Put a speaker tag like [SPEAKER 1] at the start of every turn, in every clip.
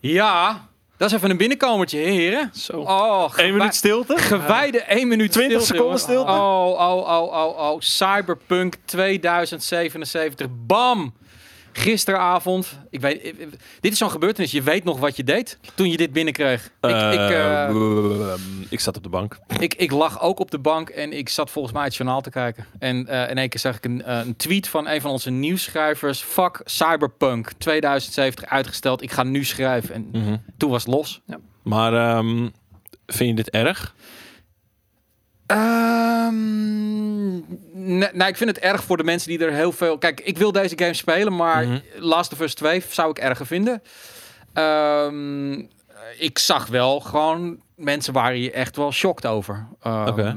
[SPEAKER 1] Ja, dat is even een binnenkomertje, heren.
[SPEAKER 2] Zo.
[SPEAKER 1] Oh,
[SPEAKER 2] Eén minuut stilte.
[SPEAKER 1] Gewijde 1 minuut
[SPEAKER 2] 20
[SPEAKER 1] stilte,
[SPEAKER 2] seconden
[SPEAKER 1] jongen.
[SPEAKER 2] stilte.
[SPEAKER 1] Oh, oh, oh, oh, oh. Cyberpunk 2077. Bam! Gisteravond. Ik weet, ik- ik- dit is zo'n gebeurtenis. Je weet nog wat je deed toen je dit binnenkreeg. Ik, ik, eh,
[SPEAKER 2] Eh, ik zat op de bank.
[SPEAKER 1] ik, ik lag ook op de bank en ik zat volgens mij het journaal te kijken. En eh, in één keer zag ik een, eh, een tweet van een van onze nieuwsschrijvers. Fuck Cyberpunk 2070 uitgesteld. Ik ga nu schrijven. En
[SPEAKER 2] Hm.
[SPEAKER 1] toen was het los. Ja.
[SPEAKER 2] Maar ehm, vind je dit erg?
[SPEAKER 1] Ehm, nee, nee, ik vind het erg voor de mensen die er heel veel... Kijk, ik wil deze game spelen, maar
[SPEAKER 2] Mhm.
[SPEAKER 1] Last of Us 2 zou ik erger vinden. Ehm, ik zag wel gewoon... Mensen waren hier echt wel shocked over. Ehm,
[SPEAKER 2] Oké.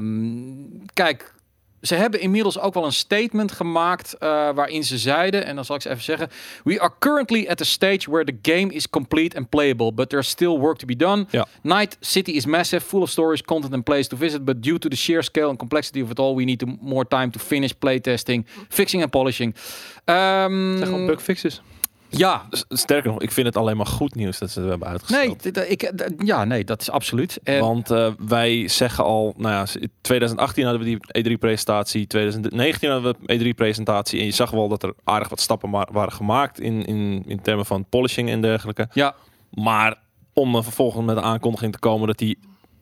[SPEAKER 1] Kijk, ze hebben inmiddels ook wel een statement gemaakt... eh, waarin ze zeiden, en dan zal ik ze even zeggen... We are currently at a stage where the game is complete and playable, but there's still work to be done.
[SPEAKER 2] Ja.
[SPEAKER 1] Night City is massive, full of stories, content and place to visit, but due to the sheer scale and complexity of it all, we need to- more time to finish playtesting, fixing and polishing. Ehm,
[SPEAKER 3] zijn gewoon bugfixes.
[SPEAKER 1] ja.
[SPEAKER 2] S- Sterker nog, ik vind het alleen maar goed nieuws dat ze het hebben uitgesteld.
[SPEAKER 1] Nee, dit- ik, d- ja, nee, dat is absoluut. En
[SPEAKER 2] Want eh, wij zeggen al, nou ja, s- 2018 hadden we die E3-presentatie, 2019 hadden we E3-presentatie. En je zag wel dat er aardig wat stappen ma- waren gemaakt in, in, in termen van polishing en dergelijke.
[SPEAKER 1] ja,
[SPEAKER 2] Maar om dan vervolgens met een aankondiging te komen dat die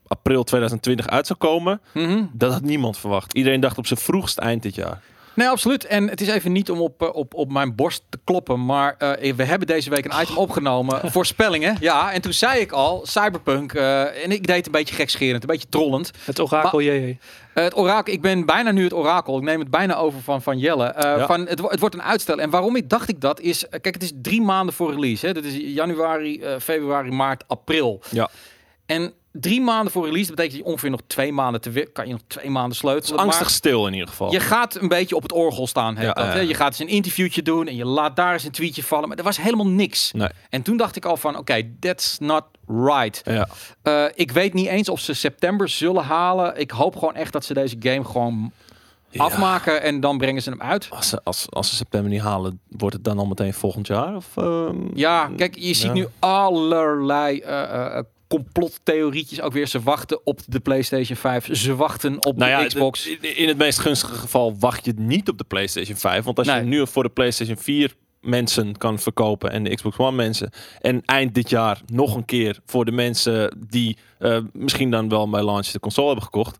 [SPEAKER 2] april 2020 uit zou komen,
[SPEAKER 1] mhm.
[SPEAKER 2] dat had niemand verwacht. Iedereen dacht op zijn vroegst eind dit jaar.
[SPEAKER 1] nee, absoluut. En het is even niet om op, eh, op, op mijn borst te kloppen, maar eh, we hebben deze week een item opgenomen, voorspellingen. Ja, en toen zei ik al, Cyberpunk, eh, en ik deed een beetje gekscherend, een beetje trollend.
[SPEAKER 3] Het orakel JJ.
[SPEAKER 1] Eh, het orakel, ik ben bijna nu het orakel. Ik neem het bijna over van, van Jelle. Eh,
[SPEAKER 2] Ja.
[SPEAKER 1] van, het, wo- het wordt een uitstel. En waarom ik dacht ik dat is... eh, Kijk, het is drie maanden voor release. Hè? Dat is januari, eh, februari, maart, april.
[SPEAKER 2] Ja.
[SPEAKER 1] En drie maanden voor release, dat betekent dat je ongeveer nog twee maanden te wi- Kan je nog twee maanden sleutelen.
[SPEAKER 2] Angstig
[SPEAKER 1] maar
[SPEAKER 2] stil in ieder geval.
[SPEAKER 1] je gaat een beetje op het orgel staan. heet
[SPEAKER 2] Ja,
[SPEAKER 1] dat,
[SPEAKER 2] ja,
[SPEAKER 1] hè?
[SPEAKER 2] ja.
[SPEAKER 1] Je gaat eens een interviewtje doen en je laat daar eens een tweetje vallen. Maar er was helemaal niks.
[SPEAKER 2] Nee.
[SPEAKER 1] En toen dacht ik al van, oké, that's not right.
[SPEAKER 2] Ja.
[SPEAKER 1] Eh, ik weet niet eens of ze september zullen halen. Ik hoop gewoon echt dat ze deze game gewoon afmaken en dan brengen ze hem uit.
[SPEAKER 2] Als ze, als, als ze september niet halen, wordt het dan al meteen volgend jaar? Of, ehm,
[SPEAKER 1] Ja, kijk, je ziet
[SPEAKER 2] Ja.
[SPEAKER 1] nu allerlei eh, eh, complottheorietjes ook weer. Ze wachten op de PlayStation 5. Ze wachten op
[SPEAKER 2] Nou ja,
[SPEAKER 1] de Xbox.
[SPEAKER 2] d- in het meest gunstige geval wacht je niet op de PlayStation 5. Want als
[SPEAKER 1] Nee.
[SPEAKER 2] je nu voor de PlayStation 4 mensen kan verkopen en de Xbox One mensen. En eind dit jaar nog een keer voor de mensen die eh, misschien dan wel bij launch de console hebben gekocht.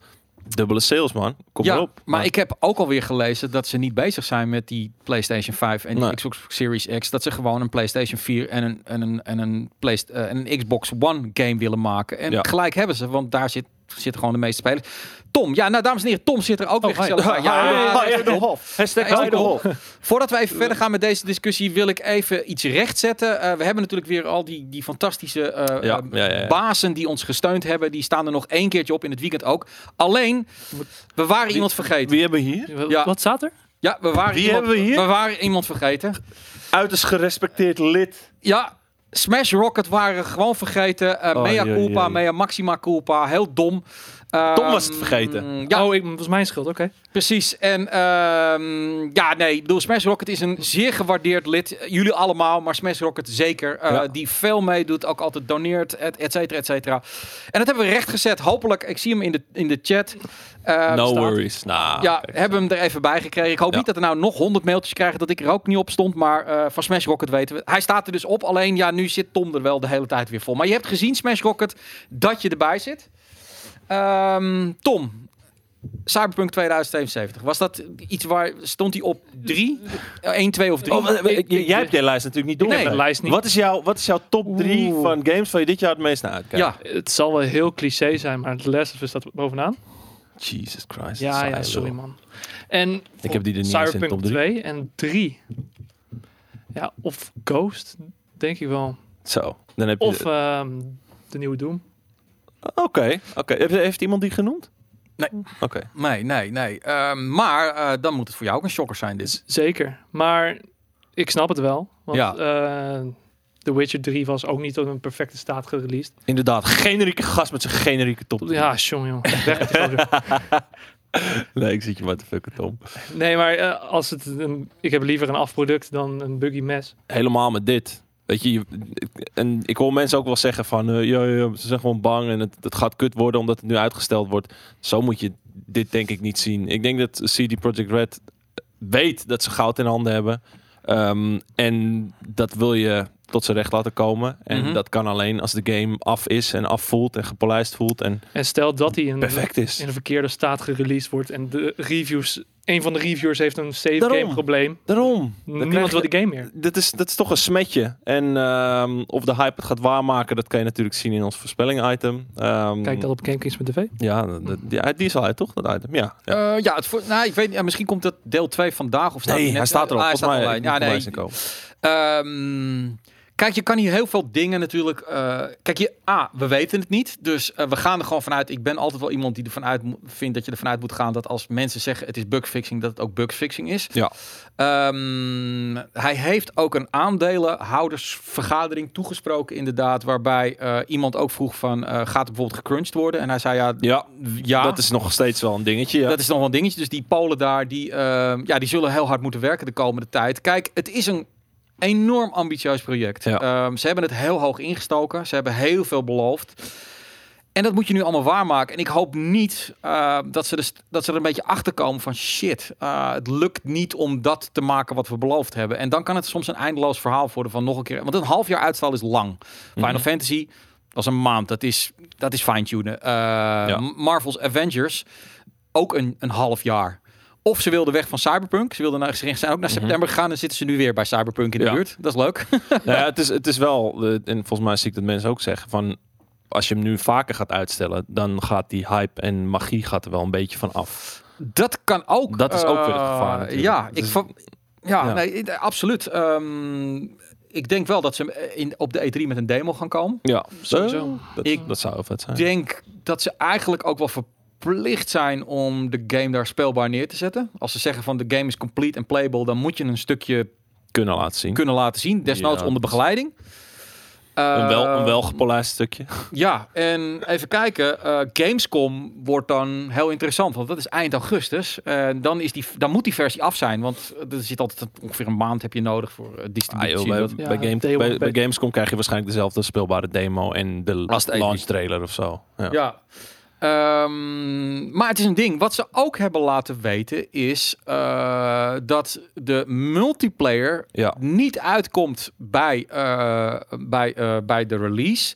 [SPEAKER 2] Dubbele sales man, kom
[SPEAKER 1] ja,
[SPEAKER 2] erop.
[SPEAKER 1] maar ik heb ook alweer gelezen dat ze niet bezig zijn met die PlayStation 5 en die
[SPEAKER 2] Nee.
[SPEAKER 1] Xbox Series X. Dat ze gewoon een PlayStation 4 en een, en een, en een, Playst- eh, en een Xbox One game willen maken. En
[SPEAKER 2] Ja.
[SPEAKER 1] gelijk hebben ze, want daar zit, zitten gewoon de meeste spelers. Tom, ja, nou dames en heren, Tom zit er ook weer
[SPEAKER 3] hi.
[SPEAKER 2] Ah,
[SPEAKER 1] gezellig bij. Ja,
[SPEAKER 2] Oh, Hi.
[SPEAKER 1] ja,
[SPEAKER 2] Hi.
[SPEAKER 1] ja, ja.
[SPEAKER 2] Hashtag
[SPEAKER 1] Hij is
[SPEAKER 2] Hide the
[SPEAKER 1] ook-
[SPEAKER 2] Hole.
[SPEAKER 1] Voordat we
[SPEAKER 2] Eh,
[SPEAKER 1] even verder gaan met deze discussie, wil ik even iets rechtzetten. Eh, we hebben natuurlijk weer al die, die fantastische eh,
[SPEAKER 2] Ja,
[SPEAKER 1] eh,
[SPEAKER 2] ja, ja, ja.
[SPEAKER 1] bazen die ons gesteund hebben. Die staan er nog één keertje op in het weekend ook. Alleen, we waren iemand vergeten.
[SPEAKER 2] Wie hebben we hier?
[SPEAKER 1] Ja.
[SPEAKER 3] Wat staat er?
[SPEAKER 1] Ja, we waren,
[SPEAKER 2] Wie
[SPEAKER 1] iemand,
[SPEAKER 2] hebben we hier?
[SPEAKER 1] waren iemand vergeten.
[SPEAKER 2] Uiterst gerespecteerd lid.
[SPEAKER 1] Ja, Smash Rocket waren gewoon vergeten. Eh
[SPEAKER 2] Oh,
[SPEAKER 1] mea
[SPEAKER 2] jee,
[SPEAKER 1] culpa,
[SPEAKER 2] jee.
[SPEAKER 1] mea maxima culpa. Heel dom.
[SPEAKER 2] Tom was het
[SPEAKER 1] Ehm,
[SPEAKER 2] vergeten.
[SPEAKER 1] Ja,
[SPEAKER 3] Oh, ik, was mijn schuld, oké.
[SPEAKER 1] Precies. En ehm, ja, nee, ik bedoel, Smash Rocket is een zeer gewaardeerd lid. Jullie allemaal, maar Smash Rocket zeker. eh,
[SPEAKER 2] Ja.
[SPEAKER 1] Die veel meedoet, ook altijd doneert, et, et cetera, et cetera. En dat hebben we rechtgezet. Hopelijk, ik zie hem in de, in de chat. eh,
[SPEAKER 2] no
[SPEAKER 1] staat.
[SPEAKER 2] worries. Nou. Nah,
[SPEAKER 1] Ja,
[SPEAKER 2] kijk.
[SPEAKER 1] hebben we hem er even bij gekregen. Ik hoop
[SPEAKER 2] Ah, Ja.
[SPEAKER 1] niet dat er nou nog honderd mailtjes krijgen dat ik er ook niet op stond. Maar eh, van Smash Rocket weten we. Hij staat er dus op. Alleen ja, nu zit Tom er wel de hele tijd weer vol. Maar je hebt gezien, Smash Rocket, dat je erbij zit. Ehm, Tom, Cyberpunk 2077. Was dat iets waar... Stond hij op drie? Eh, één, twee of drie?
[SPEAKER 2] Oh, w- w-
[SPEAKER 3] Ik- ik-
[SPEAKER 2] jij hebt je lijst natuurlijk niet door.
[SPEAKER 3] Ik heb mijn lijst niet.
[SPEAKER 2] Wat is jouw, wat is jouw top 3
[SPEAKER 3] Oeh.
[SPEAKER 2] van games waar je dit jaar het meest naar uitkijkt?
[SPEAKER 1] ja.
[SPEAKER 3] Het zal wel heel cliché zijn, maar The Last of Us staat bovenaan.
[SPEAKER 2] Jesus Christ.
[SPEAKER 3] Ja,
[SPEAKER 2] saai,
[SPEAKER 3] ja,
[SPEAKER 2] lul.
[SPEAKER 3] sorry man. En
[SPEAKER 2] Ik heb die er niet eens in
[SPEAKER 3] Cyberpunk
[SPEAKER 2] top drie.
[SPEAKER 3] 2 en 3. Ja, of Ghost, denk ik wel.
[SPEAKER 2] Zo, dan heb je...
[SPEAKER 3] Of ehm, de nieuwe Doom.
[SPEAKER 2] Oké, oké. Heeft, heeft iemand die genoemd?
[SPEAKER 1] Nee.
[SPEAKER 2] Oké.
[SPEAKER 1] Nee, nee, nee. Ehm, maar eh, dan moet het voor jou ook een shocker zijn dit.
[SPEAKER 3] Z- zeker. Maar ik snap het wel. Want
[SPEAKER 1] Ja.
[SPEAKER 3] eh, The Witcher 3 was ook niet op een perfecte staat gereleased.
[SPEAKER 2] Inderdaad, generieke gast met zijn generieke top. drie.
[SPEAKER 3] Ja, jong, jong. Weg met die gozer.
[SPEAKER 2] Nee, ik zit je maar te fucken, Tom.
[SPEAKER 3] nee, maar eh, als het een, ik heb liever een afproduct dan een buggy mes.
[SPEAKER 2] Helemaal met dit. Weet je, je- en ik hoor mensen ook wel zeggen van, eh, ja, ja, ja, ze zijn gewoon bang en het, het gaat kut worden omdat het nu uitgesteld wordt. Zo moet je dit denk ik niet zien. Ik denk dat CD Projekt Red weet dat ze goud in handen hebben. Ehm, en dat wil je tot zijn recht laten komen. En
[SPEAKER 1] Mhm.
[SPEAKER 2] dat kan alleen als de game af is en afvoelt en gepolijst voelt en
[SPEAKER 3] En stel dat hij in,
[SPEAKER 2] perfect is.
[SPEAKER 3] in een verkeerde staat gereleased wordt en de reviews, een van de reviewers heeft een save
[SPEAKER 2] Daarom.
[SPEAKER 3] game probleem.
[SPEAKER 2] Daarom. Dan krijg
[SPEAKER 3] Niemand
[SPEAKER 2] je-
[SPEAKER 3] wil die game meer.
[SPEAKER 2] dat is, dat is toch een smetje. En ehm, of de hype het gaat waarmaken, dat kan je natuurlijk zien in ons voorspelling-item. Ehm,
[SPEAKER 3] Kijk dat op GameKings.tv.
[SPEAKER 2] Ja, dat- dat- die, die is al uit, toch? Dat item, ja. ja.
[SPEAKER 1] Ja, ja, het voor, nou, ik weet, niet, ja, misschien komt dat deel 2 vandaag of staat
[SPEAKER 2] nee,
[SPEAKER 1] net-
[SPEAKER 2] hij staat er al.
[SPEAKER 1] Ah, hij
[SPEAKER 2] Volgens
[SPEAKER 1] staat
[SPEAKER 2] mij
[SPEAKER 1] online.
[SPEAKER 2] moet
[SPEAKER 1] Ja,
[SPEAKER 2] voorbij
[SPEAKER 1] nee.
[SPEAKER 2] zijn komen.
[SPEAKER 1] Ehm, kijk, je kan hier heel veel dingen natuurlijk. eh, kijk, je, A, we weten het niet. Dus eh, we gaan er gewoon vanuit. Ik ben altijd wel iemand die ervan uit mo- vindt dat je ervan uit moet gaan dat als mensen zeggen het is bugfixing, dat het ook bugfixing is.
[SPEAKER 2] Ja.
[SPEAKER 1] Ehm, hij heeft ook een aandelenhoudersvergadering toegesproken, inderdaad. Waarbij eh, iemand ook vroeg: van, eh, gaat er bijvoorbeeld gecrunched worden? En hij zei: ja,
[SPEAKER 2] Ja,
[SPEAKER 1] ja
[SPEAKER 2] dat is nog steeds wel een dingetje. Ja.
[SPEAKER 1] dat is nog wel een dingetje. Dus die Polen daar, die, ehm, ja, die zullen heel hard moeten werken de komende tijd. Kijk, het is een enorm ambitieus project.
[SPEAKER 2] Ja.
[SPEAKER 1] Ehm, ze hebben het heel hoog ingestoken. Ze hebben heel veel beloofd. En dat moet je nu allemaal waarmaken. En ik hoop niet eh, dat, ze dus, dat ze er een beetje achter komen van shit. eh, het lukt niet om dat te maken wat we beloofd hebben. En dan kan het soms een eindeloos verhaal worden van nog een keer. Want een half jaar uitstel is lang. Final
[SPEAKER 2] Mhm.
[SPEAKER 1] Fantasy was een maand. Dat is, dat is fine-tunen. Eh, M- Marvel's Avengers ook een, een half jaar. Of ze wilden weg van Cyberpunk. Ze, wilden naar, ze zijn ook naar
[SPEAKER 2] Mhm.
[SPEAKER 1] september gegaan. En zitten ze nu weer bij Cyberpunk in de
[SPEAKER 2] Ja.
[SPEAKER 1] buurt. Dat is leuk.
[SPEAKER 2] Nou ja, het, is, het is wel, eh, en volgens mij zie ik dat mensen ook zeggen, van als je hem nu vaker gaat uitstellen, dan gaat die hype en magie gaat er wel een beetje van af.
[SPEAKER 1] Dat kan ook.
[SPEAKER 2] Dat is ook weer het
[SPEAKER 1] eh,
[SPEAKER 2] gevaar natuurlijk.
[SPEAKER 1] Ja,
[SPEAKER 2] Dus-
[SPEAKER 1] ik van, ja,
[SPEAKER 2] Ja.
[SPEAKER 1] Nee, eh, absoluut. Ehm, ik denk wel dat ze eh, in, op de E3 met een demo gaan komen.
[SPEAKER 2] Ja,
[SPEAKER 3] Sowieso.
[SPEAKER 2] Eh, Dat,
[SPEAKER 1] Ik
[SPEAKER 2] dat zou wel vet zijn.
[SPEAKER 1] Ik denk dat ze eigenlijk ook wel verplicht zijn om de game daar speelbaar neer te zetten. Als ze zeggen van de game is complete en playable, dan moet je een stukje
[SPEAKER 2] Kunnen laten zien.
[SPEAKER 1] kunnen laten zien. Desnoods
[SPEAKER 2] Ja,
[SPEAKER 1] onder
[SPEAKER 2] dat is-
[SPEAKER 1] begeleiding.
[SPEAKER 2] Een wel, een
[SPEAKER 1] Ehm, ah,
[SPEAKER 2] wel gepolijst stukje.
[SPEAKER 1] Ja, en even kijken. eh, Gamescom wordt dan heel interessant, want dat is eind augustus. En dan, is die, dan moet die versie af zijn, want er zit altijd een- ongeveer een maand heb je nodig voor eh,
[SPEAKER 2] Ah,
[SPEAKER 1] distributie.
[SPEAKER 2] joh,
[SPEAKER 1] Dat-
[SPEAKER 2] bij,
[SPEAKER 1] ja,
[SPEAKER 3] Ja,
[SPEAKER 2] bij, Game-
[SPEAKER 3] day one
[SPEAKER 2] bij- bij
[SPEAKER 3] beta.
[SPEAKER 2] Gamescom krijg je waarschijnlijk dezelfde speelbare demo en de
[SPEAKER 1] Als het
[SPEAKER 2] launch trailer of zo. Ja.
[SPEAKER 1] Ehm, maar het is een ding. Wat ze ook hebben laten weten is eh, dat de multiplayer
[SPEAKER 2] Ja.
[SPEAKER 1] niet uitkomt bij, eh, bij, eh, bij de release.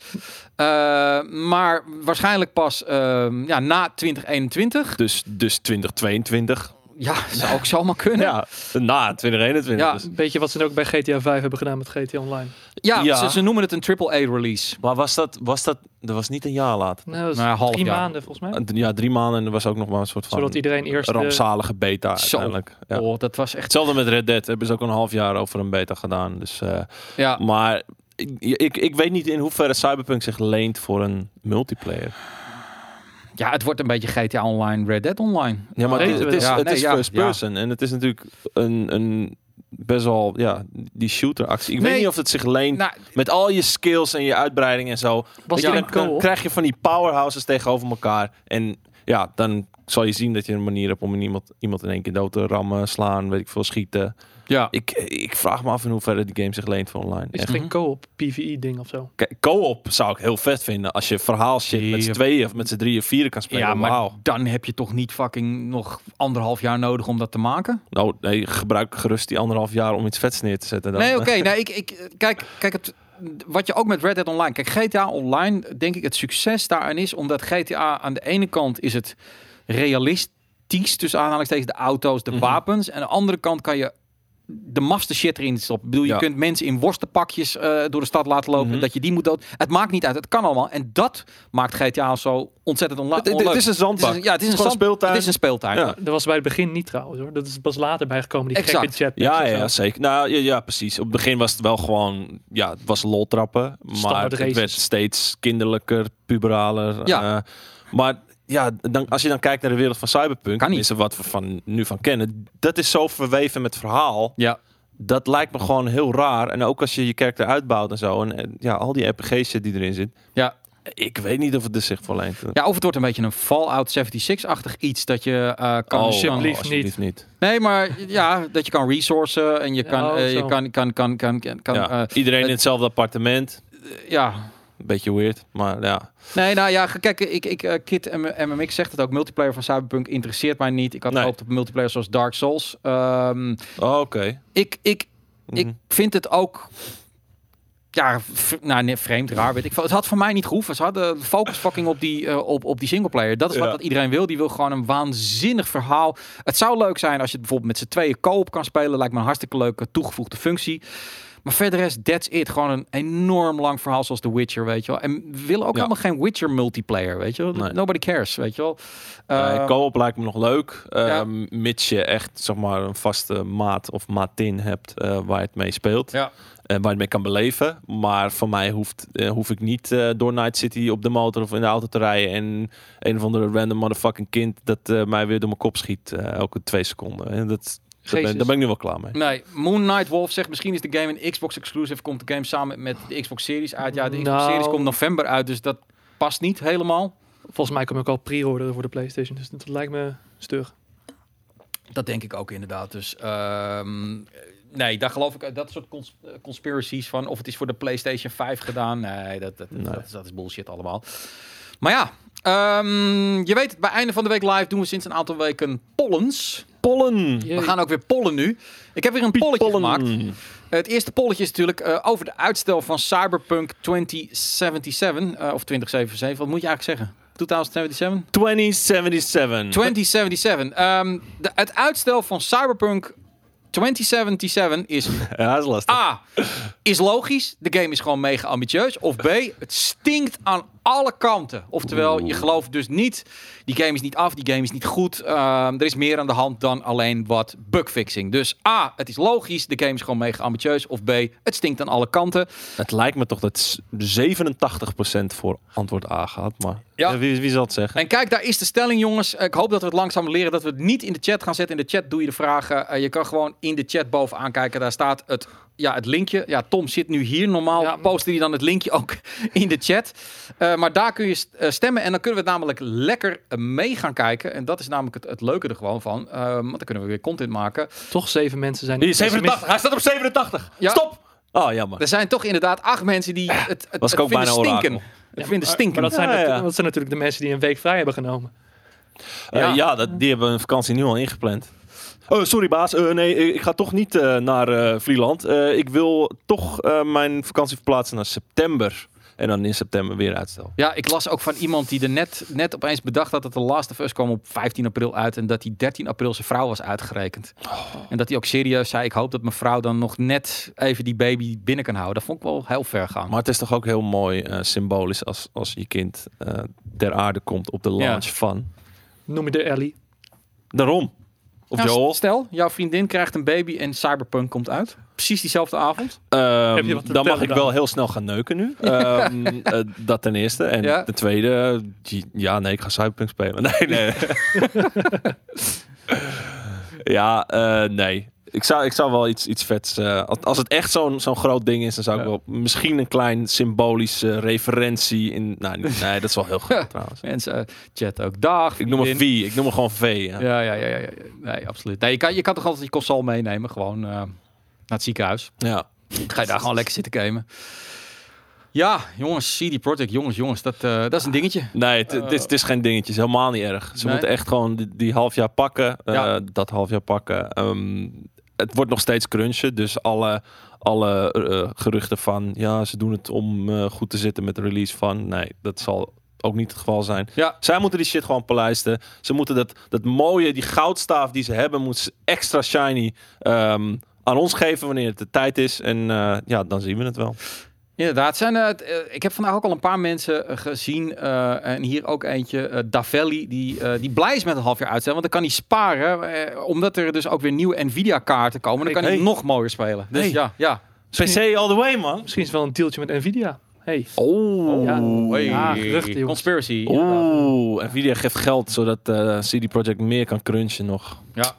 [SPEAKER 1] Eh, maar waarschijnlijk pas eh, ja, na 2021.
[SPEAKER 2] Dus, dus 2022.
[SPEAKER 1] Ja, zou ook zomaar kunnen. Ja,
[SPEAKER 2] Ja, na 2021.
[SPEAKER 1] Ja.
[SPEAKER 2] Dus.
[SPEAKER 3] Weet je wat ze ook bij GTA 5 hebben gedaan met GTA Online?
[SPEAKER 2] Ja.
[SPEAKER 1] Ze, ze noemen het een AAA-release.
[SPEAKER 2] Maar was dat, was dat, dat was niet een jaar later.
[SPEAKER 3] Nou, dat is
[SPEAKER 1] Nou, een half
[SPEAKER 3] drie
[SPEAKER 1] jaar.
[SPEAKER 3] maanden volgens mij.
[SPEAKER 2] Eh, d- Ja, drie maanden en er was ook nog maar een soort van
[SPEAKER 3] Zodat iedereen eerst... de-
[SPEAKER 2] rampzalige beta
[SPEAKER 1] eh, Zo.
[SPEAKER 2] uiteindelijk. Ja.
[SPEAKER 1] Oh, dat was echt...
[SPEAKER 2] Hetzelfde met Red Dead. Hebben ze ook een half jaar over een beta gedaan. Dus, eh,
[SPEAKER 1] Ja,
[SPEAKER 2] Maar ik, ik, ik weet niet in hoeverre Cyberpunk zich leent voor een multiplayer.
[SPEAKER 1] ja, het wordt een beetje GTA Online, Red Dead Online.
[SPEAKER 2] Ja, maar
[SPEAKER 1] Eh,
[SPEAKER 2] het,
[SPEAKER 3] weten
[SPEAKER 2] is-
[SPEAKER 3] we
[SPEAKER 2] het is,
[SPEAKER 1] dat? Ja,
[SPEAKER 2] het
[SPEAKER 1] nee,
[SPEAKER 2] is
[SPEAKER 1] ja,
[SPEAKER 2] first
[SPEAKER 1] ja.
[SPEAKER 2] person. En het is natuurlijk een, een best wel, ja, die shooter actie. Ik
[SPEAKER 1] Nee.
[SPEAKER 2] weet niet of het zich leent
[SPEAKER 1] Nou,
[SPEAKER 2] met al je skills en je uitbreiding en zo.
[SPEAKER 3] Was
[SPEAKER 2] Weet
[SPEAKER 3] er
[SPEAKER 2] je,
[SPEAKER 3] een
[SPEAKER 2] dan, dan
[SPEAKER 3] co-op?
[SPEAKER 2] krijg je van die powerhouses tegenover elkaar. En ja, dan zal je zien dat je een manier hebt om in iemand, iemand in één keer dood te rammen, slaan, weet ik veel, schieten.
[SPEAKER 1] ja.
[SPEAKER 2] Ik, ik vraag me af in hoeverre die game zich leent voor online.
[SPEAKER 3] Is
[SPEAKER 2] Echt.
[SPEAKER 3] het
[SPEAKER 1] Mhm.
[SPEAKER 3] geen co-op PvE-ding of zo?
[SPEAKER 2] K- Co-op zou ik heel vet vinden als je verhaal shit met z'n
[SPEAKER 1] Ja.
[SPEAKER 2] tweeën of met z'n drieën, vieren kan spelen.
[SPEAKER 1] ja, maar
[SPEAKER 2] Wauw.
[SPEAKER 1] dan heb je toch niet fucking nog anderhalf jaar nodig om dat te maken?
[SPEAKER 2] Nou, nee, gebruik gerust die anderhalf jaar om iets vets neer te zetten. Dan.
[SPEAKER 1] Nee, oké. nee, ik, ik, kijk, kijk het, wat je ook met Red Dead Online... Kijk, GTA Online, denk ik, het succes daaraan is... omdat GTA aan de ene kant is het realistisch... tussen aanhalingstekens de auto's, de
[SPEAKER 2] Mhm.
[SPEAKER 1] wapens... en aan de andere kant kan je de master shit erin stoppen. Ik bedoel,
[SPEAKER 2] Ja.
[SPEAKER 1] je kunt mensen in worstenpakjes eh, door de stad laten lopen...
[SPEAKER 2] Mhm.
[SPEAKER 1] dat je die moet dood... Het maakt niet uit, het kan allemaal. En dat maakt GTA zo ontzettend onla-
[SPEAKER 2] Het, het- het
[SPEAKER 1] onleuk.
[SPEAKER 2] is een zandbak.
[SPEAKER 1] ja, het is een,
[SPEAKER 2] gewoon
[SPEAKER 1] stand-
[SPEAKER 2] speeltuin.
[SPEAKER 1] Het is een speeltuin.
[SPEAKER 2] Ja.
[SPEAKER 3] Dat was bij het begin niet trouwens hoor. Dat is pas later bijgekomen, die gekke
[SPEAKER 1] Exact.
[SPEAKER 3] chat.
[SPEAKER 2] Ja, ja, ja, zeker. Nou, ja, ja, precies. Op het begin was het wel gewoon, ja, het was lol trappen, maar
[SPEAKER 3] Standaard
[SPEAKER 2] het
[SPEAKER 3] races.
[SPEAKER 2] werd steeds kinderlijker, puberaler.
[SPEAKER 1] Ja.
[SPEAKER 2] eh, maar ja, dan, als je dan kijkt naar de wereld van cyberpunk,
[SPEAKER 1] Kan niet.
[SPEAKER 2] tenminste wat we van, nu van kennen, dat is zo verweven met verhaal.
[SPEAKER 1] Ja.
[SPEAKER 2] Dat lijkt me gewoon heel raar. En ook als je je karakter uitbouwt en zo, en, eh, ja, al die RPG shit die erin zit.
[SPEAKER 1] Ja.
[SPEAKER 2] Ik weet niet of het er zich voor leent.
[SPEAKER 1] Ja, of het wordt een beetje een Fallout 76-achtig iets. Dat je eh, kan...
[SPEAKER 2] Oh,
[SPEAKER 3] alsjeblieft niet.
[SPEAKER 1] Nee, maar ja, dat je kan resourcen en je
[SPEAKER 3] Ja,
[SPEAKER 1] kan...
[SPEAKER 3] oh,
[SPEAKER 1] eh, je
[SPEAKER 3] zo.
[SPEAKER 1] kan, kan, kan, kan, kan, kan,
[SPEAKER 2] Ja,
[SPEAKER 1] eh,
[SPEAKER 2] Iedereen
[SPEAKER 1] het-
[SPEAKER 2] in hetzelfde appartement.
[SPEAKER 1] ja.
[SPEAKER 2] Beetje weird, maar ja.
[SPEAKER 1] Nee, nou ja, kijk, ik, ik, eh, Kit M- MMX zegt het ook. Multiplayer van Cyberpunk interesseert mij niet. Ik had
[SPEAKER 2] Nee.
[SPEAKER 1] gehoopt op multiplayer zoals Dark Souls. Ehm,
[SPEAKER 2] Oh, Oké.
[SPEAKER 1] ik, ik,
[SPEAKER 2] Mhm.
[SPEAKER 1] ik vind het ook... Ja, v- nou, nee, vreemd, raar. Weet ik. veel. Het had voor mij niet gehoeven. Ze hadden focus fucking op die, eh, op, op die singleplayer. Dat is wat,
[SPEAKER 2] Ja.
[SPEAKER 1] wat iedereen wil. Die wil gewoon een waanzinnig verhaal. Het zou leuk zijn als je het bijvoorbeeld met z'n tweeën koop kan spelen. Lijkt me een hartstikke leuke toegevoegde functie. Maar verder is that's it. Gewoon een enorm lang verhaal zoals The Witcher, weet je wel. En we willen ook
[SPEAKER 2] Ja.
[SPEAKER 1] helemaal geen Witcher multiplayer, weet je wel.
[SPEAKER 2] Nee.
[SPEAKER 1] Nobody cares, weet je wel.
[SPEAKER 2] Eh
[SPEAKER 1] Eh,
[SPEAKER 2] co-op lijkt me nog leuk. eh,
[SPEAKER 1] ja.
[SPEAKER 2] Mits je echt zeg maar, een vaste maat of maatin hebt eh, waar je het mee speelt.
[SPEAKER 1] Ja.
[SPEAKER 2] En waar je het mee kan beleven. Maar voor mij hoeft, eh, hoef ik niet eh, door Night City op de motor of in de auto te rijden. En een of andere random motherfucking kind dat eh, mij weer door mijn kop schiet eh, elke twee seconden. En dat, dat ben,
[SPEAKER 1] Jezus.
[SPEAKER 2] daar ben ik nu wel klaar mee.
[SPEAKER 1] Nee, Moon Knight Wolf zegt misschien is de game een Xbox exclusive. Komt de game samen met de Xbox Series uit? Ja, de Xbox
[SPEAKER 3] Nou.
[SPEAKER 1] Series komt november uit, dus dat past niet helemaal.
[SPEAKER 3] Volgens mij kom ik al pre-orderen voor de PlayStation, dus dat lijkt me stug.
[SPEAKER 1] Dat denk ik ook inderdaad. Dus ehm, nee, daar geloof ik eh, dat soort cons- eh, conspiracies van of het is voor de PlayStation 5 gedaan. Nee, dat, dat, dat-
[SPEAKER 2] Nee.
[SPEAKER 1] dat, is, dat is bullshit allemaal. Maar ja, ehm, je weet het, bij einde van de week live doen we sinds een aantal weken pollens.
[SPEAKER 2] Pollen!
[SPEAKER 1] We gaan ook weer pollen nu. Ik heb weer een polletje gemaakt. Het eerste polletje is natuurlijk eh, over de uitstel van Cyberpunk 2077. eh, of 2077, wat moet je eigenlijk zeggen? 2077?
[SPEAKER 2] 2077.
[SPEAKER 1] 2077. Ehm, de, het uitstel van Cyberpunk 2077 is
[SPEAKER 2] ja, dat is lastig.
[SPEAKER 1] A. Is logisch. De game is gewoon mega ambitieus. Of B. Het stinkt aan alle kanten. Oftewel, je gelooft dus niet. Die game is niet af. Die game is niet goed. Ehm, er is meer aan de hand dan alleen wat bugfixing. Dus A. Het is logisch. De game is gewoon mega ambitieus. Of B. Het stinkt aan alle kanten.
[SPEAKER 2] Het lijkt me toch dat s- 87% voor antwoord A gaat. Maar
[SPEAKER 1] Ja.
[SPEAKER 2] eh, wie, wie zal het zeggen?
[SPEAKER 1] En kijk, daar is de stelling, jongens. Ik hoop dat we het langzaam leren. Dat we het niet in de chat gaan zetten. In de chat doe je de vragen. Eh, je kan gewoon in de chat bovenaan kijken. Daar staat het, ja, het linkje. Ja, Tom zit nu hier. Normaal
[SPEAKER 3] Ja.
[SPEAKER 1] posten die dan het linkje ook in de chat. Eh, maar daar kun je st- eh, stemmen. En dan kunnen we het namelijk lekker eh, mee gaan kijken. En dat is namelijk het, het leuke er gewoon van. Ehm, want dan kunnen we weer content maken.
[SPEAKER 3] Toch zeven mensen zijn...
[SPEAKER 2] Die is
[SPEAKER 3] pessimist.
[SPEAKER 2] 87, hij staat op 87.
[SPEAKER 1] Ja.
[SPEAKER 2] Stop! Oh, jammer.
[SPEAKER 1] Er zijn toch inderdaad acht mensen die het, het,
[SPEAKER 2] was ik
[SPEAKER 1] het
[SPEAKER 2] ook
[SPEAKER 1] vinden
[SPEAKER 2] bijna orakel.
[SPEAKER 1] stinken. Het
[SPEAKER 3] Ja,
[SPEAKER 1] vinden
[SPEAKER 3] maar-
[SPEAKER 1] stinken.
[SPEAKER 3] Maar dat zijn,
[SPEAKER 2] Ja,
[SPEAKER 3] natu-
[SPEAKER 2] ja.
[SPEAKER 3] dat zijn natuurlijk de mensen die een week vrij hebben genomen.
[SPEAKER 2] Eh,
[SPEAKER 1] Ja.
[SPEAKER 2] ja, dat, die hebben hun vakantie nu al ingepland. Oh, sorry baas, Eh, nee, ik ga toch niet eh, naar eh, Vlieland. Eh, ik wil toch eh, mijn vakantie verplaatsen naar september. En dan in september weer uitstel.
[SPEAKER 1] Ja, ik las ook van iemand die er net, net opeens bedacht had dat The Last of Us kwam op 15 april uit. En dat die 13 april zijn vrouw was uitgerekend.
[SPEAKER 2] Oh.
[SPEAKER 1] En dat hij ook serieus zei, ik hoop dat mijn vrouw dan nog net even die baby binnen kan houden. Dat vond ik wel heel ver gaan.
[SPEAKER 2] Maar het is toch ook heel mooi eh, symbolisch als, als je kind eh, ter aarde komt op de launch van.
[SPEAKER 3] Noem je de Ellie.
[SPEAKER 2] Daarom. Of
[SPEAKER 1] Nou,
[SPEAKER 2] Joel.
[SPEAKER 1] Stel, jouw vriendin krijgt een baby en Cyberpunk komt uit. Precies diezelfde avond.
[SPEAKER 2] Ehm,
[SPEAKER 3] Heb je wat te
[SPEAKER 2] dan mag
[SPEAKER 3] vertellen
[SPEAKER 2] ik
[SPEAKER 3] dan?
[SPEAKER 2] wel heel snel gaan neuken nu. Ehm, eh, dat ten eerste. En
[SPEAKER 1] Ja.
[SPEAKER 2] ten tweede, eh, ja, nee, ik ga Cyberpunk spelen. Nee, nee. ja, eh, nee. Ik zou, ik zou wel iets, iets vets... eh, als- als het echt zo'n zo'n groot ding is, dan zou ik
[SPEAKER 3] Ja.
[SPEAKER 2] wel misschien een klein symbolische referentie in... Nou, nee, nee, dat is wel heel groot trouwens.
[SPEAKER 1] Mensen, eh, chat ook. Dag.
[SPEAKER 2] Ik noem hem V.
[SPEAKER 1] vriendin.
[SPEAKER 2] Ik noem hem gewoon V. Ja.
[SPEAKER 1] Ja, ja, ja, ja, ja. Nee, absoluut. Nee, je, kan, je kan toch altijd je console meenemen, gewoon eh, naar het ziekenhuis.
[SPEAKER 2] Ja.
[SPEAKER 1] Ga je daar gewoon lekker zitten gamen. Ja, jongens, CD Projekt, jongens, jongens, dat, eh, dat is een dingetje.
[SPEAKER 2] Nee, het, het is, het is geen dingetje. Het is helemaal niet erg. Ze
[SPEAKER 1] Nee.
[SPEAKER 2] moeten echt gewoon die, die half jaar pakken. eh,
[SPEAKER 1] Ja.
[SPEAKER 2] Dat half jaar pakken. Ehm, het wordt nog steeds crunchen. Dus alle, alle eh, geruchten van... Ja, ze doen het om eh, goed te zitten met de release van... Nee, dat zal ook niet het geval zijn.
[SPEAKER 1] Ja.
[SPEAKER 2] Zij moeten die shit gewoon polijsten. Ze moeten dat, dat mooie, die goudstaaf die ze hebben... moeten ze extra shiny ehm, aan ons geven wanneer het de tijd is. En eh, ja, dan zien we het wel.
[SPEAKER 1] Inderdaad, zijn, eh, het, eh, ik heb vandaag ook al een paar mensen eh, gezien. eh, en hier ook eentje, eh, Davelli, die, eh, die blij is met een half jaar uitstel. Want dan kan hij sparen. eh, omdat er dus ook weer nieuwe Nvidia-kaarten komen. Dan kan hij
[SPEAKER 2] Hey.
[SPEAKER 1] nog mooier spelen. Dus
[SPEAKER 2] Hey.
[SPEAKER 1] ja, ja.
[SPEAKER 2] PC all the way, man.
[SPEAKER 3] Misschien is het wel een dealtje met Nvidia. Hey.
[SPEAKER 2] Oh.
[SPEAKER 3] Ja.
[SPEAKER 1] hey.
[SPEAKER 3] Ja, geruchten, jongens.
[SPEAKER 1] Conspiracy.
[SPEAKER 2] Oeh, Nvidia geeft geld zodat eh, CD Projekt meer kan crunchen nog.
[SPEAKER 1] Ja.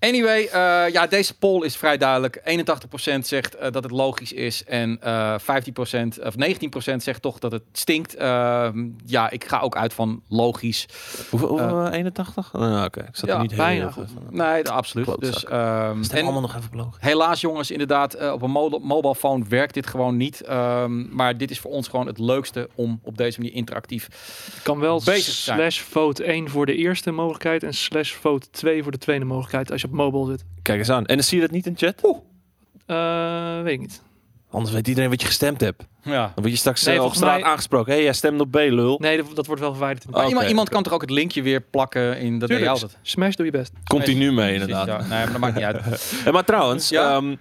[SPEAKER 1] Anyway, eh, ja, deze poll is vrij duidelijk. 81% zegt eh, dat het logisch is en eh 15% of 19% zegt toch dat het stinkt. Ehm, ja, ik ga ook uit van logisch.
[SPEAKER 2] Hoeveel? hoeveel, eh, 81? Nou, Oké, ik zat
[SPEAKER 1] ja,
[SPEAKER 2] er niet heel
[SPEAKER 3] bijna
[SPEAKER 2] erg
[SPEAKER 3] goed.
[SPEAKER 2] van.
[SPEAKER 1] Nee, d- absoluut.
[SPEAKER 2] Klootzak.
[SPEAKER 1] Dus, ehm,
[SPEAKER 2] Stem
[SPEAKER 1] en
[SPEAKER 2] allemaal nog even bloot.
[SPEAKER 1] helaas jongens, inderdaad, eh, op een mo- mobile phone werkt dit gewoon niet. Ehm, maar dit is voor ons gewoon het leukste om op deze manier interactief
[SPEAKER 3] kan wel
[SPEAKER 1] Bezig zijn.
[SPEAKER 3] slash vote 1 voor de eerste mogelijkheid en slash vote 2 voor de tweede mogelijkheid als je op mobile zit.
[SPEAKER 2] Kijk eens aan. En dan zie je dat niet in chat?
[SPEAKER 3] Eh, weet ik niet.
[SPEAKER 2] Anders weet iedereen wat je gestemd hebt.
[SPEAKER 1] ja,
[SPEAKER 2] Dan word je straks
[SPEAKER 3] Nee,
[SPEAKER 2] eh, op
[SPEAKER 3] volgens
[SPEAKER 2] straat
[SPEAKER 3] mij-
[SPEAKER 2] aangesproken. Hé, hey, jij stemt op B, lul.
[SPEAKER 3] Nee, dat, dat wordt wel verwijderd. in de-
[SPEAKER 2] Oh,
[SPEAKER 1] Maar iemand,
[SPEAKER 2] oké,
[SPEAKER 1] iemand
[SPEAKER 2] oké.
[SPEAKER 1] kan toch ook het linkje weer plakken in dat
[SPEAKER 3] Tuurlijk,
[SPEAKER 1] deed je altijd.
[SPEAKER 3] Smash doe je best.
[SPEAKER 2] Komt hij nu mee,
[SPEAKER 1] Precies,
[SPEAKER 2] inderdaad.
[SPEAKER 1] ja. Nee, maar dat maakt niet uit.
[SPEAKER 2] Eh, maar trouwens,
[SPEAKER 1] Ja?
[SPEAKER 2] ehm,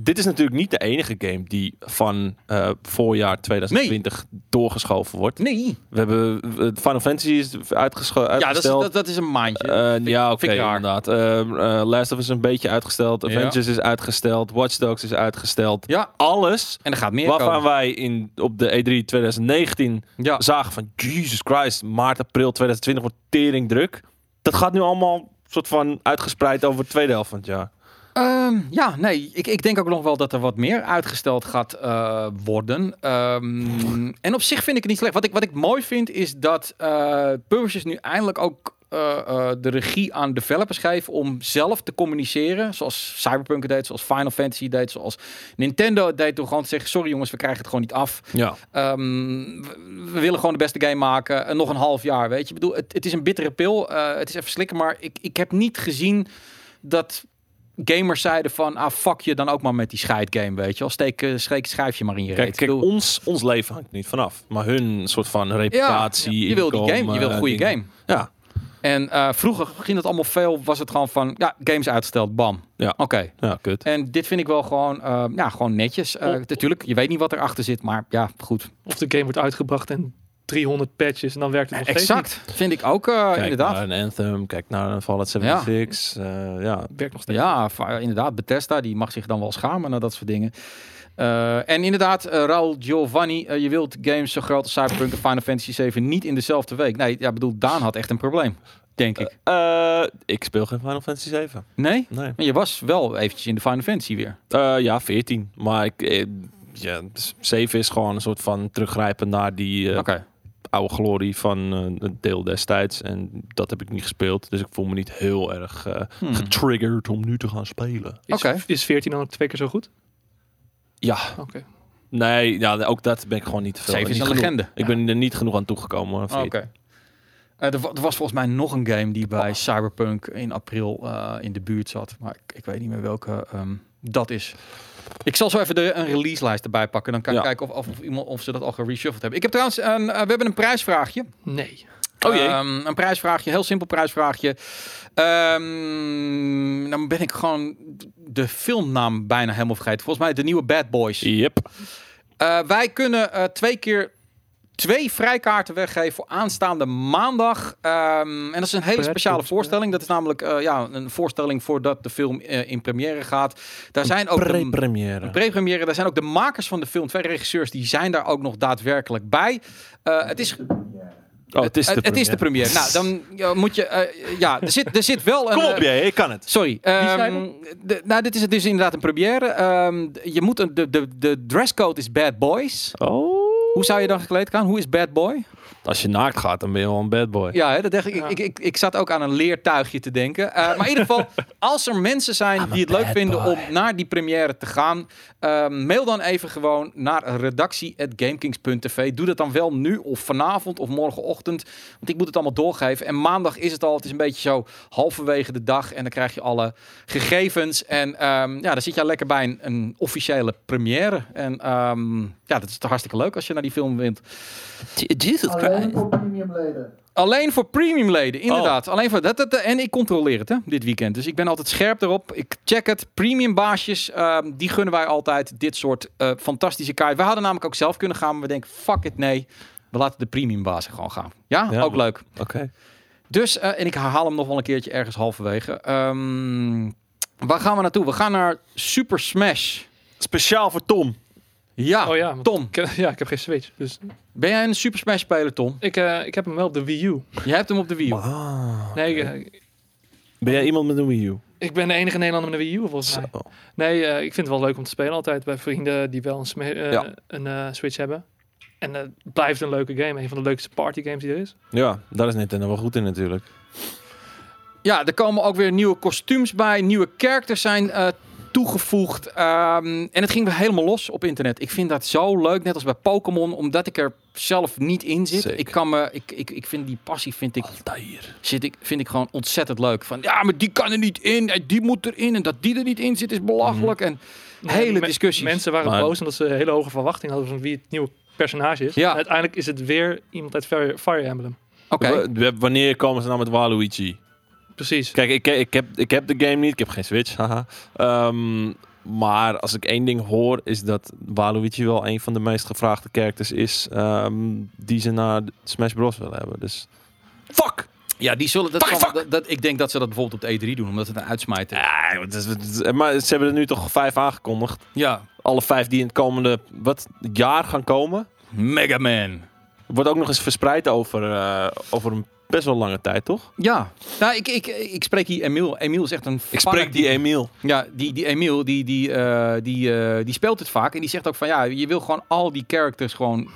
[SPEAKER 2] dit is natuurlijk niet de enige game die van eh, voorjaar 2020 doorgeschoven wordt.
[SPEAKER 1] Nee.
[SPEAKER 2] We hebben eh, Final Fantasy is uitgescho- uitgesteld.
[SPEAKER 1] Ja, dat is, dat, dat is een maandje.
[SPEAKER 2] Eh, ja, oké,
[SPEAKER 1] vind ik raar.
[SPEAKER 2] inderdaad. Eh, eh, Last of Us is een beetje uitgesteld.
[SPEAKER 1] Ja.
[SPEAKER 2] Avengers is uitgesteld. Watch Dogs is uitgesteld.
[SPEAKER 1] ja,
[SPEAKER 2] Alles
[SPEAKER 1] en er gaat meer
[SPEAKER 2] waarvan
[SPEAKER 1] komen.
[SPEAKER 2] wij in, op de E E3 2019
[SPEAKER 1] Ja.
[SPEAKER 2] zagen van... Jesus Christ, maart, april 2020 wordt tering druk. Dat gaat nu allemaal soort van uitgespreid over de tweede helft van het jaar.
[SPEAKER 1] Ehm, ja, nee, ik, ik denk ook nog wel dat er wat meer uitgesteld gaat eh, worden. Ehm, en op zich vind ik het niet slecht. Wat ik, wat ik mooi vind is dat eh, publishers nu eindelijk ook eh, eh, de regie aan developers geven om zelf te communiceren. Zoals Cyberpunk het deed, zoals Final Fantasy deed, zoals Nintendo het deed. Door gewoon te zeggen, sorry jongens, we krijgen het gewoon niet af.
[SPEAKER 2] Ja.
[SPEAKER 1] Ehm, we, we willen gewoon de beste game maken. en nog een half jaar, weet je. Ik bedoel, het, het is een bittere pil. eh, het is even slikken. Maar ik, ik heb niet gezien dat gamers zeiden van... Ah, fuck je dan ook maar met die scheidgame, weet je wel. Steek, eh, steek schrijfje maar in je
[SPEAKER 2] Kijk,
[SPEAKER 1] reet.
[SPEAKER 2] kijk
[SPEAKER 1] Ik bedoel,
[SPEAKER 2] ons, ons leven hangt er niet vanaf. Maar hun soort van reputatie,
[SPEAKER 1] je wil die
[SPEAKER 2] inkomen,
[SPEAKER 1] game, je wil een goede
[SPEAKER 2] dingen.
[SPEAKER 1] game.
[SPEAKER 2] Ja,
[SPEAKER 1] En eh, vroeger ging het allemaal veel, was het gewoon van... Ja, games uitgesteld, bam.
[SPEAKER 2] Ja.
[SPEAKER 1] Oké.
[SPEAKER 2] ja, kut.
[SPEAKER 1] En dit vind ik wel gewoon, eh, ja, gewoon netjes. Eh,
[SPEAKER 3] Oh.
[SPEAKER 1] Natuurlijk, je weet niet wat erachter zit, maar ja, goed.
[SPEAKER 3] Of de game wordt uitgebracht en 300 patches en dan werkt het nog steeds
[SPEAKER 1] Exact, vind ik ook, eh,
[SPEAKER 2] kijk
[SPEAKER 1] inderdaad.
[SPEAKER 2] naar een Anthem, kijk naar een Fallout 76. Ja. ja.
[SPEAKER 3] niet. Werkt nog steeds.
[SPEAKER 1] Ja, va- inderdaad. Bethesda, die mag zich dan wel schamen naar dat soort dingen. Eh, en inderdaad, eh, Raul Giovanni, eh, je wilt games zo groot als Cyberpunk en Final Fantasy 7 niet in dezelfde week. Nee, ja, ik bedoel, Daan had echt een probleem, denk ik.
[SPEAKER 2] Eh, ik speel geen Final Fantasy 7.
[SPEAKER 1] Nee?
[SPEAKER 2] Nee.
[SPEAKER 1] Maar Je was wel eventjes in de Final Fantasy weer.
[SPEAKER 2] Eh, ja, 14. Maar ik, eh, ja, 7 is gewoon een soort van teruggrijpen naar die eh,
[SPEAKER 1] Oké.
[SPEAKER 2] oude glorie van eh, het deel destijds. En dat heb ik niet gespeeld. Dus ik voel me niet heel erg eh,
[SPEAKER 1] Hmm.
[SPEAKER 2] getriggerd om nu te gaan spelen.
[SPEAKER 3] Is,
[SPEAKER 1] Oké.
[SPEAKER 3] is 14 dan ook twee keer zo goed?
[SPEAKER 2] Ja,
[SPEAKER 3] Oké.
[SPEAKER 2] nee, ja, ook dat ben ik gewoon niet te veel.
[SPEAKER 1] Zeven is
[SPEAKER 2] niet
[SPEAKER 1] een
[SPEAKER 2] genoeg.
[SPEAKER 1] legende.
[SPEAKER 2] Ik ben er niet genoeg aan toegekomen. aan
[SPEAKER 1] Oh,
[SPEAKER 2] 14.
[SPEAKER 1] Oké. Eh, er, wa- er was volgens mij nog een game die bij
[SPEAKER 2] Oh.
[SPEAKER 1] Cyberpunk in april eh, in de buurt zat. Maar ik, ik weet niet meer welke ehm, dat is. Ik zal zo even de, een release lijst erbij pakken. Dan kan ik
[SPEAKER 2] Ja.
[SPEAKER 1] kijken of, of, of iemand, of ze dat al gereshuffled hebben. Ik heb trouwens een, eh, we hebben een prijsvraagje.
[SPEAKER 3] Nee. Eh,
[SPEAKER 2] Oh jee.
[SPEAKER 1] Ehm, een prijsvraagje, heel simpel prijsvraagje. Ehm, dan ben ik gewoon de filmnaam bijna helemaal vergeten. Volgens mij de nieuwe Bad Boys.
[SPEAKER 2] Yep.
[SPEAKER 1] Eh, wij kunnen eh, twee keer twee vrijkaarten weggeven voor aanstaande maandag. Ehm, en dat is een hele
[SPEAKER 3] Prettig,
[SPEAKER 1] speciale
[SPEAKER 3] ja.
[SPEAKER 1] voorstelling. Dat is namelijk eh, ja, een voorstelling voordat de film eh, in première gaat. Daar zijn ook de-
[SPEAKER 2] Pre-première.
[SPEAKER 1] een Pre-première. Daar zijn ook de makers van de film, twee regisseurs, die zijn daar ook nog daadwerkelijk bij. Eh, het, is,
[SPEAKER 2] oh, het is de
[SPEAKER 1] het, het is de première. Nou, dan ja, moet je... eh, ja, er zit, er zit wel een...
[SPEAKER 2] Kom op,
[SPEAKER 1] eh,
[SPEAKER 2] jij, ik kan het.
[SPEAKER 1] Sorry.
[SPEAKER 3] zei
[SPEAKER 1] ehm, de- nou, dit is, het is inderdaad een première. Ehm, je moet een, de, de, de dresscode is bad boys.
[SPEAKER 2] Oh.
[SPEAKER 1] Hoe zou je dan gekleed gaan? Hoe is bad boy?
[SPEAKER 2] Als je naakt gaat, dan ben je wel een bad boy.
[SPEAKER 1] Ja, hè, dat dacht ik,
[SPEAKER 3] Ja.
[SPEAKER 1] ik, ik. Ik zat ook aan een leertuigje te denken. Eh, maar in ieder geval, als er mensen zijn die het leuk
[SPEAKER 2] bad
[SPEAKER 1] vinden
[SPEAKER 2] boy.
[SPEAKER 1] om naar die première te gaan, eh, mail dan even gewoon naar redactie.gamekings.tv. Doe dat dan wel nu of vanavond of morgenochtend. Want ik moet het allemaal doorgeven. En maandag is het al. Het is een beetje zo halverwege de dag. En dan krijg je alle gegevens. En ehm, ja, dan zit jij lekker bij een, een officiële première. En ehm, ja, dat is toch hartstikke leuk als je naar die film wint.
[SPEAKER 2] Jesus
[SPEAKER 4] Alleen voor premium leden.
[SPEAKER 1] Alleen voor premium leden,
[SPEAKER 3] Oh.
[SPEAKER 1] inderdaad. Alleen voor dat, dat, en ik controleer het hè, dit weekend. Dus ik ben altijd scherp erop. Ik check het. Premium baasjes, ehm, die gunnen wij altijd dit soort eh, fantastische kaarten. We hadden namelijk ook zelf kunnen gaan, maar we denken, fuck it, nee. We laten de premium bazen gewoon gaan. Ja,
[SPEAKER 2] Ja.
[SPEAKER 1] ook leuk.
[SPEAKER 2] Oké.
[SPEAKER 1] Dus, eh, en ik herhaal hem nog wel een keertje ergens halverwege. Ehm, waar gaan we naartoe? We gaan naar Super Smash.
[SPEAKER 2] Speciaal voor Tom.
[SPEAKER 1] Ja,
[SPEAKER 3] oh ja. want
[SPEAKER 1] Tom.
[SPEAKER 3] Ik, ja, ik heb geen Switch. Dus
[SPEAKER 1] Ben jij een Super Smash speler, Tom?
[SPEAKER 3] ik, eh, ik heb hem wel op de Wii U.
[SPEAKER 1] Je hebt hem op de Wii. U.
[SPEAKER 3] Nee, ik, eh,
[SPEAKER 2] Ben jij iemand met een Wii U?
[SPEAKER 3] Ik ben de enige Nederlander met een Wii U volgens
[SPEAKER 2] Zo.
[SPEAKER 3] mij. Nee, eh, ik vind het wel leuk om te spelen altijd bij vrienden die wel een, sme- eh,
[SPEAKER 2] Ja.
[SPEAKER 3] een eh, Switch hebben. En eh, het blijft een leuke game. Een van de leukste party games die er is.
[SPEAKER 2] Ja, daar is Nintendo wel goed in natuurlijk.
[SPEAKER 1] Ja, er komen ook weer nieuwe kostuums bij. Nieuwe characters zijn eh, toegevoegd. Ehm, en het ging weer helemaal los op internet. Ik vind dat zo leuk, net als bij Pokémon, omdat ik er zelf niet in zit.
[SPEAKER 2] Zeker.
[SPEAKER 1] Ik kan me, ik, ik, ik vind die passie vind ik,
[SPEAKER 2] Altair.
[SPEAKER 1] zit ik, vind ik gewoon ontzettend leuk. Van ja, maar die kan er niet in en die moet erin en dat die er niet in zit is belachelijk.
[SPEAKER 2] Mhm.
[SPEAKER 1] En hele
[SPEAKER 3] Me-
[SPEAKER 1] discussies.
[SPEAKER 3] Mensen waren
[SPEAKER 2] Maar-
[SPEAKER 3] boos omdat ze hele hoge verwachtingen hadden van wie het nieuwe personage is.
[SPEAKER 1] Ja.
[SPEAKER 3] En uiteindelijk is het weer iemand uit Fire, Fire Emblem.
[SPEAKER 1] oké,
[SPEAKER 2] W- w- Wanneer komen ze nou met Waluigi?
[SPEAKER 3] Precies.
[SPEAKER 2] Kijk, ik, ik, heb, ik heb de game niet. Ik heb geen Switch. haha. Ehm, maar als ik één ding hoor, is dat Waluigi wel een van de meest gevraagde characters is ehm, die ze naar Smash Bros. willen hebben. Dus fuck!
[SPEAKER 1] ja, die zullen dat,
[SPEAKER 2] Fuck,
[SPEAKER 1] zal-
[SPEAKER 2] fuck.
[SPEAKER 1] dat, dat- Ik denk dat ze dat bijvoorbeeld op de E3 doen, omdat het een uitsmijt is.
[SPEAKER 2] Ja, het is- het is- Eh, maar ze hebben er nu toch vijf aangekondigd.
[SPEAKER 1] Ja,
[SPEAKER 2] Alle vijf die in het komende wat, jaar gaan komen.
[SPEAKER 1] Mega Man.
[SPEAKER 2] Wordt ook nog eens verspreid over, eh, over een best wel lange tijd, toch?
[SPEAKER 1] Ja, nou, ik, ik, ik spreek hier Emiel. Emiel is echt een.
[SPEAKER 2] Ik spreek die Emiel.
[SPEAKER 1] Ja, die, die Emiel, die, die, eh, die, eh, die speelt het vaak. En die zegt ook van ja, je wil gewoon al die characters gewoon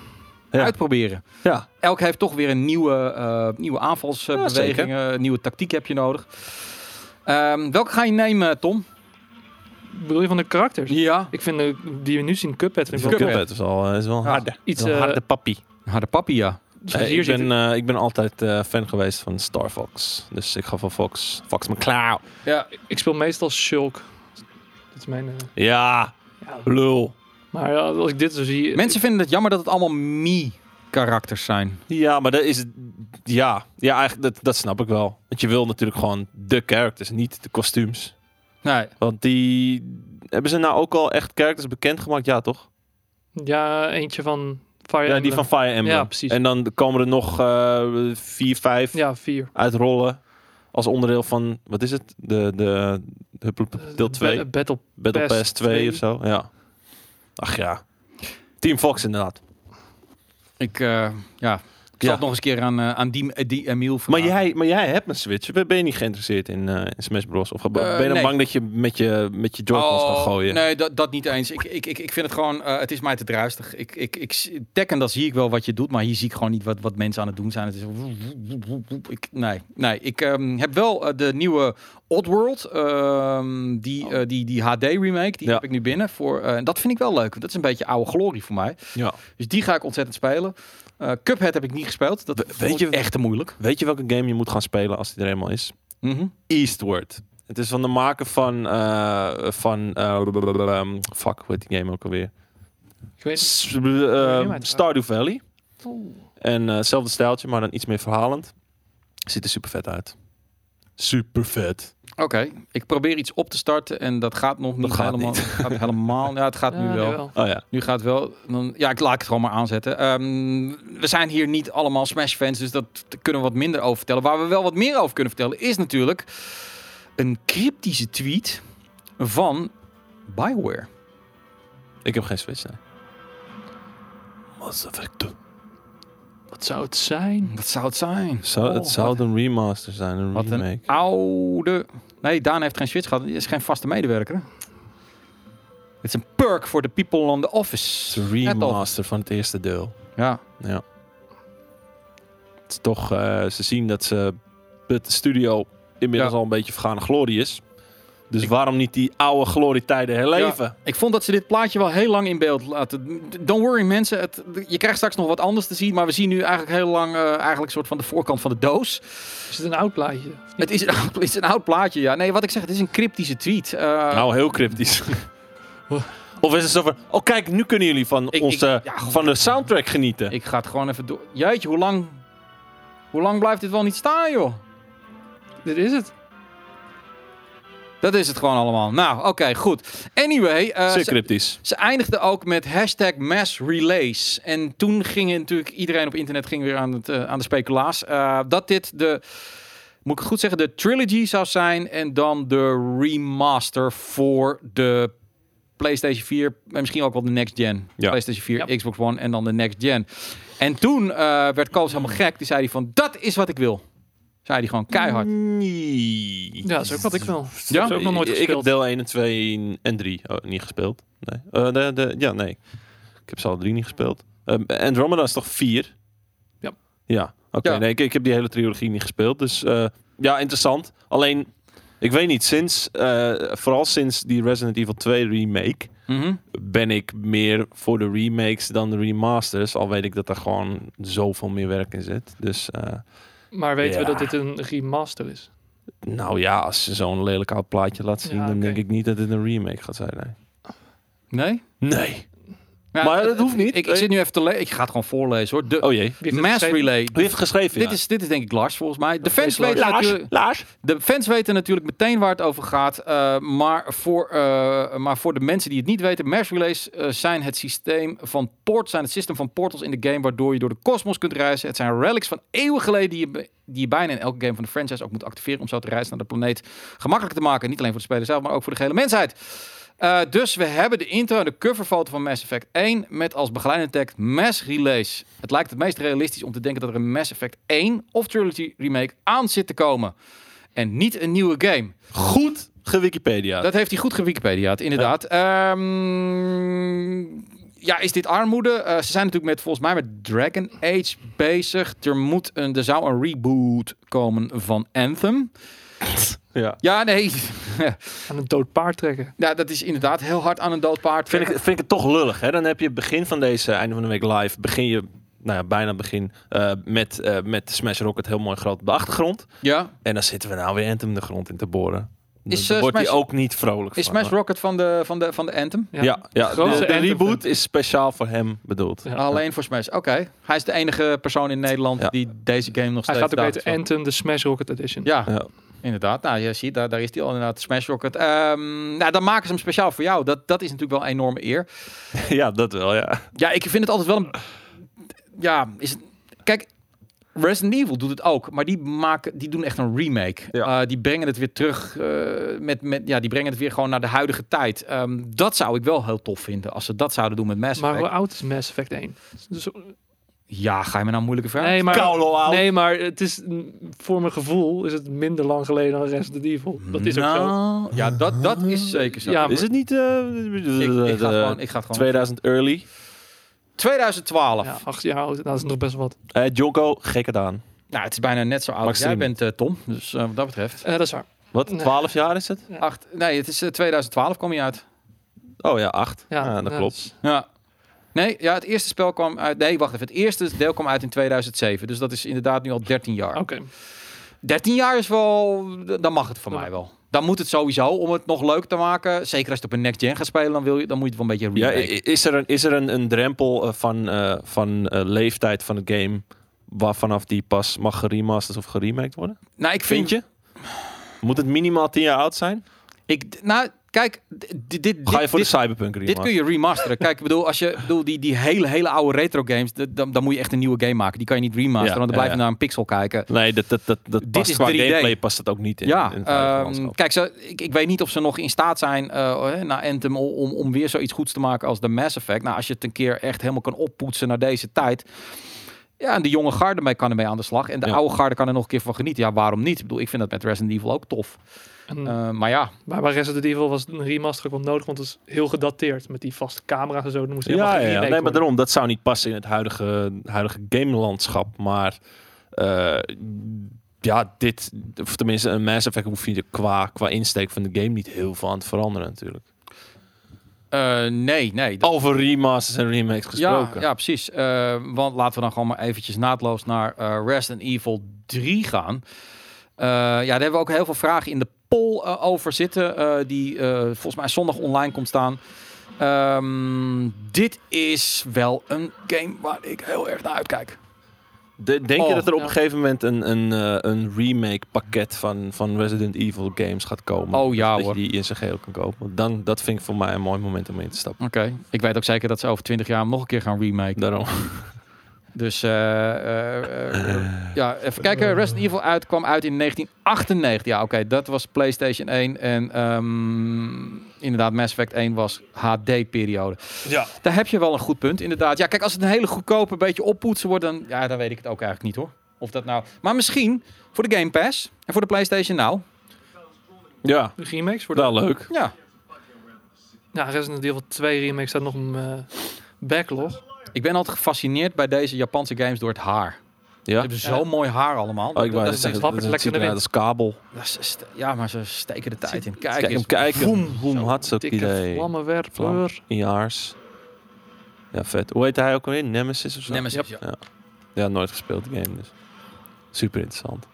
[SPEAKER 2] Ja.
[SPEAKER 1] uitproberen.
[SPEAKER 2] Ja.
[SPEAKER 1] Elk heeft toch weer een nieuwe, eh, nieuwe aanvalsbeweging, nieuwe tactiek heb je nodig. Ehm, welke ga je nemen, Tom?
[SPEAKER 3] Bedoel je van de karakters?
[SPEAKER 1] Ja.
[SPEAKER 3] Ik vind de, die we nu zien, Cuphead, vind ik wel
[SPEAKER 1] Cuphead.
[SPEAKER 2] Cuphead is al is wel een
[SPEAKER 1] Ja,
[SPEAKER 2] harde.
[SPEAKER 3] iets,
[SPEAKER 2] Iets, een
[SPEAKER 3] eh,
[SPEAKER 2] harde pappie.
[SPEAKER 1] Harde papi, ja.
[SPEAKER 3] Dus
[SPEAKER 2] Eh,
[SPEAKER 3] hier
[SPEAKER 2] ik,
[SPEAKER 3] zit
[SPEAKER 2] ben, eh, ik ben altijd eh, fan geweest van Star Fox. Dus ik ga voor Fox. Fox McCloud.
[SPEAKER 1] ja.
[SPEAKER 3] ik- ik speel meestal Shulk. Dat is mijn... eh,
[SPEAKER 2] Ja, lul.
[SPEAKER 3] maar ja, als ik dit zo zie...
[SPEAKER 1] Mensen vinden het jammer dat het allemaal Mii-karakters zijn.
[SPEAKER 2] Ja, maar dat is... Ja, ja eigenlijk, dat, dat snap ik wel. Want je wil natuurlijk gewoon de characters, niet de kostuums.
[SPEAKER 1] Nee.
[SPEAKER 2] Want die... Hebben ze nou ook al echt characters bekendgemaakt? Ja, toch?
[SPEAKER 3] Ja, eentje van Fire
[SPEAKER 2] Ja, die
[SPEAKER 3] Emblem.
[SPEAKER 2] van Fire Emblem.
[SPEAKER 3] Ja, precies.
[SPEAKER 2] En dan komen er nog eh, vier, vijf
[SPEAKER 3] Ja, vier.
[SPEAKER 2] uitrollen. Als onderdeel van, wat is het? De, de, de deel 2.
[SPEAKER 3] Ba- Battle.
[SPEAKER 2] Battle
[SPEAKER 3] PES
[SPEAKER 2] Pass 2
[SPEAKER 3] 2.
[SPEAKER 2] of zo. Ja. Ach ja. Team Fox inderdaad.
[SPEAKER 1] Ik, eh, ja. Ik zal
[SPEAKER 2] Ja.
[SPEAKER 1] het nog eens een keer aan, eh, aan die, die Emiel
[SPEAKER 2] Maar
[SPEAKER 1] vragen.
[SPEAKER 2] jij, maar jij hebt een Switch. Ben ben je niet geïnteresseerd in, eh, in Smash Bros? Of ben je dan
[SPEAKER 1] nee.
[SPEAKER 2] bang dat je met je, met je Joy-Cons
[SPEAKER 1] Oh,
[SPEAKER 2] gaat gooien?
[SPEAKER 1] Nee, dat, dat niet eens. Ik, ik, ik, ik vind het gewoon, eh, het is mij te druistig. Ik, ik, ik, s- Tekken, dat zie ik wel wat je doet, maar hier zie ik gewoon niet wat, wat mensen aan het doen zijn. Het is, ik, nee, nee. Ik ehm, heb wel eh, de nieuwe Oddworld, ehm, die, eh, die, die HD remake, die
[SPEAKER 2] Ja.
[SPEAKER 1] heb ik nu binnen. Voor, eh, en dat vind ik wel leuk. Dat is een beetje oude glorie voor mij.
[SPEAKER 2] Ja.
[SPEAKER 1] Dus die ga ik ontzettend spelen. Eh, Cuphead heb ik niet gespeeld. Dat
[SPEAKER 2] We-
[SPEAKER 1] vond
[SPEAKER 2] weet je-
[SPEAKER 1] ik echt te moeilijk.
[SPEAKER 2] Weet je welke game je moet gaan spelen als die er eenmaal is?
[SPEAKER 1] Mhm.
[SPEAKER 2] Eastward. Het is van de maker van... eh, van eh, blablabla, um, fuck, hoe heet die game ook alweer?
[SPEAKER 3] Ik weet het.
[SPEAKER 2] S- eh,
[SPEAKER 3] maar het-
[SPEAKER 2] Stardew Valley.
[SPEAKER 3] Oeh.
[SPEAKER 2] En eh, hetzelfde stijltje, maar dan iets meer verhalend. Ziet er super vet uit. Super vet.
[SPEAKER 1] Oké, ik probeer iets op te starten en dat gaat nog niet
[SPEAKER 2] gaat
[SPEAKER 1] helemaal.
[SPEAKER 2] niet.
[SPEAKER 1] Het gaat helemaal. Ja, het gaat
[SPEAKER 3] Ja,
[SPEAKER 1] nu wel.
[SPEAKER 2] Oh ja.
[SPEAKER 1] Nu gaat wel. Dan, ja, ik laat het gewoon maar aanzetten. Ehm, we zijn hier niet allemaal Smash-fans, dus dat kunnen we wat minder over vertellen. Waar we wel wat meer over kunnen vertellen is natuurlijk een cryptische tweet van Bioware.
[SPEAKER 2] Ik heb geen Switch, nee. Mass Effect 2.
[SPEAKER 3] Wat zou het zijn?
[SPEAKER 1] Wat zou het zijn?
[SPEAKER 2] Zou,
[SPEAKER 1] Oh,
[SPEAKER 2] het zou een remaster zijn, een
[SPEAKER 1] Wat
[SPEAKER 2] remake.
[SPEAKER 1] een oude. Nee, Daan heeft geen Switch gehad. Hij is geen vaste medewerker. hè? Het is een perk voor de people on the
[SPEAKER 2] Het is
[SPEAKER 1] office.
[SPEAKER 2] een
[SPEAKER 1] Net al.
[SPEAKER 2] remaster van het eerste deel.
[SPEAKER 1] Ja.
[SPEAKER 2] Ja. Het is toch, eh, ze zien dat ze dat de studio inmiddels
[SPEAKER 1] Ja.
[SPEAKER 2] al een beetje vergane glorie is. Dus waarom niet die oude glorietijden herleven?
[SPEAKER 1] Ik vond dat ze dit plaatje wel heel lang in beeld laten. Don't worry mensen, het, je krijgt straks nog wat anders te zien, maar we zien nu eigenlijk heel lang eh, eigenlijk soort van de voorkant van de doos.
[SPEAKER 3] Is het een oud plaatje? Of niet?
[SPEAKER 1] Het is een, oud- het is een oud plaatje, ja. Nee, wat ik zeg, het is een cryptische tweet. Eh,
[SPEAKER 2] Nou, heel cryptisch. of is het zo van, oh kijk, nu kunnen jullie van,
[SPEAKER 1] ik-
[SPEAKER 2] onze,
[SPEAKER 1] ja, goed.
[SPEAKER 2] van de soundtrack genieten.
[SPEAKER 1] Ik ga het gewoon even door. Jeetje, hoe lang, hoe lang blijft dit wel niet staan, joh?
[SPEAKER 3] Dit is het.
[SPEAKER 1] Dat is het gewoon allemaal. Nou, oké, goed. Anyway, eh,
[SPEAKER 2] Zeer
[SPEAKER 1] ze-
[SPEAKER 2] cryptisch.
[SPEAKER 1] Ze eindigde ook met hashtag mass relays. En toen ging natuurlijk iedereen op internet ging weer aan, het, eh, aan de speculaas. eh, dat dit de, moet ik het goed zeggen, de trilogy zou zijn. En dan de remaster voor de PlayStation 4. En misschien ook wel de next gen.
[SPEAKER 2] Ja.
[SPEAKER 1] PlayStation 4, Xbox One en dan de next gen. En toen eh, werd Koos helemaal gek. Die zei hij van, dat is wat ik wil. Zei die gewoon keihard.
[SPEAKER 2] Nee.
[SPEAKER 3] Ja, dat is ook wat ik wil.
[SPEAKER 1] Ja?
[SPEAKER 3] Dat is ook nog nooit
[SPEAKER 2] ik
[SPEAKER 3] gespeeld.
[SPEAKER 2] heb deel 1 en 2 en 3 oh, niet gespeeld. Nee. Eh, de, de, ja, nee. Ik heb ze alle drie niet gespeeld. En Andromeda is toch 4?
[SPEAKER 3] Ja.
[SPEAKER 2] Ja, oké.
[SPEAKER 1] Ja.
[SPEAKER 2] Nee, ik, ik heb die hele trilogie niet gespeeld. Dus eh, ja, interessant. Alleen, ik weet niet, sinds, eh, vooral sinds die Resident Evil 2 remake,
[SPEAKER 1] Mhm.
[SPEAKER 2] ben ik meer voor de remakes dan de remasters. Al weet ik dat er gewoon zoveel meer werk in zit. Dus eh,
[SPEAKER 3] Maar weten
[SPEAKER 2] Ja.
[SPEAKER 3] we dat dit een remaster is?
[SPEAKER 2] nou ja, als ze zo'n lelijk oud plaatje laat zien,
[SPEAKER 3] Ja,
[SPEAKER 2] dan
[SPEAKER 3] oké.
[SPEAKER 2] denk ik niet dat het een remake gaat zijn. Nee.
[SPEAKER 1] Nee?
[SPEAKER 2] Nee.
[SPEAKER 1] Ja,
[SPEAKER 2] Maar dat
[SPEAKER 1] het-
[SPEAKER 2] hoeft niet.
[SPEAKER 1] Ik, ik zit nu even te lezen. Ik ga het gewoon voorlezen hoor. De
[SPEAKER 2] Oh jee.
[SPEAKER 3] Wie heeft het
[SPEAKER 1] Mass
[SPEAKER 3] geschreven?
[SPEAKER 1] Relay.
[SPEAKER 2] Wie heeft het geschreven?
[SPEAKER 1] Dit, is, dit is denk ik Lars volgens mij. De fans,
[SPEAKER 3] is Lars.
[SPEAKER 1] weten natuurlijk, de fans weten natuurlijk meteen waar het over gaat. eh, maar, voor, eh, maar voor de mensen die het niet weten, Mass Relays eh, zijn het systeem van port, zijn het systeem van portals in de game waardoor je door de kosmos kunt reizen. Het zijn relics van eeuwen geleden die je, be- die je bijna in elke game van de franchise ook moet activeren om zo te reizen naar de planeet gemakkelijker te maken. Niet alleen voor de speler zelf, maar ook voor de gehele mensheid. Eh, dus we hebben de intro en de coverfoto van Mass Effect 1 met als begeleidende tekst Mass Relays. Het lijkt het meest realistisch om te denken dat er een Mass Effect 1 of Trilogy remake aan zit te komen. En niet een nieuwe game.
[SPEAKER 2] Goed gewikipedia.
[SPEAKER 1] Dat heeft hij goed gewikipediaat, inderdaad. Ehm, ja, is dit armoede? Eh, ze zijn natuurlijk met, volgens mij met Dragon Age bezig. Er, moet een, er zou een reboot komen van Anthem.
[SPEAKER 2] ja.
[SPEAKER 1] Ja, nee.
[SPEAKER 3] Aan een dood paard trekken.
[SPEAKER 1] ja, dat is inderdaad heel hard aan een dood paard.
[SPEAKER 2] Vind ik, vind ik het toch lullig. Hè? Dan heb je begin van deze, einde van de week live, begin je, nou ja, bijna begin, eh, met, eh, met Smash Rocket heel mooi groot op de achtergrond.
[SPEAKER 1] Ja.
[SPEAKER 2] En dan zitten we nou weer Anthem de grond in te boren.
[SPEAKER 1] Is,
[SPEAKER 2] Is,
[SPEAKER 1] eh,
[SPEAKER 2] wordt hij
[SPEAKER 1] Smash-
[SPEAKER 2] ook niet vrolijk
[SPEAKER 1] Is
[SPEAKER 2] van.
[SPEAKER 1] Smash Rocket van de, van de, van de Anthem?
[SPEAKER 2] Ja, ja,
[SPEAKER 3] Het
[SPEAKER 2] de,
[SPEAKER 3] grootste
[SPEAKER 2] de
[SPEAKER 3] Anthem
[SPEAKER 2] reboot is speciaal voor hem bedoeld.
[SPEAKER 3] Ja.
[SPEAKER 1] Alleen voor Smash. Oké. Hij is de enige persoon in Nederland
[SPEAKER 2] Ja.
[SPEAKER 1] die deze game nog
[SPEAKER 3] Hij
[SPEAKER 1] steeds
[SPEAKER 3] gaat ook
[SPEAKER 1] daagt
[SPEAKER 3] weten
[SPEAKER 1] van.
[SPEAKER 3] Anthem, de Smash Rocket Edition.
[SPEAKER 1] Ja,
[SPEAKER 2] Ja.
[SPEAKER 1] inderdaad. Nou, je ziet, daar, daar is die al inderdaad. Smash Rocket. Ehm, nou, dan maken ze hem speciaal voor jou. Dat, dat is natuurlijk wel een enorme eer.
[SPEAKER 2] ja, dat wel, ja.
[SPEAKER 1] Ja, ik vind het altijd wel een... Ja, is het... Kijk, Resident Evil doet het ook. Maar die, maken, die doen echt een remake.
[SPEAKER 2] Ja.
[SPEAKER 1] Eh, die brengen het weer terug. eh, met, met, ja, die brengen het weer gewoon naar de huidige tijd. Ehm, dat zou ik wel heel tof vinden. Als ze dat zouden doen met Mass
[SPEAKER 3] Maar
[SPEAKER 1] Effect.
[SPEAKER 3] hoe oud is Mass Effect 1? Dus,
[SPEAKER 1] Ja, ga je me nou moeilijke vragen?
[SPEAKER 3] nee, maar,
[SPEAKER 2] Koulo oud.
[SPEAKER 3] nee, maar het is, mm, voor mijn gevoel is het minder lang geleden dan Resident Evil. Dat is ook zo.
[SPEAKER 1] Nou, Ja, dat, dat is zeker zo.
[SPEAKER 3] Ja,
[SPEAKER 2] Is het niet... eh,
[SPEAKER 1] ik,
[SPEAKER 2] eh,
[SPEAKER 1] ik ga het gewoon, ik ga het gewoon.
[SPEAKER 2] 2000 early.
[SPEAKER 1] 2012.
[SPEAKER 3] Ja, acht jaar oud, Nou, dat is nog best wat.
[SPEAKER 2] Eh Jonko, gek gedaan.
[SPEAKER 1] Nou, het is bijna net zo oud als jij
[SPEAKER 2] Maxime.
[SPEAKER 1] bent, eh, Tom. Dus eh, wat dat betreft.
[SPEAKER 3] Eh, dat is waar.
[SPEAKER 2] Wat,
[SPEAKER 3] Nee.
[SPEAKER 2] 12 jaar is het?
[SPEAKER 1] Acht, nee, het is eh, 2012 kwam je uit.
[SPEAKER 2] Oh ja, 8. Ja,
[SPEAKER 3] Ja,
[SPEAKER 2] dat
[SPEAKER 3] ja.
[SPEAKER 2] klopt.
[SPEAKER 1] Ja. Nee, ja, het eerste spel kwam uit. Nee, wacht even. Het eerste deel kwam uit in 2007. Dus dat is inderdaad nu al 13 jaar.
[SPEAKER 2] Oh.
[SPEAKER 3] Oké.
[SPEAKER 1] 13 jaar is wel. d- Dan mag het voor
[SPEAKER 3] Ja.
[SPEAKER 1] mij wel. Dan moet het sowieso om het nog leuk te maken. Zeker als je het op een next gen gaat spelen, dan, wil je, dan moet je het wel een beetje
[SPEAKER 2] Ja,
[SPEAKER 1] remake.
[SPEAKER 2] i- i- is er een, is er een, een drempel eh, van, eh, van eh, leeftijd van het game... waarvanaf die pas mag geremasterd of geremaked worden?
[SPEAKER 1] nou, ik
[SPEAKER 2] Vind je? Moet het minimaal 10 jaar oud zijn?
[SPEAKER 1] Ik, nou, kijk, d- dit, dit,
[SPEAKER 2] Ga je voor
[SPEAKER 1] dit-
[SPEAKER 2] de Cyberpunk
[SPEAKER 1] Dit
[SPEAKER 2] remaster?
[SPEAKER 1] kun je remasteren. Kijk, ik bedoel, als je bedoel, die, die hele, hele oude retro games, d- dan, dan moet je echt een nieuwe game maken. Die kan je niet remasteren, want
[SPEAKER 2] Ja,
[SPEAKER 1] dan
[SPEAKER 2] ja,
[SPEAKER 1] blijf je
[SPEAKER 2] ja.
[SPEAKER 1] naar een pixel kijken.
[SPEAKER 2] Nee, dat, dat, dat, dat
[SPEAKER 1] Dit
[SPEAKER 2] past
[SPEAKER 1] is
[SPEAKER 2] qua
[SPEAKER 1] 3D.
[SPEAKER 2] gameplay past het ook niet in,
[SPEAKER 1] ja,
[SPEAKER 2] in het huidige
[SPEAKER 1] ehm,
[SPEAKER 2] landschap.
[SPEAKER 1] kijk, ze, ik, ik weet niet of ze nog in staat zijn eh na Anthem o- om, om weer zoiets goeds te maken als de Mass Effect. Nou, als je het een keer echt helemaal kan oppoetsen naar deze tijd. Ja, en de jonge garde mee kan ermee aan de slag. En de
[SPEAKER 2] Ja.
[SPEAKER 1] oude garde kan er nog een keer van genieten. Ja, waarom niet? Ik bedoel, ik vind dat met Resident Evil ook tof.
[SPEAKER 3] En,
[SPEAKER 2] Hm.
[SPEAKER 1] Eh, maar ja,
[SPEAKER 3] Maar bij Resident Evil was een remaster ook wel nodig, want het is heel gedateerd met die vaste camera's en zo. Dan moest helemaal
[SPEAKER 2] Ja,
[SPEAKER 3] geen
[SPEAKER 2] ja, ja.
[SPEAKER 3] remake
[SPEAKER 2] nee, maar
[SPEAKER 3] worden.
[SPEAKER 2] daarom, dat zou niet passen in het huidige, huidige gamelandschap. Maar eh, ja, dit, of tenminste een Mass Effect hoef je qua, qua insteek van de game niet heel veel aan te veranderen natuurlijk.
[SPEAKER 1] eh, nee, nee. dat-
[SPEAKER 2] Over remasters en remakes
[SPEAKER 1] Ja,
[SPEAKER 2] gesproken.
[SPEAKER 1] ja, precies. Eh, want laten we dan gewoon maar eventjes naadloos naar eh, Resident Evil 3 gaan. Eh, ja, daar hebben we ook heel veel vragen in de poll eh, over zitten. eh, die eh, volgens mij zondag online komt staan. Ehm, dit is wel een game waar ik heel erg naar uitkijk.
[SPEAKER 2] De- denk
[SPEAKER 1] Oh,
[SPEAKER 2] je dat er op
[SPEAKER 3] ja.
[SPEAKER 2] een gegeven moment een, een, eh, een remake pakket van, van Resident Evil games gaat komen?
[SPEAKER 1] Oh ja
[SPEAKER 2] dat
[SPEAKER 1] hoor.
[SPEAKER 2] je die in zijn geheel kan kopen. Want Dan, dat vind ik voor mij een mooi moment om in te stappen.
[SPEAKER 1] Oké, ik weet ook zeker dat ze over 20 jaar hem nog een keer gaan remake.
[SPEAKER 2] Daarom.
[SPEAKER 1] Dus eh, eh, eh, ja, even kijken. Resident Evil uit, kwam uit in 1998. Ja, oké, dat was PlayStation 1. En ehm, inderdaad, Mass Effect 1 was HD-periode.
[SPEAKER 2] Ja.
[SPEAKER 1] Daar heb je wel een goed punt, inderdaad. Ja, kijk, als het een hele goedkope beetje oppoetsen wordt, dan, ja, dan weet ik het ook eigenlijk niet hoor. Of dat nou... Maar misschien voor de Game Pass en voor de PlayStation nou.
[SPEAKER 2] Ja,
[SPEAKER 3] De remakes worden...
[SPEAKER 2] wel leuk.
[SPEAKER 1] Ja,
[SPEAKER 3] Nou, Ja, Resident Evil 2 remake staat nog een eh, backlog.
[SPEAKER 1] ik ben altijd gefascineerd bij deze Japanse games door het haar. Ze
[SPEAKER 2] Ja.
[SPEAKER 1] hebben zo'n mooi haar allemaal.
[SPEAKER 2] Oh, ik wou
[SPEAKER 1] dat,
[SPEAKER 2] net
[SPEAKER 1] is
[SPEAKER 2] zeggen,
[SPEAKER 1] echt-
[SPEAKER 3] wappert
[SPEAKER 2] dat- dat
[SPEAKER 3] lekker
[SPEAKER 2] ziet
[SPEAKER 3] erin.
[SPEAKER 2] eruit als kabel.
[SPEAKER 1] dat is- is- ja, maar ze steken de tijd in. Kijk
[SPEAKER 2] Kijk hem
[SPEAKER 1] eens.
[SPEAKER 2] kijken.
[SPEAKER 1] Voem.
[SPEAKER 2] Voem, voem, hartstikke
[SPEAKER 3] Dikke
[SPEAKER 2] idee.
[SPEAKER 3] vlammenwerper.
[SPEAKER 2] Vlam. In je haars. Ja, vet. Hoe heet hij ook alweer? Nemesis of zo?
[SPEAKER 1] Nemesis, ja.
[SPEAKER 2] Ja, nooit gespeeld die game dus. Super interessant.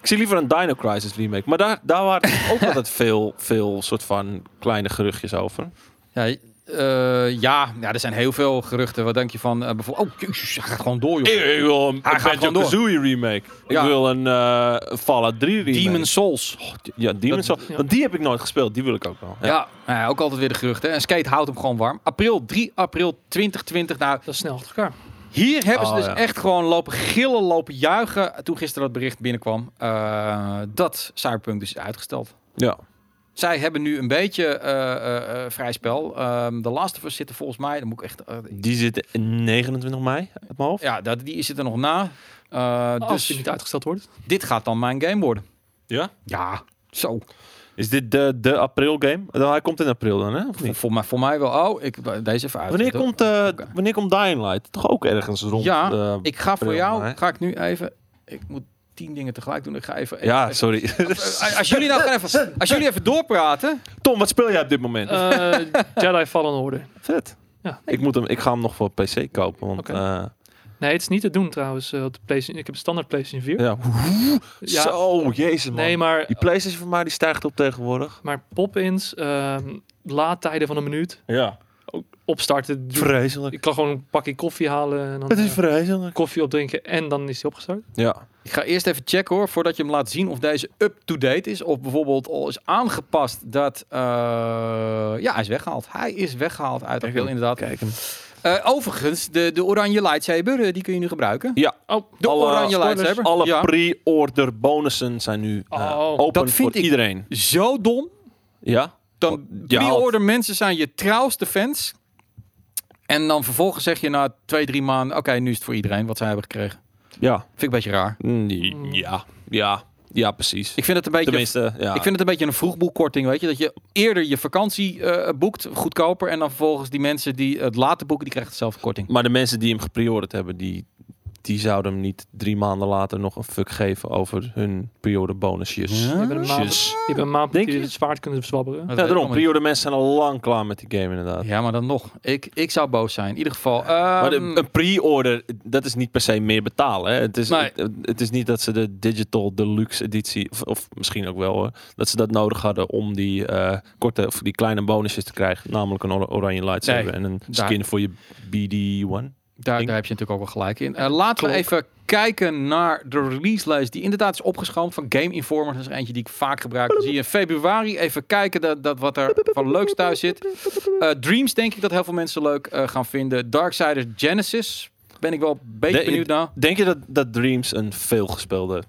[SPEAKER 2] Ik zie liever een Dino Crisis remake. Maar daar, daar waren ook altijd veel, veel soort van kleine geruchtjes over.
[SPEAKER 1] Ja, eh, ja, ja, er zijn heel veel geruchten. Wat denk je van eh, bijvoorbeeld... Oh, jezus, hij gaat gewoon door, joh.
[SPEAKER 2] Ik, ik wil een
[SPEAKER 1] Hij gaat gewoon door.
[SPEAKER 2] Banjo-Kazooie remake.
[SPEAKER 1] Ja.
[SPEAKER 2] Ik wil een eh Fallout 3 remake. Oh,
[SPEAKER 1] Demon Souls.
[SPEAKER 2] Ja, Demon's
[SPEAKER 1] Dat-
[SPEAKER 2] Souls.
[SPEAKER 3] ja.
[SPEAKER 2] Want die heb ik nooit gespeeld. Die wil ik ook wel.
[SPEAKER 1] Ja, nou ja, ook altijd weer de geruchten. En Skate houdt hem gewoon warm. April, 3 april 2020. Nou,
[SPEAKER 3] Dat is snel achter elkaar.
[SPEAKER 1] hier hebben ze
[SPEAKER 2] Oh,
[SPEAKER 1] dus
[SPEAKER 2] ja.
[SPEAKER 1] echt gewoon lopen gillen, lopen juichen. Toen gisteren dat bericht binnenkwam. eh, dat Cyberpunk dus is uitgesteld.
[SPEAKER 2] Ja.
[SPEAKER 1] Zij hebben nu een beetje eh, eh, eh, vrij spel. Ehm de Last of Us zitten volgens mij... Dan moet ik echt, eh,
[SPEAKER 2] Die zit in 29 mei uit mijn hoofd.
[SPEAKER 1] ja, dat, die zit er nog na. Eh,
[SPEAKER 3] Oh, Als die
[SPEAKER 1] dus
[SPEAKER 3] niet uitgesteld wordt.
[SPEAKER 1] dit gaat dan mijn game worden.
[SPEAKER 2] Ja?
[SPEAKER 1] Ja, zo.
[SPEAKER 2] Is dit de, de april game? Nou, hij komt in april dan, hè? Of
[SPEAKER 1] Voor,
[SPEAKER 2] niet?
[SPEAKER 1] voor, mij, voor mij wel. Oh, ik, deze even uit.
[SPEAKER 2] Wanneer
[SPEAKER 1] Hoor.
[SPEAKER 2] komt, eh,
[SPEAKER 1] Oké.
[SPEAKER 2] wanneer komt Dying Light? Toch ook ergens rond?
[SPEAKER 1] Ja,
[SPEAKER 2] eh,
[SPEAKER 1] Ik ga voor
[SPEAKER 2] april,
[SPEAKER 1] jou,
[SPEAKER 2] mei.
[SPEAKER 1] ga ik nu even... Ik moet tien dingen tegelijk doen. Ik ga even...
[SPEAKER 2] ja,
[SPEAKER 1] even-
[SPEAKER 2] sorry.
[SPEAKER 1] Eh, Als jullie nou gaan even, als jullie even doorpraten.
[SPEAKER 2] Tom, wat speel jij op dit moment?
[SPEAKER 3] Eh, Jedi Fallen Order.
[SPEAKER 2] Vet.
[SPEAKER 3] ja.
[SPEAKER 2] Ik, moet hem, ik ga hem nog voor PC kopen. Want
[SPEAKER 3] Oké.
[SPEAKER 2] eh,
[SPEAKER 3] Nee, het is niet te doen trouwens. eh, op de PlayStation. Ik heb standaard PlayStation 4.
[SPEAKER 2] ja.
[SPEAKER 3] Ja,
[SPEAKER 2] Zo, jezus man.
[SPEAKER 3] nee, maar,
[SPEAKER 2] Die PlayStation van mij die stijgt op tegenwoordig.
[SPEAKER 3] maar pop-ins, ehm, laadtijden van een minuut,
[SPEAKER 2] Ja.
[SPEAKER 3] opstarten. doe-
[SPEAKER 2] Vreselijk.
[SPEAKER 3] Ik kan gewoon een pakje koffie halen en dan
[SPEAKER 2] Het is
[SPEAKER 3] eh,
[SPEAKER 2] vreselijk.
[SPEAKER 3] koffie opdrinken en dan is die opgestart.
[SPEAKER 2] Ja.
[SPEAKER 1] Ik ga eerst even checken hoor, voordat je hem laat zien of deze up-to-date is. Of bijvoorbeeld al is aangepast dat... eh, ja, hij is weggehaald. Hij is weggehaald uit april inderdaad.
[SPEAKER 2] Kijk hem.
[SPEAKER 1] Eh, overigens, de, de oranje lightsaber, eh, die kun je nu gebruiken.
[SPEAKER 2] Ja.
[SPEAKER 3] Oh,
[SPEAKER 1] De
[SPEAKER 2] Alle-
[SPEAKER 1] oranje
[SPEAKER 2] spoilers.
[SPEAKER 1] lightsaber.
[SPEAKER 2] Alle
[SPEAKER 1] ja.
[SPEAKER 2] pre-order bonussen zijn nu eh,
[SPEAKER 3] Oh.
[SPEAKER 2] open
[SPEAKER 1] Dat vind
[SPEAKER 2] voor
[SPEAKER 1] ik-
[SPEAKER 2] iedereen.
[SPEAKER 1] Zo dom.
[SPEAKER 2] Ja?
[SPEAKER 1] Dan
[SPEAKER 2] Ja,
[SPEAKER 1] pre-order mensen zijn je trouwste fans. En dan vervolgens zeg je na twee, drie maanden... Oké, nu is het voor iedereen wat zij hebben gekregen.
[SPEAKER 2] Ja.
[SPEAKER 1] Vind ik een beetje raar.
[SPEAKER 2] Mm, Ja. Ja. Ja, precies.
[SPEAKER 1] Ik vind het een beetje...
[SPEAKER 2] Tenminste, ja.
[SPEAKER 1] Ik vind het een beetje een vroegboekkorting, weet je. Dat je eerder je vakantie eh, boekt, goedkoper. En dan vervolgens die mensen die het later boeken, die krijgen dezelfde korting.
[SPEAKER 2] Maar de mensen die hem gepreorderd hebben, die, die zouden hem niet drie maanden later nog een fuck geven over hun pre-order bonusjes.
[SPEAKER 1] Ja?
[SPEAKER 3] Je bent een maand,
[SPEAKER 2] Bonusjes.
[SPEAKER 3] je hebt een maand
[SPEAKER 2] Denk
[SPEAKER 3] die
[SPEAKER 2] je?
[SPEAKER 3] het zwaard kunnen zwabberen.
[SPEAKER 1] Dat
[SPEAKER 2] Ja,
[SPEAKER 1] weet ik
[SPEAKER 2] daarom.
[SPEAKER 1] allemaal niet.
[SPEAKER 2] Pre-order mensen zijn al lang klaar met die game inderdaad.
[SPEAKER 1] Ja, maar dan nog. Ik, ik zou boos zijn. In ieder geval.
[SPEAKER 2] Maar de-
[SPEAKER 1] ehm,
[SPEAKER 2] een pre-order, dat is niet per se meer betalen. Hè? Het, is,
[SPEAKER 1] Nee.
[SPEAKER 2] het, het is niet dat ze de digital deluxe editie, of, of misschien ook wel hoor, dat ze dat nodig hadden om die eh, korte of die kleine bonusjes te krijgen. Namelijk een or- oranje lightsaber
[SPEAKER 1] Nee,
[SPEAKER 2] en een
[SPEAKER 1] daar-
[SPEAKER 2] skin voor je BD-1.
[SPEAKER 1] daar,
[SPEAKER 2] ik-
[SPEAKER 1] daar heb je natuurlijk ook wel gelijk in. Eh, laten we
[SPEAKER 3] Klok.
[SPEAKER 1] even kijken naar de releaselijst. Die inderdaad is opgeschoond van Game Informer. Dat is er eentje die ik vaak gebruik. Dan zie je in februari even kijken dat, dat wat er van leuks thuis zit. Eh, Dreams denk ik dat heel veel mensen leuk eh, gaan vinden. Darksiders Genesis. Ben ik wel een beetje
[SPEAKER 2] De-
[SPEAKER 1] benieuwd naar.
[SPEAKER 2] Denk je dat, dat Dreams een veelgespeelde...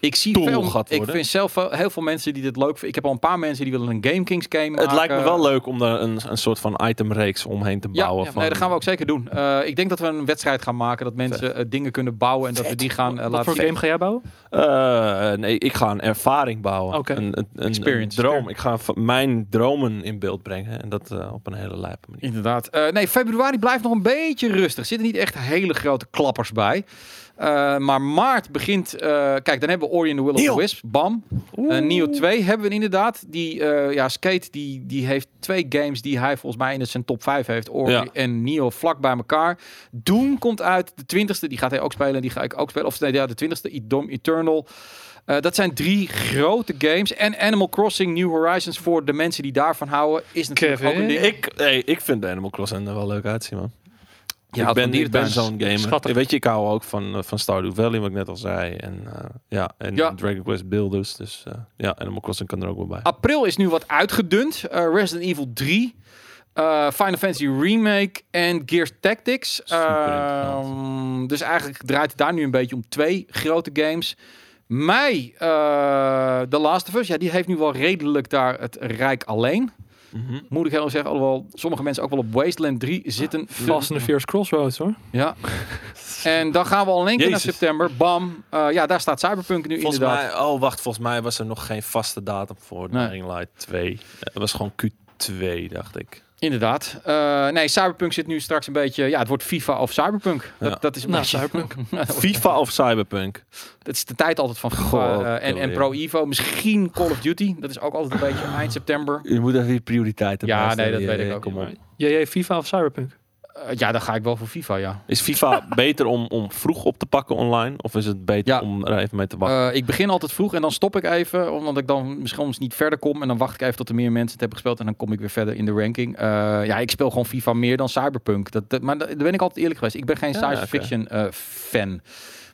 [SPEAKER 1] Ik zie
[SPEAKER 2] Doel
[SPEAKER 1] veel,
[SPEAKER 2] gaat
[SPEAKER 1] ik
[SPEAKER 2] worden.
[SPEAKER 1] vind zelf wel heel veel mensen die dit leuk vinden. Ik heb al een paar mensen die willen een Game Kings game maken.
[SPEAKER 2] Het lijkt me wel leuk om daar een, een soort van itemreeks omheen te
[SPEAKER 1] Ja,
[SPEAKER 2] bouwen.
[SPEAKER 1] ja,
[SPEAKER 2] van,
[SPEAKER 1] nee, dat gaan we ook zeker doen. Eh, ik denk dat we een wedstrijd gaan maken. Dat mensen eh, dingen kunnen bouwen en dat we die gaan eh,
[SPEAKER 3] Wat
[SPEAKER 1] laten
[SPEAKER 3] voor
[SPEAKER 1] zien.
[SPEAKER 3] game ga jij bouwen?
[SPEAKER 2] Eh, nee, ik ga een ervaring bouwen.
[SPEAKER 3] Oké.
[SPEAKER 2] Een, een, een-
[SPEAKER 1] Experience.
[SPEAKER 2] een droom. Ik ga v- mijn dromen in beeld brengen. En dat eh, op een hele lijpe manier.
[SPEAKER 1] Inderdaad. Eh, nee, februari blijft nog een beetje rustig. Er zitten niet echt hele grote klappers bij. Eh, maar maart begint... eh, kijk, dan hebben we Ori and the Will of the
[SPEAKER 2] Neo.
[SPEAKER 1] Wisp. Bam. Eh Neo 2 hebben we inderdaad. Die, eh, ja, Skate die, die heeft twee games die hij volgens mij in zijn top 5 heeft. Ori
[SPEAKER 2] Ja.
[SPEAKER 1] en Neo vlak bij elkaar. Doom komt uit de 20ste. Die gaat hij ook spelen. en Die ga ik ook spelen. Of nee, ja, de 20ste. I- Doom Eternal. Eh, dat zijn drie grote games. En Animal Crossing New Horizons voor de mensen die daarvan houden. Is natuurlijk ook
[SPEAKER 3] Kevin.
[SPEAKER 1] een ding.
[SPEAKER 2] Ik, hey, ik vind de Animal Crossing er wel leuk uitzien, man.
[SPEAKER 1] Je
[SPEAKER 2] ik
[SPEAKER 1] houdt
[SPEAKER 2] ben,
[SPEAKER 1] van
[SPEAKER 2] ik ben
[SPEAKER 1] dierentuins.
[SPEAKER 2] zo'n gamer.
[SPEAKER 3] Schattig.
[SPEAKER 2] Weet je, ik hou ook van, eh, van Stardew Valley, wat ik net al zei. En, eh, ja, en
[SPEAKER 1] Ja. Ah.
[SPEAKER 2] Dragon Quest Builders. Dus eh, ja, Animal Crossing kan er ook wel bij.
[SPEAKER 1] April is nu wat uitgedund. Eh, Resident Evil 3. eh, Final Fantasy Remake en Gears Tactics.
[SPEAKER 2] Superinteressant.
[SPEAKER 1] Ehm, dus eigenlijk draait het daar nu een beetje om twee grote games. Mei, eh The Last of Us. Ja, die heeft nu wel redelijk daar het rijk alleen.
[SPEAKER 2] Mhm.
[SPEAKER 1] Moet ik heel erg zeggen, alhoewel sommige mensen ook wel op Wasteland 3 zitten.
[SPEAKER 3] Fast and the Fierce Crossroads hoor.
[SPEAKER 1] Ja. En dan gaan we al in één keer naar
[SPEAKER 2] Jezus.
[SPEAKER 1] september. Bam. Eh, ja, daar staat Cyberpunk nu
[SPEAKER 2] Volgens
[SPEAKER 1] inderdaad.
[SPEAKER 2] mij, oh wacht, volgens mij was er nog geen vaste datum voor
[SPEAKER 1] Nee.
[SPEAKER 2] Dying Light 2. Eh, Het was gewoon Q2, dacht ik.
[SPEAKER 1] Inderdaad. Eh, nee, Cyberpunk zit nu straks een beetje... Ja, het wordt FIFA of Cyberpunk. Dat,
[SPEAKER 2] Ja.
[SPEAKER 1] dat is een
[SPEAKER 3] Nou,
[SPEAKER 1] beetje-
[SPEAKER 3] Cyberpunk.
[SPEAKER 2] FIFA of Cyberpunk?
[SPEAKER 1] Dat is de tijd altijd van FIFA
[SPEAKER 2] God,
[SPEAKER 1] eh, en, en
[SPEAKER 2] joh.
[SPEAKER 1] Pro Evo. Misschien Call of Duty. Dat is ook altijd een beetje eind september.
[SPEAKER 2] Je moet even je prioriteiten
[SPEAKER 1] Ja,
[SPEAKER 2] bijstellen.
[SPEAKER 1] nee, dat
[SPEAKER 2] Ja,
[SPEAKER 1] weet ik
[SPEAKER 2] ja,
[SPEAKER 1] ook.
[SPEAKER 2] Kom op.
[SPEAKER 3] JJ, FIFA of Cyberpunk?
[SPEAKER 1] Eh, ja, dan ga ik wel voor FIFA, ja.
[SPEAKER 2] Is FIFA beter om, om vroeg op te pakken online? Of is het beter
[SPEAKER 1] Ja.
[SPEAKER 2] om er even mee te wachten?
[SPEAKER 1] Eh, ik begin altijd vroeg en dan stop ik even. Omdat ik dan misschien soms niet verder kom. En dan wacht ik even tot er meer mensen het hebben gespeeld. En dan kom ik weer verder in de ranking. Eh, ja, ik speel gewoon FIFA meer dan Cyberpunk. Dat, dat- maar da- daar ben ik altijd eerlijk geweest. Ik ben geen
[SPEAKER 2] Ja,
[SPEAKER 1] science
[SPEAKER 2] oké.
[SPEAKER 1] fiction eh, fan.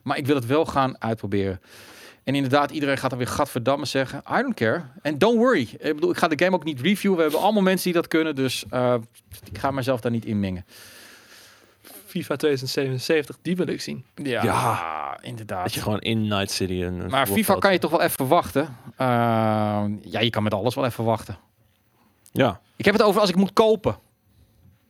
[SPEAKER 1] Maar ik wil het wel gaan uitproberen. En inderdaad, iedereen gaat dan weer gadverdamme zeggen... I don't care. En don't worry. Ik bedoel, ik ga de game ook niet reviewen. We hebben allemaal mensen die dat kunnen. Dus eh, ik ga mezelf daar niet in mengen.
[SPEAKER 3] FIFA 2077, die wil ik zien.
[SPEAKER 1] Ja,
[SPEAKER 2] Ja.
[SPEAKER 1] inderdaad.
[SPEAKER 2] Dat je gewoon in Night City... Een, een
[SPEAKER 1] Eh, Maar FIFA
[SPEAKER 2] voetbalveld-
[SPEAKER 1] kan je toch wel even wachten? Eh, ja, je kan met alles wel even wachten.
[SPEAKER 2] Ja,
[SPEAKER 1] Ik heb het over als ik moet kopen.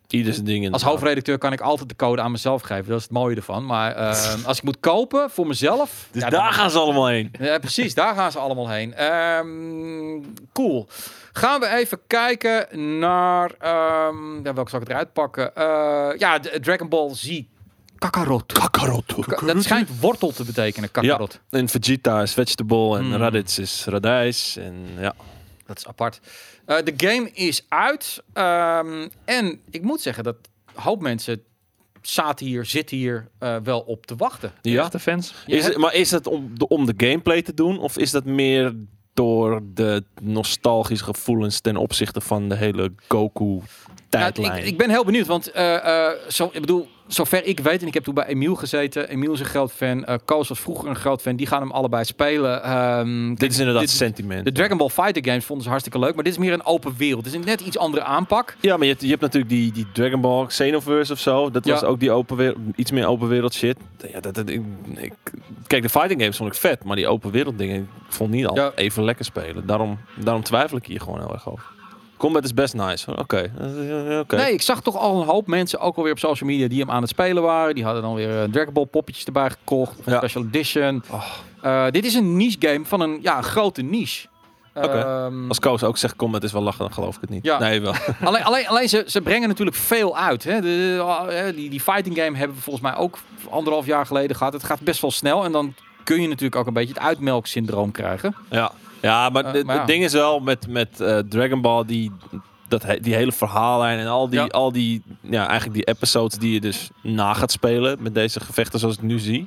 [SPEAKER 2] ieder zijn ding in
[SPEAKER 1] Als hoofdredacteur kan ik altijd de code aan mezelf geven. Dat is het mooie ervan. Maar eh, als ik moet kopen voor mezelf...
[SPEAKER 2] Dus
[SPEAKER 1] ja, dan-
[SPEAKER 2] daar gaan ze allemaal heen.
[SPEAKER 1] Ja, precies, daar gaan ze allemaal heen. Ehm, cool. Gaan we even kijken naar... ehm, ja, welke zal ik eruit pakken? Eh, ja, de- Dragon Ball Z. Kakarot.
[SPEAKER 2] Kakarot.
[SPEAKER 1] Dat schijnt wortel te betekenen, Kakarot.
[SPEAKER 2] En Vegeta is vegetable en
[SPEAKER 1] Mm.
[SPEAKER 2] Raditz is radijs. En ja,
[SPEAKER 1] Dat is apart. Eh, De game is uit. Ehm, en ik moet zeggen dat een hoop mensen zaten hier, zitten hier eh, wel op te wachten.
[SPEAKER 2] ja.
[SPEAKER 3] Echte fans.
[SPEAKER 1] Je
[SPEAKER 2] Is
[SPEAKER 1] hebt-
[SPEAKER 2] het, maar is dat om de, om de gameplay te doen? Of is dat meer door de nostalgische gevoelens ten opzichte van de hele Goku-tijdlijn?
[SPEAKER 1] Nou, ik, ik ben heel benieuwd, want eh, eh, zo, ik bedoel, zover ik weet, en ik heb toen bij Emiel gezeten. Emiel is een groot fan, eh Koos was vroeger een groot fan. Die gaan hem allebei spelen. Ehm,
[SPEAKER 2] dit is inderdaad
[SPEAKER 1] dit-
[SPEAKER 2] sentiment.
[SPEAKER 1] de Dragon Ball Fighter games vonden ze hartstikke leuk, maar dit is meer een open wereld. Dit is een net iets andere aanpak.
[SPEAKER 2] ja, maar je hebt, je hebt natuurlijk die, die Dragon Ball Xenoverse of zo. Dat
[SPEAKER 1] Ja.
[SPEAKER 2] was ook die open wereld, iets meer open wereld shit. Ja, dat, dat- ik, ik- kijk, de fighting games vond ik vet. Maar die open wereld dingen ik vond niet al
[SPEAKER 1] Ja.
[SPEAKER 2] even lekker spelen. Daarom, daarom twijfel ik hier gewoon heel erg over. Combat is best nice. Oké. eh, oké.
[SPEAKER 1] Nee, ik zag toch al een hoop mensen ook alweer op social media die hem aan het spelen waren. Die hadden dan weer eh, Dragon Ball poppetjes erbij gekocht. of
[SPEAKER 2] Ja.
[SPEAKER 1] Special Edition.
[SPEAKER 2] Oh.
[SPEAKER 1] Eh, dit is een niche game van een ja, grote niche.
[SPEAKER 2] Oké.
[SPEAKER 1] Ehm,
[SPEAKER 2] Als Koos ook zegt combat is wel lachen, dan geloof ik het niet.
[SPEAKER 1] Ja.
[SPEAKER 2] Nee, wel.
[SPEAKER 1] alleen alleen, alleen ze, ze brengen natuurlijk veel uit. Hè. De, eh, die, die fighting game hebben we volgens mij ook anderhalf jaar geleden gehad. Het gaat best wel snel en dan kun je natuurlijk ook een beetje het uitmelksyndroom krijgen.
[SPEAKER 2] Ja, ja maar
[SPEAKER 1] Eh,
[SPEAKER 2] het-
[SPEAKER 1] maar ja.
[SPEAKER 2] het ding is wel met, met eh, Dragon Ball, die, dat, he- die hele verhaallijn en al die,
[SPEAKER 1] Ja.
[SPEAKER 2] al die, ja, eigenlijk die episodes die je dus na gaat spelen met deze gevechten zoals ik het nu zie.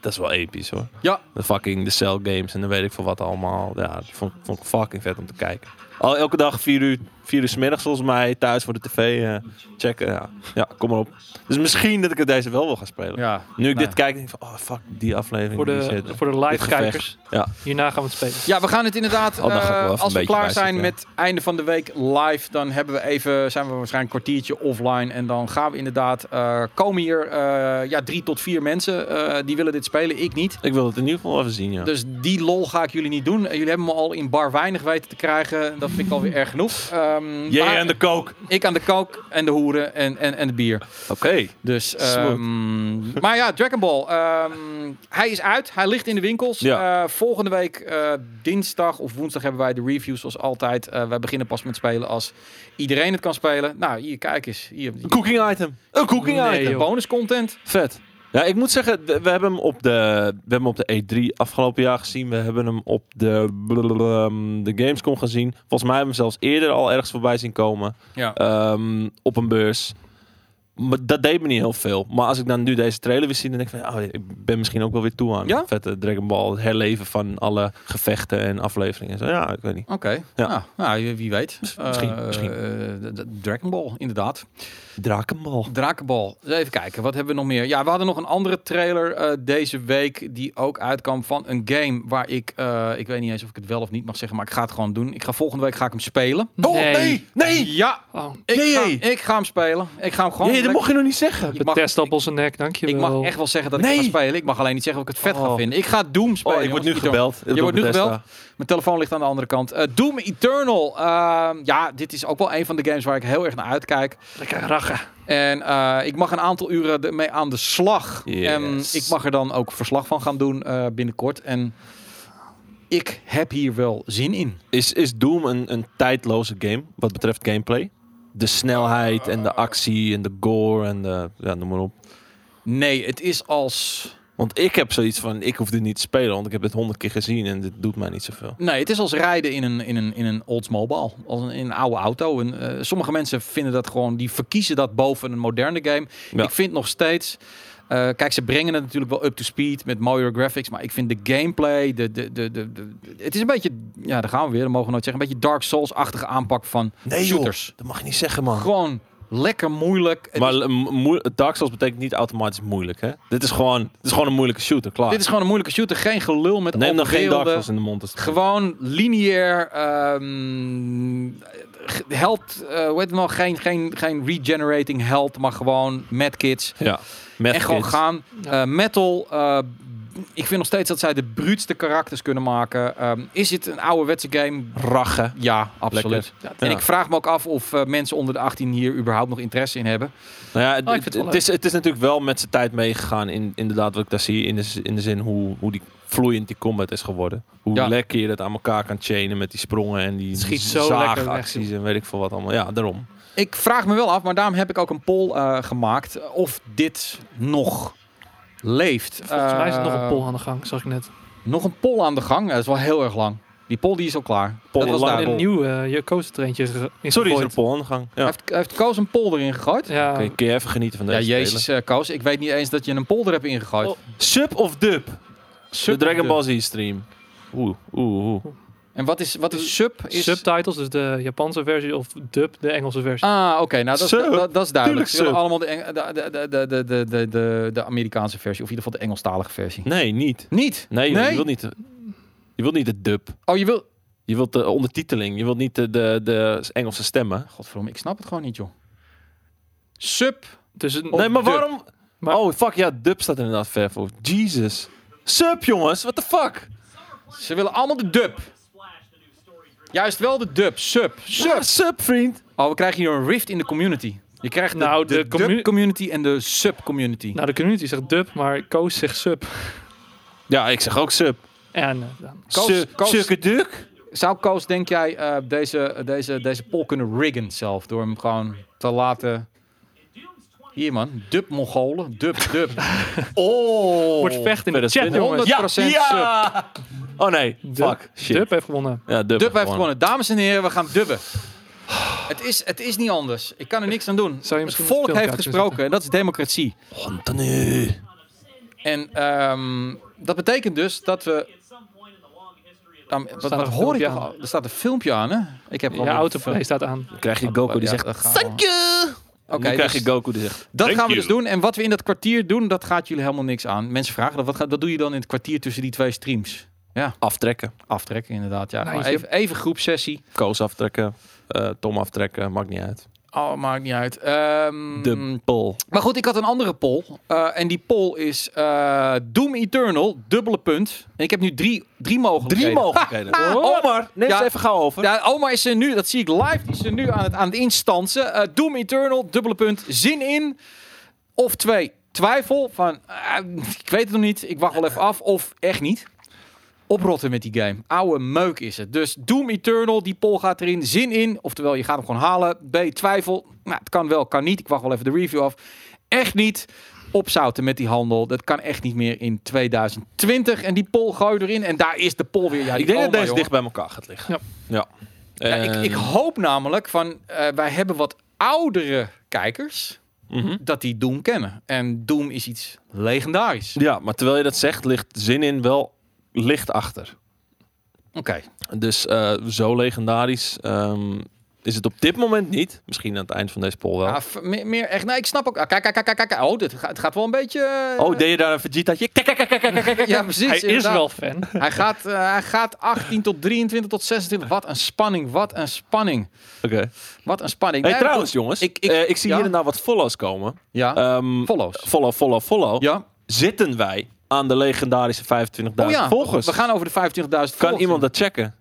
[SPEAKER 2] Dat is wel episch hoor.
[SPEAKER 1] Ja.
[SPEAKER 2] De fucking de Cell Games en dan weet ik veel wat allemaal. Ja, dat vond, vond ik fucking vet om te kijken. Al elke dag vier uur, vier uur 's middags volgens mij thuis voor de tv eh, checken. Ja. ja, kom maar op. Dus misschien dat ik het deze wel wil gaan spelen.
[SPEAKER 1] Ja,
[SPEAKER 2] Nu ik
[SPEAKER 1] Nee.
[SPEAKER 2] dit kijk, denk ik van, oh fuck, die aflevering.
[SPEAKER 3] Nou Voor
[SPEAKER 2] die
[SPEAKER 3] de,
[SPEAKER 2] shit.
[SPEAKER 3] voor de live kijkers.
[SPEAKER 2] Ja.
[SPEAKER 3] Hierna gaan we het spelen.
[SPEAKER 1] Ja, we gaan het inderdaad.
[SPEAKER 2] Oh, dan ga ik wel
[SPEAKER 1] eh,
[SPEAKER 2] even
[SPEAKER 1] als
[SPEAKER 2] een
[SPEAKER 1] we
[SPEAKER 2] beetje
[SPEAKER 1] klaar zijn met
[SPEAKER 2] bijstukken.
[SPEAKER 1] einde van de week live, dan hebben we even, zijn we waarschijnlijk een kwartiertje offline. En dan gaan we inderdaad. eh, komen hier eh, ja, drie tot vier mensen eh, die willen dit spelen. Ik niet.
[SPEAKER 2] Ik wil het in ieder geval even zien, ja.
[SPEAKER 1] Dus die lol ga ik jullie niet doen. Eh, Jullie hebben me al in bar weinig weten te krijgen. Dat vind ik alweer erg genoeg. Ehm,
[SPEAKER 2] Jij
[SPEAKER 1] maar
[SPEAKER 2] en de kook.
[SPEAKER 1] Ik aan de kook en de hoeren en, en, en de bier.
[SPEAKER 2] Oké.
[SPEAKER 1] Dus,
[SPEAKER 2] Smooth.
[SPEAKER 1] ehm, maar ja, Dragon Ball. ehm, hij is uit. Hij ligt in de winkels.
[SPEAKER 2] Ja.
[SPEAKER 1] Eh, volgende week eh, dinsdag of woensdag hebben wij de reviews zoals altijd. Eh, wij beginnen pas met spelen als iedereen het kan spelen. Nou, hier, kijk eens. Hier,
[SPEAKER 2] Een cooking item. Een cooking
[SPEAKER 3] Nee,
[SPEAKER 2] item.
[SPEAKER 3] joh.
[SPEAKER 1] bonus content.
[SPEAKER 2] Vet. Ja, ik moet zeggen, we we hebben hem op de, we hebben hem op de E3 afgelopen jaar gezien. We hebben hem op de, blablabla, de Gamescom gezien. Volgens mij hebben we hem zelfs eerder al ergens voorbij zien komen.
[SPEAKER 1] Ja.
[SPEAKER 2] Ehm, op een beurs. Maar dat deed me niet heel veel. Maar als ik dan nu deze trailer weer zie, dan denk ik van... Oh, ik ben misschien ook wel weer toe aan
[SPEAKER 1] Ja?
[SPEAKER 2] vette Dragon Ball. Het herleven van alle gevechten en afleveringen. en Zo, ja, ik weet niet.
[SPEAKER 1] Oké.
[SPEAKER 2] Ja.
[SPEAKER 1] Nou, nou, wie weet.
[SPEAKER 2] misschien,
[SPEAKER 1] Eh,
[SPEAKER 2] misschien.
[SPEAKER 1] eh, d- d- Dragon Ball, inderdaad.
[SPEAKER 2] Dragon Ball.
[SPEAKER 1] Drakenbal. Dus Even kijken, wat hebben we nog meer? Ja, we hadden nog een andere trailer eh, deze week die ook uitkwam van een game waar ik, eh, ik weet niet eens of ik het wel of niet mag zeggen, maar ik ga het gewoon doen. Ik ga volgende week ga ik hem spelen.
[SPEAKER 2] Oh, nee! Nee!
[SPEAKER 1] Ja,
[SPEAKER 3] Oh.
[SPEAKER 1] ik,
[SPEAKER 2] Jee,
[SPEAKER 1] ga,
[SPEAKER 2] jee.
[SPEAKER 1] ik ga hem spelen. Ik ga hem gewoon
[SPEAKER 2] Jee, nee, dat mocht je nog niet zeggen.
[SPEAKER 1] Ik mag-
[SPEAKER 3] Bethesda op zijn nek, dankjewel.
[SPEAKER 1] Ik mag echt wel zeggen dat ik
[SPEAKER 2] Nee.
[SPEAKER 1] ga spelen. Ik mag alleen niet zeggen of ik het vet ga
[SPEAKER 2] Oh.
[SPEAKER 1] vinden. Ik ga Doom spelen.
[SPEAKER 2] Oh, ik
[SPEAKER 1] jongens.
[SPEAKER 2] word nu
[SPEAKER 1] Pieter.
[SPEAKER 2] gebeld.
[SPEAKER 1] Je wordt nu gebeld. Mijn telefoon ligt aan de andere kant. Eh, Doom Eternal. Ehm, ja, dit is ook wel een van de games waar ik heel erg naar uitkijk.
[SPEAKER 3] Lekker rachen.
[SPEAKER 1] En eh, ik mag een aantal uren ermee aan de slag.
[SPEAKER 2] Yes.
[SPEAKER 1] En ik mag er dan ook verslag van gaan doen eh, binnenkort. En ik heb hier wel zin in.
[SPEAKER 2] Is, is Doom een, een tijdloze game wat betreft gameplay? De snelheid en de actie en de gore en de... Ja, noem maar op.
[SPEAKER 1] Nee, het is als...
[SPEAKER 2] Want ik heb zoiets van, ik hoef dit niet te spelen, want ik heb dit honderd keer gezien en dit doet mij niet zoveel.
[SPEAKER 1] Nee, het is als rijden in een, in een, in een Oldsmobile. Als een, in een oude auto. En, eh, sommige mensen vinden dat gewoon... Die verkiezen dat boven een moderne game.
[SPEAKER 2] Ja.
[SPEAKER 1] Ik vind nog steeds... eh, kijk, ze brengen het natuurlijk wel up to speed met mooiere graphics. Maar ik vind de gameplay... De, de, de, de, de- het is een beetje... Ja, daar gaan we weer. Dat mogen we nooit zeggen. Een beetje Dark Souls-achtige aanpak van
[SPEAKER 2] Nee, joh.
[SPEAKER 1] shooters.
[SPEAKER 2] Dat mag je niet zeggen, man.
[SPEAKER 1] Gewoon lekker moeilijk. Het
[SPEAKER 2] Maar
[SPEAKER 1] is-
[SPEAKER 2] eh, moe- Dark Souls betekent niet automatisch moeilijk, hè? Dit is gewoon, dit is gewoon een moeilijke shooter, klaar.
[SPEAKER 1] dit is gewoon een moeilijke shooter. Geen gelul met
[SPEAKER 2] Neem dan geen Dark
[SPEAKER 1] afbeelden.
[SPEAKER 2] Souls in de mond. als-
[SPEAKER 1] Gewoon lineair. ehm, ge- held, eh, hoe heet het nog? Geen, geen, geen regenerating held, maar gewoon mad kids.
[SPEAKER 2] Ja, met
[SPEAKER 1] en gewoon
[SPEAKER 2] kids.
[SPEAKER 1] gaan. Eh, metal. eh, ik vind nog steeds dat zij de bruutste karakters kunnen maken. Ehm, is het een ouderwetse game?
[SPEAKER 2] Rachen.
[SPEAKER 1] Ja, absoluut.
[SPEAKER 2] Lekker.
[SPEAKER 3] Ja,
[SPEAKER 1] En
[SPEAKER 2] Ja.
[SPEAKER 1] ik vraag me ook af of eh, mensen onder de 18 hier überhaupt nog interesse in hebben.
[SPEAKER 2] Nou
[SPEAKER 1] Oh,
[SPEAKER 2] ja,
[SPEAKER 3] vind het
[SPEAKER 2] het- het,
[SPEAKER 3] wel leuk.
[SPEAKER 2] is, het is natuurlijk wel met zijn tijd meegegaan. In, inderdaad, wat ik daar zie. In de, z- in de zin hoe, hoe die vloeiend die combat is geworden. Hoe
[SPEAKER 1] Ja.
[SPEAKER 2] lekker je dat aan elkaar kan chainen met die sprongen en die
[SPEAKER 3] Het schiet zo lekker
[SPEAKER 2] zaagacties
[SPEAKER 3] weg,
[SPEAKER 2] en weet ik veel wat allemaal. Ja, daarom.
[SPEAKER 1] Ik vraag me wel af, maar daarom heb ik ook een poll eh, gemaakt of dit nog leeft.
[SPEAKER 3] Volgens mij is er nog
[SPEAKER 1] Eh,
[SPEAKER 3] een pol aan de gang, zag ik net.
[SPEAKER 1] Nog een poll aan de gang. Dat is wel heel erg lang. Die poll die is al klaar.
[SPEAKER 2] Poll
[SPEAKER 1] dat was
[SPEAKER 2] lang.
[SPEAKER 1] duidelijk.
[SPEAKER 3] Een nieuw, eh, je koos er eentje ge- in
[SPEAKER 2] Sorry, is er een
[SPEAKER 3] gegooid.
[SPEAKER 2] poll aan de gang? Ja.
[SPEAKER 1] Hij heeft, hij heeft Koos een poll erin gegooid. Ja,
[SPEAKER 3] Ja,
[SPEAKER 2] Kun je, kun je even genieten van deze
[SPEAKER 1] jezus eh, Koos. Ik weet niet eens dat je een poll er hebt ingegooid.
[SPEAKER 3] Oh,
[SPEAKER 2] spelen? Sub of dub?
[SPEAKER 1] Sub-
[SPEAKER 2] de Dragon Ball Z stream. Oeh, oeh, oeh.
[SPEAKER 1] En wat is, wat is sub? Is...
[SPEAKER 3] subtitles, dus de Japanse versie of dub, de Engelse versie.
[SPEAKER 1] Ah, oké. Nou, dat, is-
[SPEAKER 2] Sub.
[SPEAKER 1] dat, dat is duidelijk.
[SPEAKER 2] Tuurlijk
[SPEAKER 1] Ze willen
[SPEAKER 2] sub.
[SPEAKER 1] allemaal de, Eng- de, de, de, de, de, de, de, de Amerikaanse versie. Of in ieder geval de Engelstalige versie.
[SPEAKER 2] Nee, niet.
[SPEAKER 1] Niet?
[SPEAKER 2] Nee, joh,
[SPEAKER 1] Nee?
[SPEAKER 2] Je, wilt niet de, je wilt niet de dub.
[SPEAKER 1] Oh, je wil...
[SPEAKER 2] Je wilt de ondertiteling. Je wilt niet de, de, de Engelse stemmen.
[SPEAKER 1] Godverdomme, ik snap het gewoon niet, joh. Sub.
[SPEAKER 3] Dus een-
[SPEAKER 2] nee, Oh, maar
[SPEAKER 1] dub.
[SPEAKER 2] waarom?
[SPEAKER 3] Maar-
[SPEAKER 2] Oh, fuck, ja, dub staat inderdaad ver voor. Jesus. Sup, jongens, what the fuck?
[SPEAKER 1] Ze willen allemaal de dub. Juist wel de dub. Sub. Sub.
[SPEAKER 2] Ja, Ah, sup, vriend.
[SPEAKER 1] Oh, we krijgen hier een rift in de community. Je krijgt de,
[SPEAKER 3] Nou,
[SPEAKER 1] de,
[SPEAKER 3] de commu-
[SPEAKER 1] dub community en de sub-community.
[SPEAKER 3] nou, de community zegt dub, maar koos zegt sub.
[SPEAKER 2] Ja, ik zeg ook sup.
[SPEAKER 3] En eh, dan-
[SPEAKER 1] Koos-
[SPEAKER 2] Su-
[SPEAKER 1] Koos-
[SPEAKER 2] Sukkerduk.
[SPEAKER 1] Zou Koos, denk jij, eh, deze, deze, deze poll kunnen riggen zelf? Door hem gewoon te laten... Hier man, dub Mongolen, dub, dub. oh!
[SPEAKER 3] wordt vecht in de chat,
[SPEAKER 2] 2020.
[SPEAKER 3] jongens.
[SPEAKER 2] Ja,
[SPEAKER 1] 100%
[SPEAKER 2] ja. Oh nee,
[SPEAKER 3] Dub,
[SPEAKER 2] fuck. Shit.
[SPEAKER 3] dub heeft gewonnen.
[SPEAKER 2] Ja, dub,
[SPEAKER 1] Dub heeft gewonnen. Dames en heren, we gaan dubben. Het is, het is niet anders. Ik kan er niks aan doen.
[SPEAKER 3] Zou
[SPEAKER 1] het
[SPEAKER 3] je misschien
[SPEAKER 1] volk
[SPEAKER 3] een
[SPEAKER 1] heeft
[SPEAKER 3] speelkaartje
[SPEAKER 1] gesproken en dat is democratie.
[SPEAKER 2] Anthony.
[SPEAKER 1] En ehm, dat betekent dus dat we. Nou, wat,
[SPEAKER 3] er
[SPEAKER 1] wat
[SPEAKER 3] een
[SPEAKER 1] hoor ik?
[SPEAKER 3] filmpje
[SPEAKER 1] toch
[SPEAKER 3] aan?
[SPEAKER 1] al? Er staat een filmpje aan, hè? Ik heb
[SPEAKER 3] Ja, autoplay
[SPEAKER 1] Oké,
[SPEAKER 3] staat aan.
[SPEAKER 2] Krijg je Goku die
[SPEAKER 1] Ja,
[SPEAKER 2] zegt...
[SPEAKER 1] dat gaan we.
[SPEAKER 2] Thank you. Oké,
[SPEAKER 1] dus
[SPEAKER 2] krijg je Goku die zegt...
[SPEAKER 1] dat
[SPEAKER 2] "Thank
[SPEAKER 1] gaan we
[SPEAKER 2] you."
[SPEAKER 1] dus doen. En wat we in dat kwartier doen, dat gaat jullie helemaal niks aan. Mensen vragen dan, wat, gaat, wat doe je dan in het kwartier tussen die twee streams?
[SPEAKER 2] Aftrekken.
[SPEAKER 1] Aftrekken, inderdaad. Ja.
[SPEAKER 3] Nou,
[SPEAKER 1] Maar
[SPEAKER 3] je-
[SPEAKER 1] even, even groepsessie.
[SPEAKER 2] Koos aftrekken. eh, Tom aftrekken. Maakt niet uit. Mm.
[SPEAKER 1] Oh, maakt niet uit. Ehm,
[SPEAKER 2] De pol.
[SPEAKER 1] Maar goed, ik had een andere poll. Eh, en die poll is eh, Doom Eternal, dubbele punt. En ik heb nu drie, drie mogelijkheden. Oh,
[SPEAKER 2] Drie mogelijkheden. Omar, neem
[SPEAKER 1] Ja.
[SPEAKER 2] ze even gauw over.
[SPEAKER 1] Ja, oma is er nu, dat zie ik live, die is er nu aan het, aan het instansen. Eh, Doom Eternal, dubbele punt, zin in. Of twee, twijfel van, eh, ik weet het nog niet, ik wacht wel even af. Of echt niet. Oprotten met die game. Oude meuk is het. Dus Doom Eternal, die poll gaat erin, zin in. Oftewel, je gaat hem gewoon halen. B, twijfel. Nou, het kan wel, kan niet. Ik wacht wel even de review af. Echt niet. Opzouten met die handel. Dat kan echt niet meer in 2020. En die poll gooi je erin. En daar is de poll weer. Ja,
[SPEAKER 2] ik
[SPEAKER 1] die
[SPEAKER 2] denk dat
[SPEAKER 1] oma,
[SPEAKER 2] deze
[SPEAKER 1] jongen.
[SPEAKER 2] dicht bij elkaar gaat liggen. Ja.
[SPEAKER 1] Ja, Nou, ik,
[SPEAKER 2] Ehm.
[SPEAKER 1] ik hoop namelijk van, eh, wij hebben wat oudere kijkers
[SPEAKER 2] Mhm.
[SPEAKER 1] dat die Doom kennen. En Doom is iets legendarisch.
[SPEAKER 2] Ja, maar terwijl je dat zegt, ligt zin in wel licht achter.
[SPEAKER 1] Oké.
[SPEAKER 2] Oh. Dus eh, zo legendarisch. ehm, is het op dit moment niet. Misschien aan het eind van deze poll wel.
[SPEAKER 1] Ja, f- meer, meer echt. Nee, ik snap ook. ah, Kijk, kijk, kijk, kijk, kijk. Oh, dit gaat, het gaat wel een beetje. eh,
[SPEAKER 2] oh, deed je daar een Vegetaatje? Kijk, kijk, kijk, kijk, kijk, kijk, kijk.
[SPEAKER 1] ja, precies.
[SPEAKER 3] Hij is
[SPEAKER 1] inderdaad.
[SPEAKER 3] wel fan.
[SPEAKER 1] Hij gaat, eh, hij gaat 18 tot 23 tot 26. Wat een spanning, wat een spanning.
[SPEAKER 2] Oké.
[SPEAKER 1] Wat een spanning.
[SPEAKER 2] Hey,
[SPEAKER 1] Nee,
[SPEAKER 2] trouwens
[SPEAKER 1] goed.
[SPEAKER 2] jongens,
[SPEAKER 1] ik-
[SPEAKER 2] ik,
[SPEAKER 1] ik-
[SPEAKER 2] ik, ik zie
[SPEAKER 1] ja.
[SPEAKER 2] hier en daar wat follows komen.
[SPEAKER 1] Ja,
[SPEAKER 2] Ehm,
[SPEAKER 1] follows.
[SPEAKER 2] follow, follow, follow.
[SPEAKER 1] Ja.
[SPEAKER 2] Zitten wij aan de legendarische 25.000
[SPEAKER 1] Oh ja,
[SPEAKER 2] volgers?
[SPEAKER 1] we gaan over de 25.000
[SPEAKER 2] Kan
[SPEAKER 1] volgers.
[SPEAKER 2] iemand dat checken?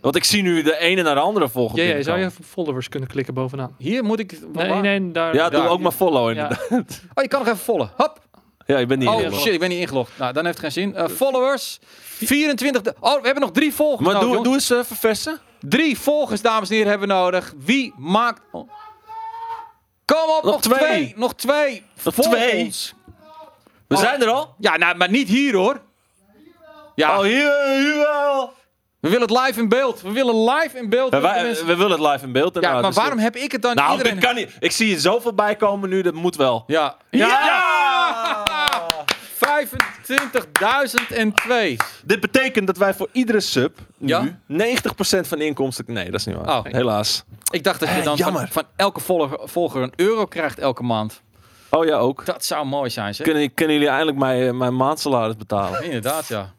[SPEAKER 2] Want ik zie nu de ene naar de andere volger.
[SPEAKER 3] Ja, ja, zou je
[SPEAKER 2] binnenkomen.
[SPEAKER 3] even followers kunnen klikken bovenaan?
[SPEAKER 1] Hier moet ik...
[SPEAKER 3] Nee, nee, daar.
[SPEAKER 2] Ja, doe
[SPEAKER 1] Ja.
[SPEAKER 2] ook maar follow
[SPEAKER 3] Ja.
[SPEAKER 2] inderdaad.
[SPEAKER 1] Oh, je kan nog even volgen. Hop.
[SPEAKER 2] Ja, ik ben niet
[SPEAKER 1] Oh
[SPEAKER 2] ingelogd.
[SPEAKER 1] shit, ik ben niet ingelogd. Nou, dan heeft het geen zin. Eh, followers. 24. de- Oh, we hebben nog drie volgers
[SPEAKER 2] Maar
[SPEAKER 1] nodig,
[SPEAKER 2] doe,
[SPEAKER 1] jongens.
[SPEAKER 2] doe eens eh, verversen.
[SPEAKER 1] Drie volgers, dames en heren, hebben we nodig. Wie maakt... Oh. Kom op, nog,
[SPEAKER 2] Nog
[SPEAKER 1] twee.
[SPEAKER 2] twee.
[SPEAKER 1] Nog twee.
[SPEAKER 2] Nog
[SPEAKER 1] Volg
[SPEAKER 2] twee.
[SPEAKER 1] ons.
[SPEAKER 2] We
[SPEAKER 1] Oh.
[SPEAKER 2] zijn er al.
[SPEAKER 1] Ja, nou, maar niet hier hoor. Ja,
[SPEAKER 2] Oh, hier, hier wel.
[SPEAKER 1] we willen het live in beeld. We willen live in beeld.
[SPEAKER 2] Ja, wij-
[SPEAKER 1] Mensen-
[SPEAKER 2] we willen het live in
[SPEAKER 1] ja,
[SPEAKER 2] beeld. inderdaad,
[SPEAKER 1] maar
[SPEAKER 2] dus
[SPEAKER 1] waarom heb ik het dan
[SPEAKER 2] dat- Nou,
[SPEAKER 1] iedereen...
[SPEAKER 2] dit kan niet. Ik zie er zoveel bij komen nu, dat moet wel.
[SPEAKER 1] Ja.
[SPEAKER 2] Ja!
[SPEAKER 1] 25.002.
[SPEAKER 2] Dit betekent dat wij voor iedere sub nu
[SPEAKER 1] Ja?
[SPEAKER 2] 90% van de inkomsten... Nee, dat is niet waar.
[SPEAKER 1] Oh.
[SPEAKER 2] Helaas.
[SPEAKER 1] Ik dacht dat je
[SPEAKER 2] Eh,
[SPEAKER 1] dan van,
[SPEAKER 2] jammer.
[SPEAKER 1] van elke volger, volger een euro krijgt elke maand.
[SPEAKER 2] Oh ja, ook.
[SPEAKER 1] Dat zou mooi zijn, zeg.
[SPEAKER 2] Kunnen, kunnen jullie eindelijk mijn, eh, mijn maandsalaris betalen?
[SPEAKER 1] Inderdaad, ja.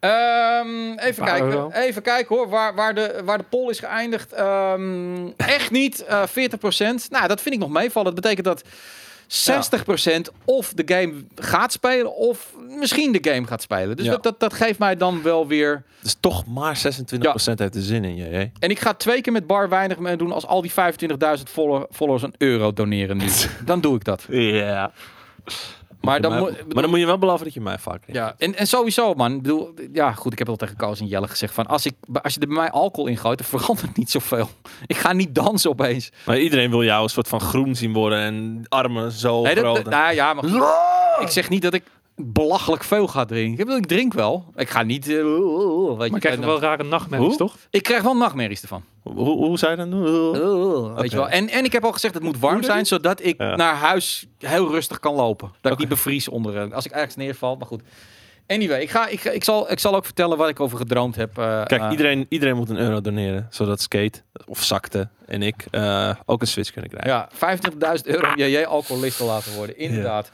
[SPEAKER 1] Ehm, even
[SPEAKER 3] Paar
[SPEAKER 1] kijken.
[SPEAKER 3] euro.
[SPEAKER 1] Even kijken hoor, waar, waar, de, waar de poll is geëindigd. Ehm, echt niet, eh 40%. Nou, dat vind ik nog meevallen. Dat betekent dat 60% of de game gaat spelen... of misschien de game gaat spelen. Dus
[SPEAKER 2] Ja.
[SPEAKER 1] dat, dat, dat geeft mij dan wel weer...
[SPEAKER 2] Dus toch maar 26% heeft er zin in, jee.
[SPEAKER 1] En ik ga twee keer met bar weinig mee doen... als al die 25.000 follow- followers een euro doneren nu. dan doe ik dat.
[SPEAKER 2] Ja.
[SPEAKER 1] Maar dan,
[SPEAKER 2] Maar,
[SPEAKER 1] moet-
[SPEAKER 2] maar dan moet je wel beloven dat je mij vaak krijgt.
[SPEAKER 1] Ja, en, en sowieso, man. Ik bedoel, ja, goed, ik heb al tegen Koos en Jelle gezegd van... Als, ik, als je er bij mij alcohol in gooit, dan verandert niet zoveel. Ik ga niet dansen opeens.
[SPEAKER 2] Maar iedereen wil jou een soort van groen zien worden en armen zo
[SPEAKER 1] Nee, dat-
[SPEAKER 2] groot.
[SPEAKER 1] dat- nou ja, maar goed,
[SPEAKER 2] Ah!
[SPEAKER 1] ik zeg niet dat ik belachelijk veel ga drinken. Ik, bedoel, ik drink wel. Ik ga niet... eh, weet je,
[SPEAKER 3] Maar ik krijg
[SPEAKER 1] eh,
[SPEAKER 3] er wel rare nachtmerries,
[SPEAKER 2] Hoe?
[SPEAKER 3] toch?
[SPEAKER 1] ik krijg wel nachtmerries ervan.
[SPEAKER 2] Hoe, hoe zei je dat? nu?
[SPEAKER 1] Weet je wel. En, en ik heb al gezegd, het moet warm
[SPEAKER 2] Hoe doe
[SPEAKER 1] zijn... zodat ik
[SPEAKER 2] Ja.
[SPEAKER 1] naar huis heel rustig kan lopen. Dat ik
[SPEAKER 2] Oké.
[SPEAKER 1] niet bevries onder... eh, Als ik ergens neerval, maar goed. Anyway, ik, ga, ik, ga- ik, zal, ik zal ook vertellen wat ik over gedroomd heb. eh,
[SPEAKER 2] Kijk,
[SPEAKER 1] eh,
[SPEAKER 2] iedereen, iedereen moet een euro doneren, zodat Skate of Zakte en ik eh, ook een Switch kunnen krijgen.
[SPEAKER 1] Ja, 25.000 euro om JJ alcoholist te laten worden. Inderdaad.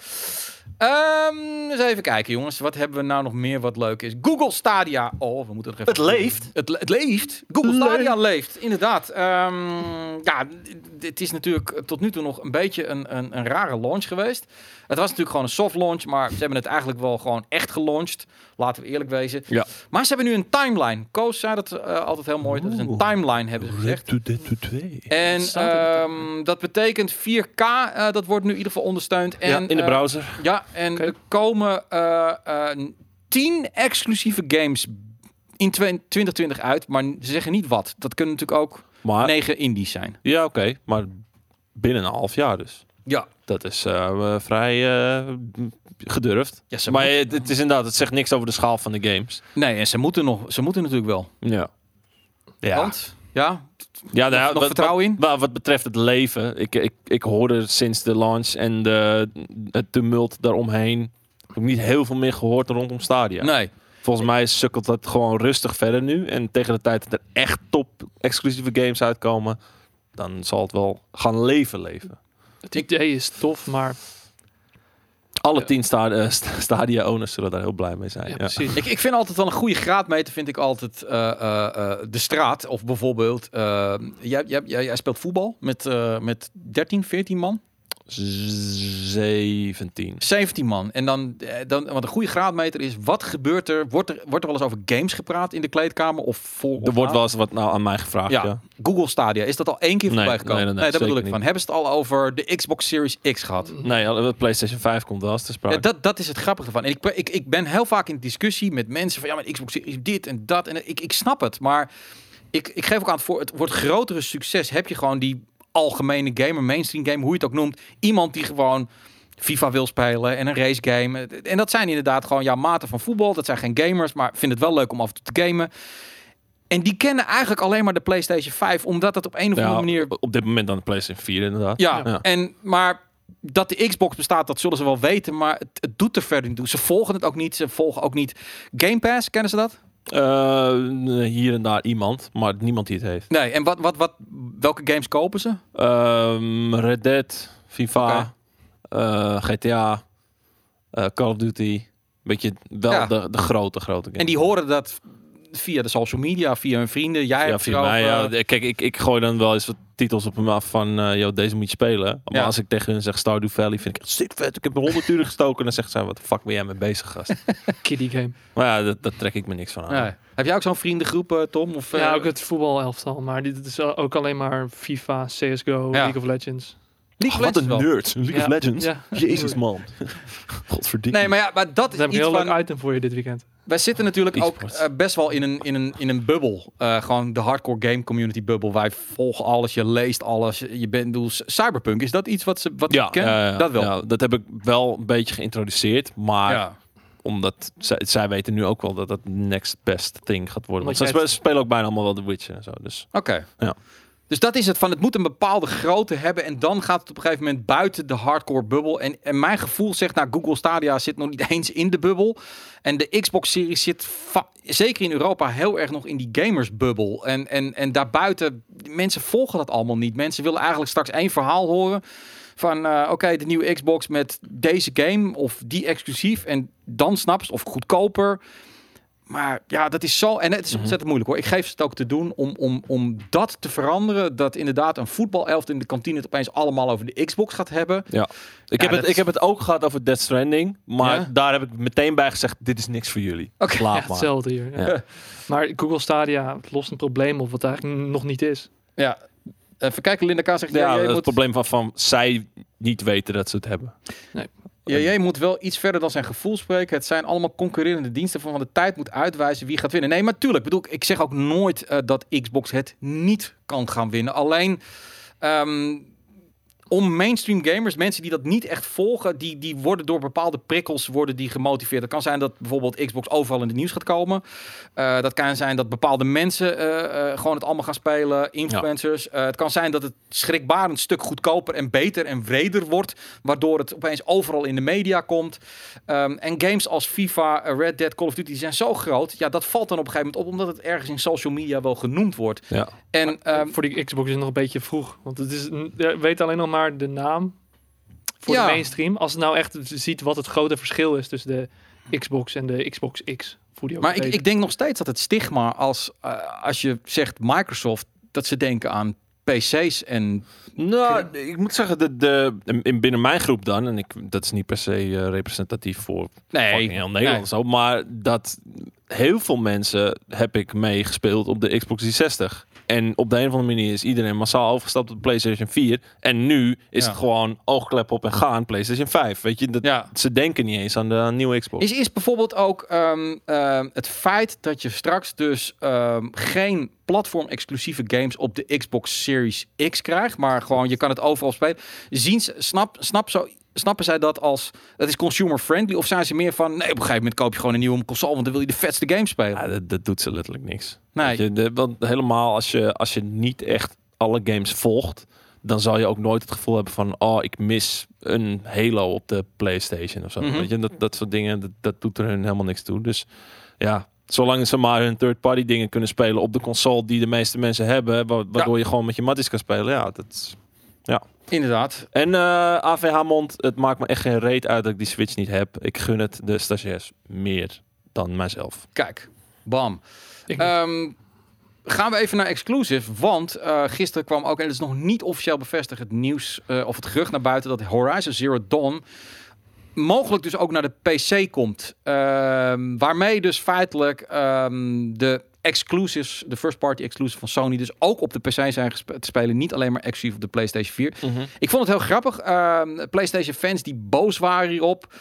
[SPEAKER 1] Ehm, eens even kijken, jongens. Wat hebben we nou nog meer wat leuk is? Google Stadia. Oh, we moeten nog even...
[SPEAKER 2] Het leeft.
[SPEAKER 1] Het, le- het leeft. Google
[SPEAKER 2] Leeft.
[SPEAKER 1] Stadia leeft, inderdaad. Ehm, ja, d- het is natuurlijk tot nu toe nog een beetje een, een, een rare launch geweest. Het was natuurlijk gewoon een soft launch, maar ze hebben het eigenlijk wel gewoon echt gelaunched. Laten we eerlijk wezen.
[SPEAKER 2] Ja.
[SPEAKER 1] Maar ze hebben nu een timeline. Koos zei dat eh, altijd heel mooi. Dat is een
[SPEAKER 2] Oeh.
[SPEAKER 1] timeline, hebben ze gezegd.
[SPEAKER 2] En,
[SPEAKER 1] En
[SPEAKER 3] Staat er wat
[SPEAKER 1] ehm, dat betekent 4K, eh, dat wordt nu in ieder geval ondersteund. En,
[SPEAKER 2] ja, in de
[SPEAKER 1] eh,
[SPEAKER 2] browser.
[SPEAKER 1] ja, en
[SPEAKER 3] Oké.
[SPEAKER 1] er komen eh, eh, 10 exclusieve games in 2020 uit, maar ze zeggen niet wat. Dat kunnen natuurlijk ook
[SPEAKER 2] Maar,
[SPEAKER 1] 9 indies zijn.
[SPEAKER 2] Ja, oké. maar binnen een half jaar dus.
[SPEAKER 1] Ja.
[SPEAKER 2] Dat is eh, eh, vrij eh, gedurfd.
[SPEAKER 1] ja ze
[SPEAKER 2] maar
[SPEAKER 1] moet-
[SPEAKER 2] het, het is inderdaad, het zegt niks over de schaal van de games.
[SPEAKER 1] nee, en ze moeten, nog, ze moeten natuurlijk wel.
[SPEAKER 2] Ja. Ja.
[SPEAKER 1] Want, ja,
[SPEAKER 2] Ja, nou,
[SPEAKER 1] nog
[SPEAKER 2] wat-
[SPEAKER 1] vertrouwen
[SPEAKER 2] wat,
[SPEAKER 1] in?
[SPEAKER 2] Wat, wat betreft het leven, ik, ik, ik hoorde sinds de launch en de, het tumult daaromheen heb ik niet heel veel meer gehoord rondom Stadia.
[SPEAKER 1] nee.
[SPEAKER 2] Volgens mij sukkelt dat gewoon rustig verder nu. En tegen de tijd dat er echt top exclusieve games uitkomen, dan zal het wel gaan leven leven.
[SPEAKER 3] Het idee is tof, maar
[SPEAKER 2] Alle
[SPEAKER 3] Ja.
[SPEAKER 2] tien sta- eh, st- Stadia-owners zullen daar heel blij mee
[SPEAKER 3] ja,
[SPEAKER 2] zijn. Ja,
[SPEAKER 3] precies.
[SPEAKER 1] Ik, ik vind altijd wel een goede graadmeter, vind ik altijd eh, eh, eh, de straat. Of bijvoorbeeld, eh, jij, jij, jij, jij speelt voetbal met, eh, met 13, 14 man.
[SPEAKER 2] 17.
[SPEAKER 1] 17 man. En dan, eh, dan, want een goede graadmeter is, wat gebeurt er? Wordt er, wordt er wel eens over games gepraat in de kleedkamer? Of vol,
[SPEAKER 2] Er
[SPEAKER 1] of
[SPEAKER 2] wordt
[SPEAKER 1] na?
[SPEAKER 2] wel eens wat nou aan mij gevraagd.
[SPEAKER 1] Ja.
[SPEAKER 2] Ja.
[SPEAKER 1] Google Stadia, is dat al één keer
[SPEAKER 2] Nee,
[SPEAKER 1] voorbij gekomen?
[SPEAKER 2] nee, nee, nee,
[SPEAKER 1] dat bedoel ik
[SPEAKER 2] zeker
[SPEAKER 1] van. Hebben ze het al over de Xbox Series X gehad?
[SPEAKER 2] Nee, al- PlayStation 5 komt wel eens te sprake.
[SPEAKER 1] Ja, dat, dat is het grappige van. En ik, pre- ik, ik ben heel vaak in discussie met mensen van ja, maar Xbox is dit en dat. En ik, ik snap het, maar ik, ik geef ook aan het voor het wordt grotere succes. Heb je gewoon die algemene gamer, mainstream game, hoe je het ook noemt. Iemand die gewoon FIFA wil spelen en een race game. En dat zijn inderdaad gewoon ja, maten van voetbal. Dat zijn geen gamers, maar vinden het wel leuk om af en toe te gamen. En die kennen eigenlijk alleen maar de PlayStation 5, omdat dat op een of andere
[SPEAKER 2] Ja,
[SPEAKER 1] manier
[SPEAKER 2] Op dit moment dan de PlayStation 4 inderdaad.
[SPEAKER 1] ja,
[SPEAKER 2] Ja.
[SPEAKER 1] En, maar dat de Xbox bestaat, dat zullen ze wel weten. Maar het, het doet er verder niet toe. Ze volgen het ook niet. Ze volgen ook niet Game Pass, kennen ze dat?
[SPEAKER 2] Eh, hier en daar iemand, maar niemand die het heeft.
[SPEAKER 1] Nee, en wat, wat, wat, welke games kopen ze?
[SPEAKER 2] Ehm, Red Dead, FIFA,
[SPEAKER 1] Oké.
[SPEAKER 2] eh, GTA, eh, Call of Duty. Beetje wel
[SPEAKER 1] Ja.
[SPEAKER 2] de, de grote, grote games.
[SPEAKER 1] En die horen dat via de social media, via hun vrienden. Jij
[SPEAKER 2] ja,
[SPEAKER 1] hebt
[SPEAKER 2] via
[SPEAKER 1] erover.
[SPEAKER 2] mij. Ja. Kijk, ik, ik gooi dan wel eens wat titels op hem af van, eh yo, deze moet je spelen. Maar
[SPEAKER 1] Ja.
[SPEAKER 2] als ik tegen hun zeg Stardew Valley, vind ik het zit vet. Ik heb er 100 uur gestoken. Dan zegt zij, wat de fuck ben jij mee bezig, gast?
[SPEAKER 3] Kiddie game.
[SPEAKER 2] maar ja, dat- daar trek ik me niks van aan.
[SPEAKER 1] Nee. Heb jij ook zo'n vriendengroep, eh, Tom? Of, eh,
[SPEAKER 3] Ja, ook het voetbalelftal. Maar dit is ook alleen maar FIFA, CSGO, League of Legends.
[SPEAKER 1] League of
[SPEAKER 2] Ah, wat
[SPEAKER 1] Legends
[SPEAKER 2] een
[SPEAKER 1] wel.
[SPEAKER 2] nerd. League of
[SPEAKER 3] Ja.
[SPEAKER 2] Legends.
[SPEAKER 3] Ja.
[SPEAKER 2] Jezus, man. Godverdikke.
[SPEAKER 1] Nee, maar ja, maar dat
[SPEAKER 3] Dat
[SPEAKER 1] is
[SPEAKER 3] heb ik een
[SPEAKER 1] iets
[SPEAKER 3] heel
[SPEAKER 1] van...
[SPEAKER 3] leuk item voor je dit weekend.
[SPEAKER 1] Wij zitten natuurlijk ook
[SPEAKER 2] E-sport.
[SPEAKER 1] eh, best wel in een, in een, in een bubbel. Eh, gewoon de hardcore game community bubbel. Wij volgen alles, je leest alles. Je bent, bedoel, c- Cyberpunk, is dat iets wat ze wat
[SPEAKER 2] ja,
[SPEAKER 1] je kent?
[SPEAKER 2] ja, ja,
[SPEAKER 1] dat wel.
[SPEAKER 2] ja, dat heb ik wel een beetje geïntroduceerd. Maar omdat zij, zij weten nu ook wel dat dat next best thing gaat worden.
[SPEAKER 3] Omdat
[SPEAKER 2] Want ze
[SPEAKER 3] jij het-
[SPEAKER 2] spe- spelen ook bijna allemaal wel The Witcher en zo. Dus
[SPEAKER 1] Oké.
[SPEAKER 2] Ja.
[SPEAKER 1] Dus dat is het van het moet een bepaalde grootte hebben en dan gaat het op een gegeven moment buiten de hardcore bubbel. En, en mijn gevoel zegt, nou Google Stadia zit nog niet eens in de bubbel. En de Xbox Series zit va- zeker in Europa heel erg nog in die gamersbubbel. En, en, en daarbuiten, mensen volgen dat allemaal niet. Mensen willen eigenlijk straks één verhaal horen van eh, oké, de nieuwe Xbox met deze game of die exclusief. En dan snapt ze of goedkoper. Maar ja, dat is zo. En het is ontzettend moeilijk hoor. Ik geef ze het ook te doen om, om, om dat te veranderen. Dat inderdaad een voetbalelft in de kantine het opeens allemaal over de Xbox gaat hebben.
[SPEAKER 2] ja. Ik,
[SPEAKER 1] Ja,
[SPEAKER 2] heb
[SPEAKER 1] dat-
[SPEAKER 2] het, ik heb het ook gehad over Death Stranding. Maar
[SPEAKER 1] Ja?
[SPEAKER 2] daar heb ik meteen bij gezegd, dit is niks voor jullie.
[SPEAKER 1] Oké.
[SPEAKER 2] Laat
[SPEAKER 3] Ja,
[SPEAKER 2] maar.
[SPEAKER 3] hetzelfde hier. ja.
[SPEAKER 2] Ah, Ja.
[SPEAKER 3] Maar Google Stadia lost een probleem op wat het eigenlijk nog niet is.
[SPEAKER 1] Ja. Even kijken, Linda K. zegt,
[SPEAKER 2] Ja,
[SPEAKER 1] ja,
[SPEAKER 2] het
[SPEAKER 1] jij, moet,
[SPEAKER 2] probleem van, van zij niet weten dat ze het hebben.
[SPEAKER 1] ja, jij moet wel iets verder dan zijn gevoel spreken. Het zijn allemaal concurrerende diensten van de tijd moet uitwijzen wie gaat winnen. Nee, maar tuurlijk. Ik Bedoel, ik zeg ook nooit eh, dat Xbox het niet kan gaan winnen. Alleen... ehm, om mainstream gamers, mensen die dat niet echt volgen, die, die worden door bepaalde prikkels worden die gemotiveerd. Dat kan zijn dat bijvoorbeeld Xbox overal in het nieuws gaat komen. Eh, dat kan zijn dat bepaalde mensen eh, eh, gewoon het allemaal gaan spelen, influencers. Eh, het kan zijn dat het schrikbarend stuk goedkoper en beter en wreder wordt, waardoor het opeens overal in de media komt. Ehm, en games als FIFA, eh, Red Dead, Call of Duty die zijn zo groot. Ja, dat valt dan op een gegeven moment op, omdat het ergens in social media wel genoemd wordt.
[SPEAKER 2] Ja.
[SPEAKER 1] En ehm,
[SPEAKER 3] voor die Xbox is het nog een beetje vroeg. Want het is, ja, weet alleen nog maar de naam voor
[SPEAKER 1] Ja.
[SPEAKER 3] de mainstream. Als het nou echt ziet wat het grote verschil is tussen de Xbox en de Xbox X. Voor die ook
[SPEAKER 1] Maar ik,
[SPEAKER 3] heet.
[SPEAKER 1] ik denk nog steeds dat het stigma als, eh, als je zegt Microsoft, dat ze denken aan PC's en.
[SPEAKER 2] Nou, ik moet zeggen, de, de, in, binnen mijn groep dan, en ik, dat is niet per se eh, representatief voor fucking heel Nederland
[SPEAKER 1] nee.
[SPEAKER 2] zo, maar dat heel veel mensen heb ik meegespeeld op de Xbox 360. En op de een of andere manier is iedereen massaal overgestapt op de PlayStation 4. En nu is
[SPEAKER 1] Ja.
[SPEAKER 2] het gewoon oogklep op en gaan PlayStation 5. Weet je, dat,
[SPEAKER 1] Ja.
[SPEAKER 2] ze denken niet eens aan de nieuwe Xbox.
[SPEAKER 1] Is, is bijvoorbeeld ook ehm, ehm, het feit dat je straks dus ehm, geen platform-exclusieve games op de Xbox Series X krijgt, maar gewoon je kan het overal spelen. Zien ze, snap, snap zo, snappen zij dat als dat is consumer-friendly? Of zijn ze meer van nee, op een gegeven moment koop je gewoon een nieuwe console, want dan wil je de vetste game spelen?
[SPEAKER 2] Ja, dat, dat doet ze letterlijk niks.
[SPEAKER 1] Nee.
[SPEAKER 2] Weet Je, de- want helemaal als je, als je niet echt alle games volgt, dan zal je ook nooit het gevoel hebben van, oh, ik mis een Halo op de PlayStation of zo.
[SPEAKER 1] Mhm.
[SPEAKER 2] Weet je, dat, dat soort dingen, dat, dat doet er hun helemaal niks toe. Dus ja, zolang ze maar hun third-party dingen kunnen spelen op de console die de meeste mensen hebben, wa- waardoor je gewoon met je matties kan spelen, ja, dat is...
[SPEAKER 1] Inderdaad.
[SPEAKER 2] En eh, AVH Mond, het maakt me echt geen reet uit dat ik die Switch niet heb. Ik gun het de stagiairs meer dan mijzelf.
[SPEAKER 1] Kijk, bam.
[SPEAKER 3] Ik-
[SPEAKER 1] Ehm, gaan we even naar exclusive. Want eh, gisteren kwam ook, en het is nog niet officieel bevestigd, het nieuws eh, of het gerucht naar buiten dat Horizon Zero Dawn mogelijk dus ook naar de PC komt. Ehm, waarmee dus feitelijk ehm, de exclusives, de first party exclusives van Sony, dus ook op de PC zijn gespe- te spelen. Niet alleen maar exclusief op de PlayStation 4. Ik vond het heel grappig. Ehm, PlayStation fans die boos waren hierop.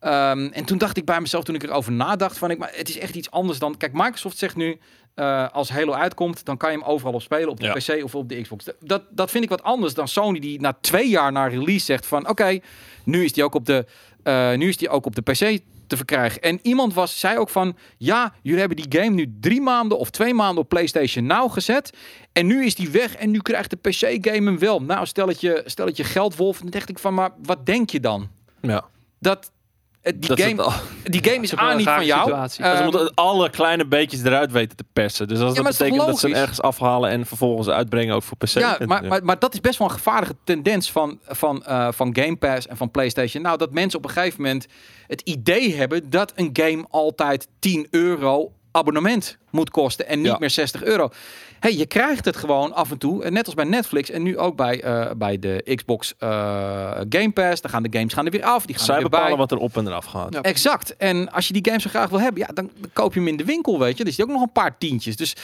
[SPEAKER 1] Ehm, en toen dacht ik bij mezelf, toen ik erover nadacht, van ik, maar het is echt iets anders dan. Kijk, Microsoft zegt nu: eh, als Halo uitkomt, dan kan je hem overal op spelen, op de
[SPEAKER 2] Ja.
[SPEAKER 1] PC of op de Xbox. Dat, dat vind ik wat anders dan Sony, die na twee jaar na release zegt: van oké, nu is die ook op de, eh, nu is die ook op de PC te verkrijgen. En iemand was, zei ook van, ja, jullie hebben die game nu drie maanden of twee maanden op PlayStation Now gezet. En nu is die weg en nu krijgt de PC-game hem wel. Nou, stel dat je, stel dat je geld wolf, dan dacht ik van, maar wat denk je dan?
[SPEAKER 2] Ja.
[SPEAKER 1] Dat, die,
[SPEAKER 2] Dat is het
[SPEAKER 1] game,
[SPEAKER 2] al.
[SPEAKER 1] die game is
[SPEAKER 3] ook wel
[SPEAKER 1] A
[SPEAKER 3] een
[SPEAKER 1] niet
[SPEAKER 3] rare
[SPEAKER 1] van jou.
[SPEAKER 3] situatie.
[SPEAKER 1] Eh,
[SPEAKER 2] ze moeten alle kleine beetjes eruit weten te persen. Dus als
[SPEAKER 1] maar
[SPEAKER 2] dat
[SPEAKER 1] het is toch
[SPEAKER 2] betekent dat ze hem
[SPEAKER 1] logisch?
[SPEAKER 2] ergens afhalen en vervolgens uitbrengen ook voor PC.
[SPEAKER 1] ja, maar, maar, maar dat is best wel een gevaarlijke tendens van, van, eh, van Game Pass en van PlayStation. Nou, dat mensen op een gegeven moment het idee hebben dat een game altijd 10 euro abonnement moet kosten en niet
[SPEAKER 2] Ja.
[SPEAKER 1] meer 60 euro. Hey, je krijgt het gewoon af en toe, en net als bij Netflix en nu ook bij, eh, bij de Xbox eh, Game Pass. Dan gaan de games gaan er weer af, die gaan
[SPEAKER 2] Zij
[SPEAKER 1] er weer bij.
[SPEAKER 2] bepalen wat er op en eraf gaat.
[SPEAKER 3] Ja.
[SPEAKER 1] Exact. En als je die game zo graag wil hebben, ja, dan, dan koop je hem in de winkel, weet je. Dus die ook nog een paar tientjes. Dus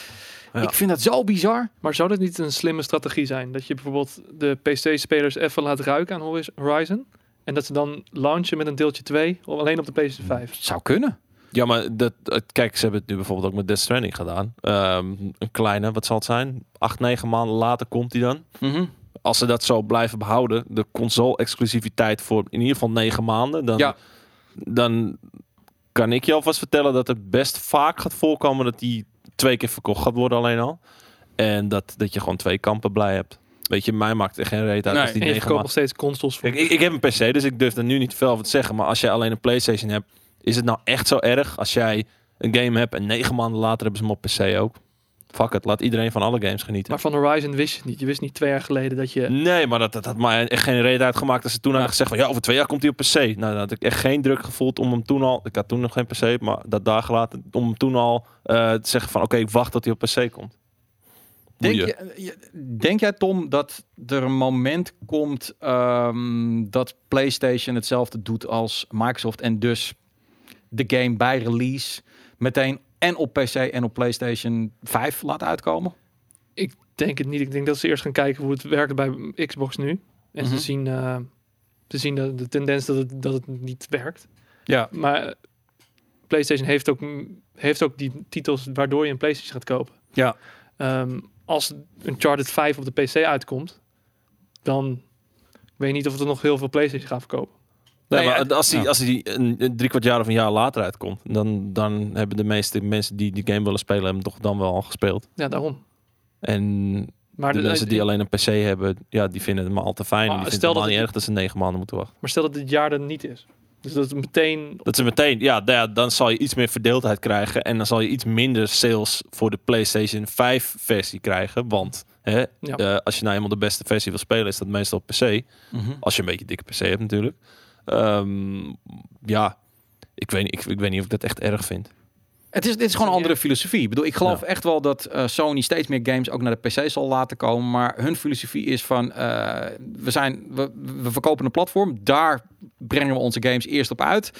[SPEAKER 2] Ja.
[SPEAKER 1] ik vind dat zo bizar.
[SPEAKER 3] Maar zou dat niet een slimme strategie zijn? Dat je bijvoorbeeld de PC-spelers even laat ruiken aan Horiz- Horizon. En dat ze dan launchen met een deeltje 2 of alleen op de PS5.
[SPEAKER 1] Zou kunnen.
[SPEAKER 2] Ja, maar dat, het- kijk, ze hebben het nu bijvoorbeeld ook met Death Stranding gedaan. Ehm, een kleine, wat zal het zijn? Acht, negen maanden later komt die dan.
[SPEAKER 1] Mhm.
[SPEAKER 2] Als ze dat zo blijven behouden, de console-exclusiviteit voor in ieder geval negen maanden, dan,
[SPEAKER 1] Ja.
[SPEAKER 2] dan kan ik je alvast vertellen dat het best vaak gaat voorkomen dat die twee keer verkocht gaat worden alleen al. En dat, dat je gewoon twee kampen blij hebt. Weet je, mij maakt er geen reet uit
[SPEAKER 1] Nee.
[SPEAKER 2] als die
[SPEAKER 3] en je
[SPEAKER 2] negen
[SPEAKER 3] verkoopt
[SPEAKER 2] maanden...
[SPEAKER 3] nog steeds consoles voor.
[SPEAKER 2] Kijk, ik, ik heb een PC, dus ik durf er nu niet veel over te zeggen. Maar als jij alleen een PlayStation hebt, is het nou echt zo erg als jij een game hebt en negen maanden later hebben ze hem op PC ook? Fuck het, laat iedereen van alle games genieten.
[SPEAKER 3] Maar van Horizon wist je het niet. Je wist niet twee jaar geleden dat je...
[SPEAKER 2] Nee, maar dat, dat had mij echt geen reden uitgemaakt. Als ze toen hadden gezegd van ja, over twee jaar komt hij op PC. Nou, dan had ik echt geen druk gevoeld om hem toen al. Ik had toen nog geen PC, maar dat dagen later. Om hem toen al eh, te zeggen van oké, ik wacht tot hij op PC komt.
[SPEAKER 1] Denk,
[SPEAKER 2] Boeien.
[SPEAKER 1] je, eh, je- denk jij, Tom, dat er een moment komt ehm, dat PlayStation hetzelfde doet als Microsoft en dus de game bij release meteen en op PC en op PlayStation 5 laat uitkomen?
[SPEAKER 3] Ik denk het niet. Ik denk dat ze eerst gaan kijken hoe het werkt bij Xbox nu. En
[SPEAKER 1] Mhm.
[SPEAKER 3] ze zien, eh, ze zien de, de tendens dat het, dat het niet werkt.
[SPEAKER 1] Ja.
[SPEAKER 3] Maar eh, PlayStation heeft ook, heeft ook die titels waardoor je een PlayStation gaat kopen.
[SPEAKER 1] Ja.
[SPEAKER 3] Ehm, als Uncharted 5 op de PC uitkomt, dan weet je niet of er nog heel veel PlayStation gaan verkopen.
[SPEAKER 2] Nee,
[SPEAKER 1] Nee,
[SPEAKER 2] maar
[SPEAKER 1] het-
[SPEAKER 2] als hij,
[SPEAKER 1] ja.
[SPEAKER 2] als hij een, een drie kwart jaar of een jaar later uitkomt, dan, dan hebben de meeste mensen die die game willen spelen hem toch dan wel al gespeeld.
[SPEAKER 3] Ja, daarom.
[SPEAKER 2] En
[SPEAKER 3] Maar,
[SPEAKER 2] de
[SPEAKER 3] de- eh,
[SPEAKER 2] mensen die alleen een PC hebben, ja, die vinden hem al te fijn.
[SPEAKER 3] Maar
[SPEAKER 2] en die
[SPEAKER 3] stel
[SPEAKER 2] vinden het
[SPEAKER 3] dat
[SPEAKER 2] al niet
[SPEAKER 3] ik-
[SPEAKER 2] erg dat ze negen maanden moeten wachten.
[SPEAKER 3] maar stel dat dit jaar er niet is. Dus dat het meteen...
[SPEAKER 2] Dat ze meteen, ja, nou ja, dan zal je iets meer verdeeldheid krijgen. En dan zal je iets minder sales voor de PlayStation 5 versie krijgen. Want hè,
[SPEAKER 3] Ja.
[SPEAKER 2] eh, als je nou eenmaal de beste versie wil spelen, is dat meestal op PC. Als je een beetje dikke PC hebt natuurlijk. Ehm, ja, ik weet, niet- ik, ik weet niet of ik dat echt erg vind.
[SPEAKER 1] Het is, dit is gewoon een andere filosofie. Ik bedoel, ik geloof
[SPEAKER 2] Ja.
[SPEAKER 1] echt wel dat eh, Sony steeds meer games ook naar de PC zal laten komen. Maar hun filosofie is van, eh, we, zijn, we, we verkopen een platform. Daar brengen we onze games eerst op uit.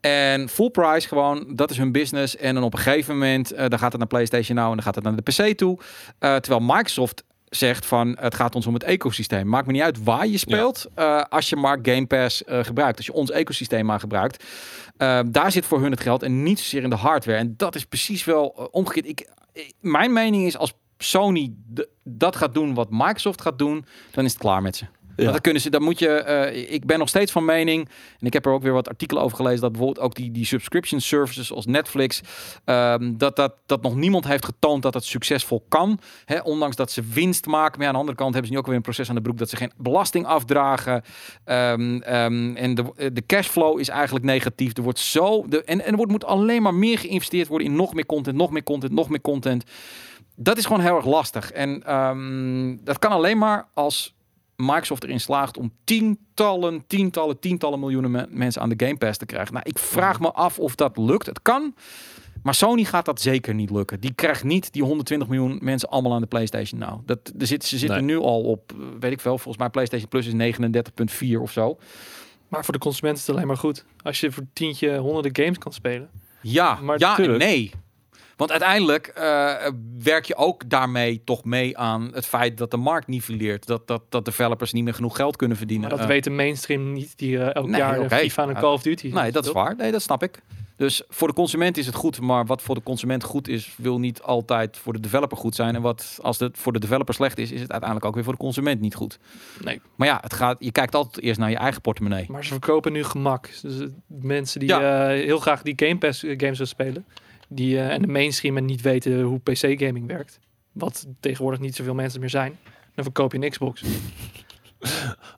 [SPEAKER 1] En full price gewoon, dat is hun business. En dan op een gegeven moment, eh, dan gaat het naar PlayStation nou en dan gaat het naar de PC toe. Eh, terwijl Microsoft zegt van, het gaat ons om het ecosysteem. Maakt me niet uit waar je speelt, eh, als je maar Game Pass eh, gebruikt. Als je ons ecosysteem maar gebruikt. Eh, daar zit voor hun het geld en niet zozeer in de hardware. En dat is precies wel eh, omgekeerd. Ik, ik- mijn mening is als Sony de- dat gaat doen wat Microsoft gaat doen, dan is het klaar met ze. Want Dan kunnen ze, dan moet je. eh, ik ben nog steeds van mening, en ik heb er ook weer wat artikelen over gelezen, dat bijvoorbeeld ook die, die subscription services als Netflix, ehm, dat, dat, dat nog niemand heeft getoond dat dat succesvol kan. Hè, ondanks dat ze winst maken. Maar ja, aan de andere kant hebben ze nu ook weer een proces aan de broek dat ze geen belasting afdragen. Ehm, ehm, en de, eh, de cashflow is eigenlijk negatief. Er wordt zo. De, en en er wordt, moet alleen maar meer geïnvesteerd worden in nog meer content, nog meer content, nog meer content. Dat is gewoon heel erg lastig. En ehm, dat kan alleen maar als Microsoft erin slaagt om tientallen, tientallen, tientallen miljoenen me- mensen aan de Game Pass te krijgen. Nou, ik vraag me af of dat lukt. Het kan. Maar Sony gaat dat zeker niet lukken. Die krijgt niet die 120 miljoen mensen allemaal aan de PlayStation nou. Dat, er zit, ze zitten nu al op, eh, weet ik veel, volgens mij PlayStation Plus is 39,4 of zo.
[SPEAKER 3] Maar voor de consument is het alleen maar goed. Als je voor tientje honderden games kan spelen.
[SPEAKER 1] Ja,
[SPEAKER 3] Maar
[SPEAKER 1] ja en
[SPEAKER 3] tuurlijk.
[SPEAKER 1] nee. Want uiteindelijk eh, werk je ook daarmee toch mee aan het feit dat de markt nivelleert. Dat, dat, dat developers niet meer genoeg geld kunnen verdienen.
[SPEAKER 3] Maar dat
[SPEAKER 1] Eh,
[SPEAKER 3] weet de mainstream niet die eh, elk
[SPEAKER 1] nee,
[SPEAKER 3] jaar
[SPEAKER 1] oké.
[SPEAKER 3] okay. FIFA en een
[SPEAKER 1] Ja,
[SPEAKER 3] Call of Duty
[SPEAKER 1] nee, dat is waar. Nee, dat snap ik. Dus voor de consument is het goed, maar wat voor de consument goed is, wil niet altijd voor de developer goed zijn. En wat als het voor de developer slecht is, is het uiteindelijk ook weer voor de consument niet goed.
[SPEAKER 3] Nee.
[SPEAKER 1] Maar ja, het gaat, je kijkt altijd eerst naar je eigen portemonnee.
[SPEAKER 3] Maar ze verkopen nu gemak. Dus eh, mensen die eh, heel graag die Game Pass eh, games willen spelen. Die, eh, en de mainstream en niet weten hoe PC gaming werkt. Wat tegenwoordig niet zoveel mensen meer zijn. Dan verkoop je een Xbox.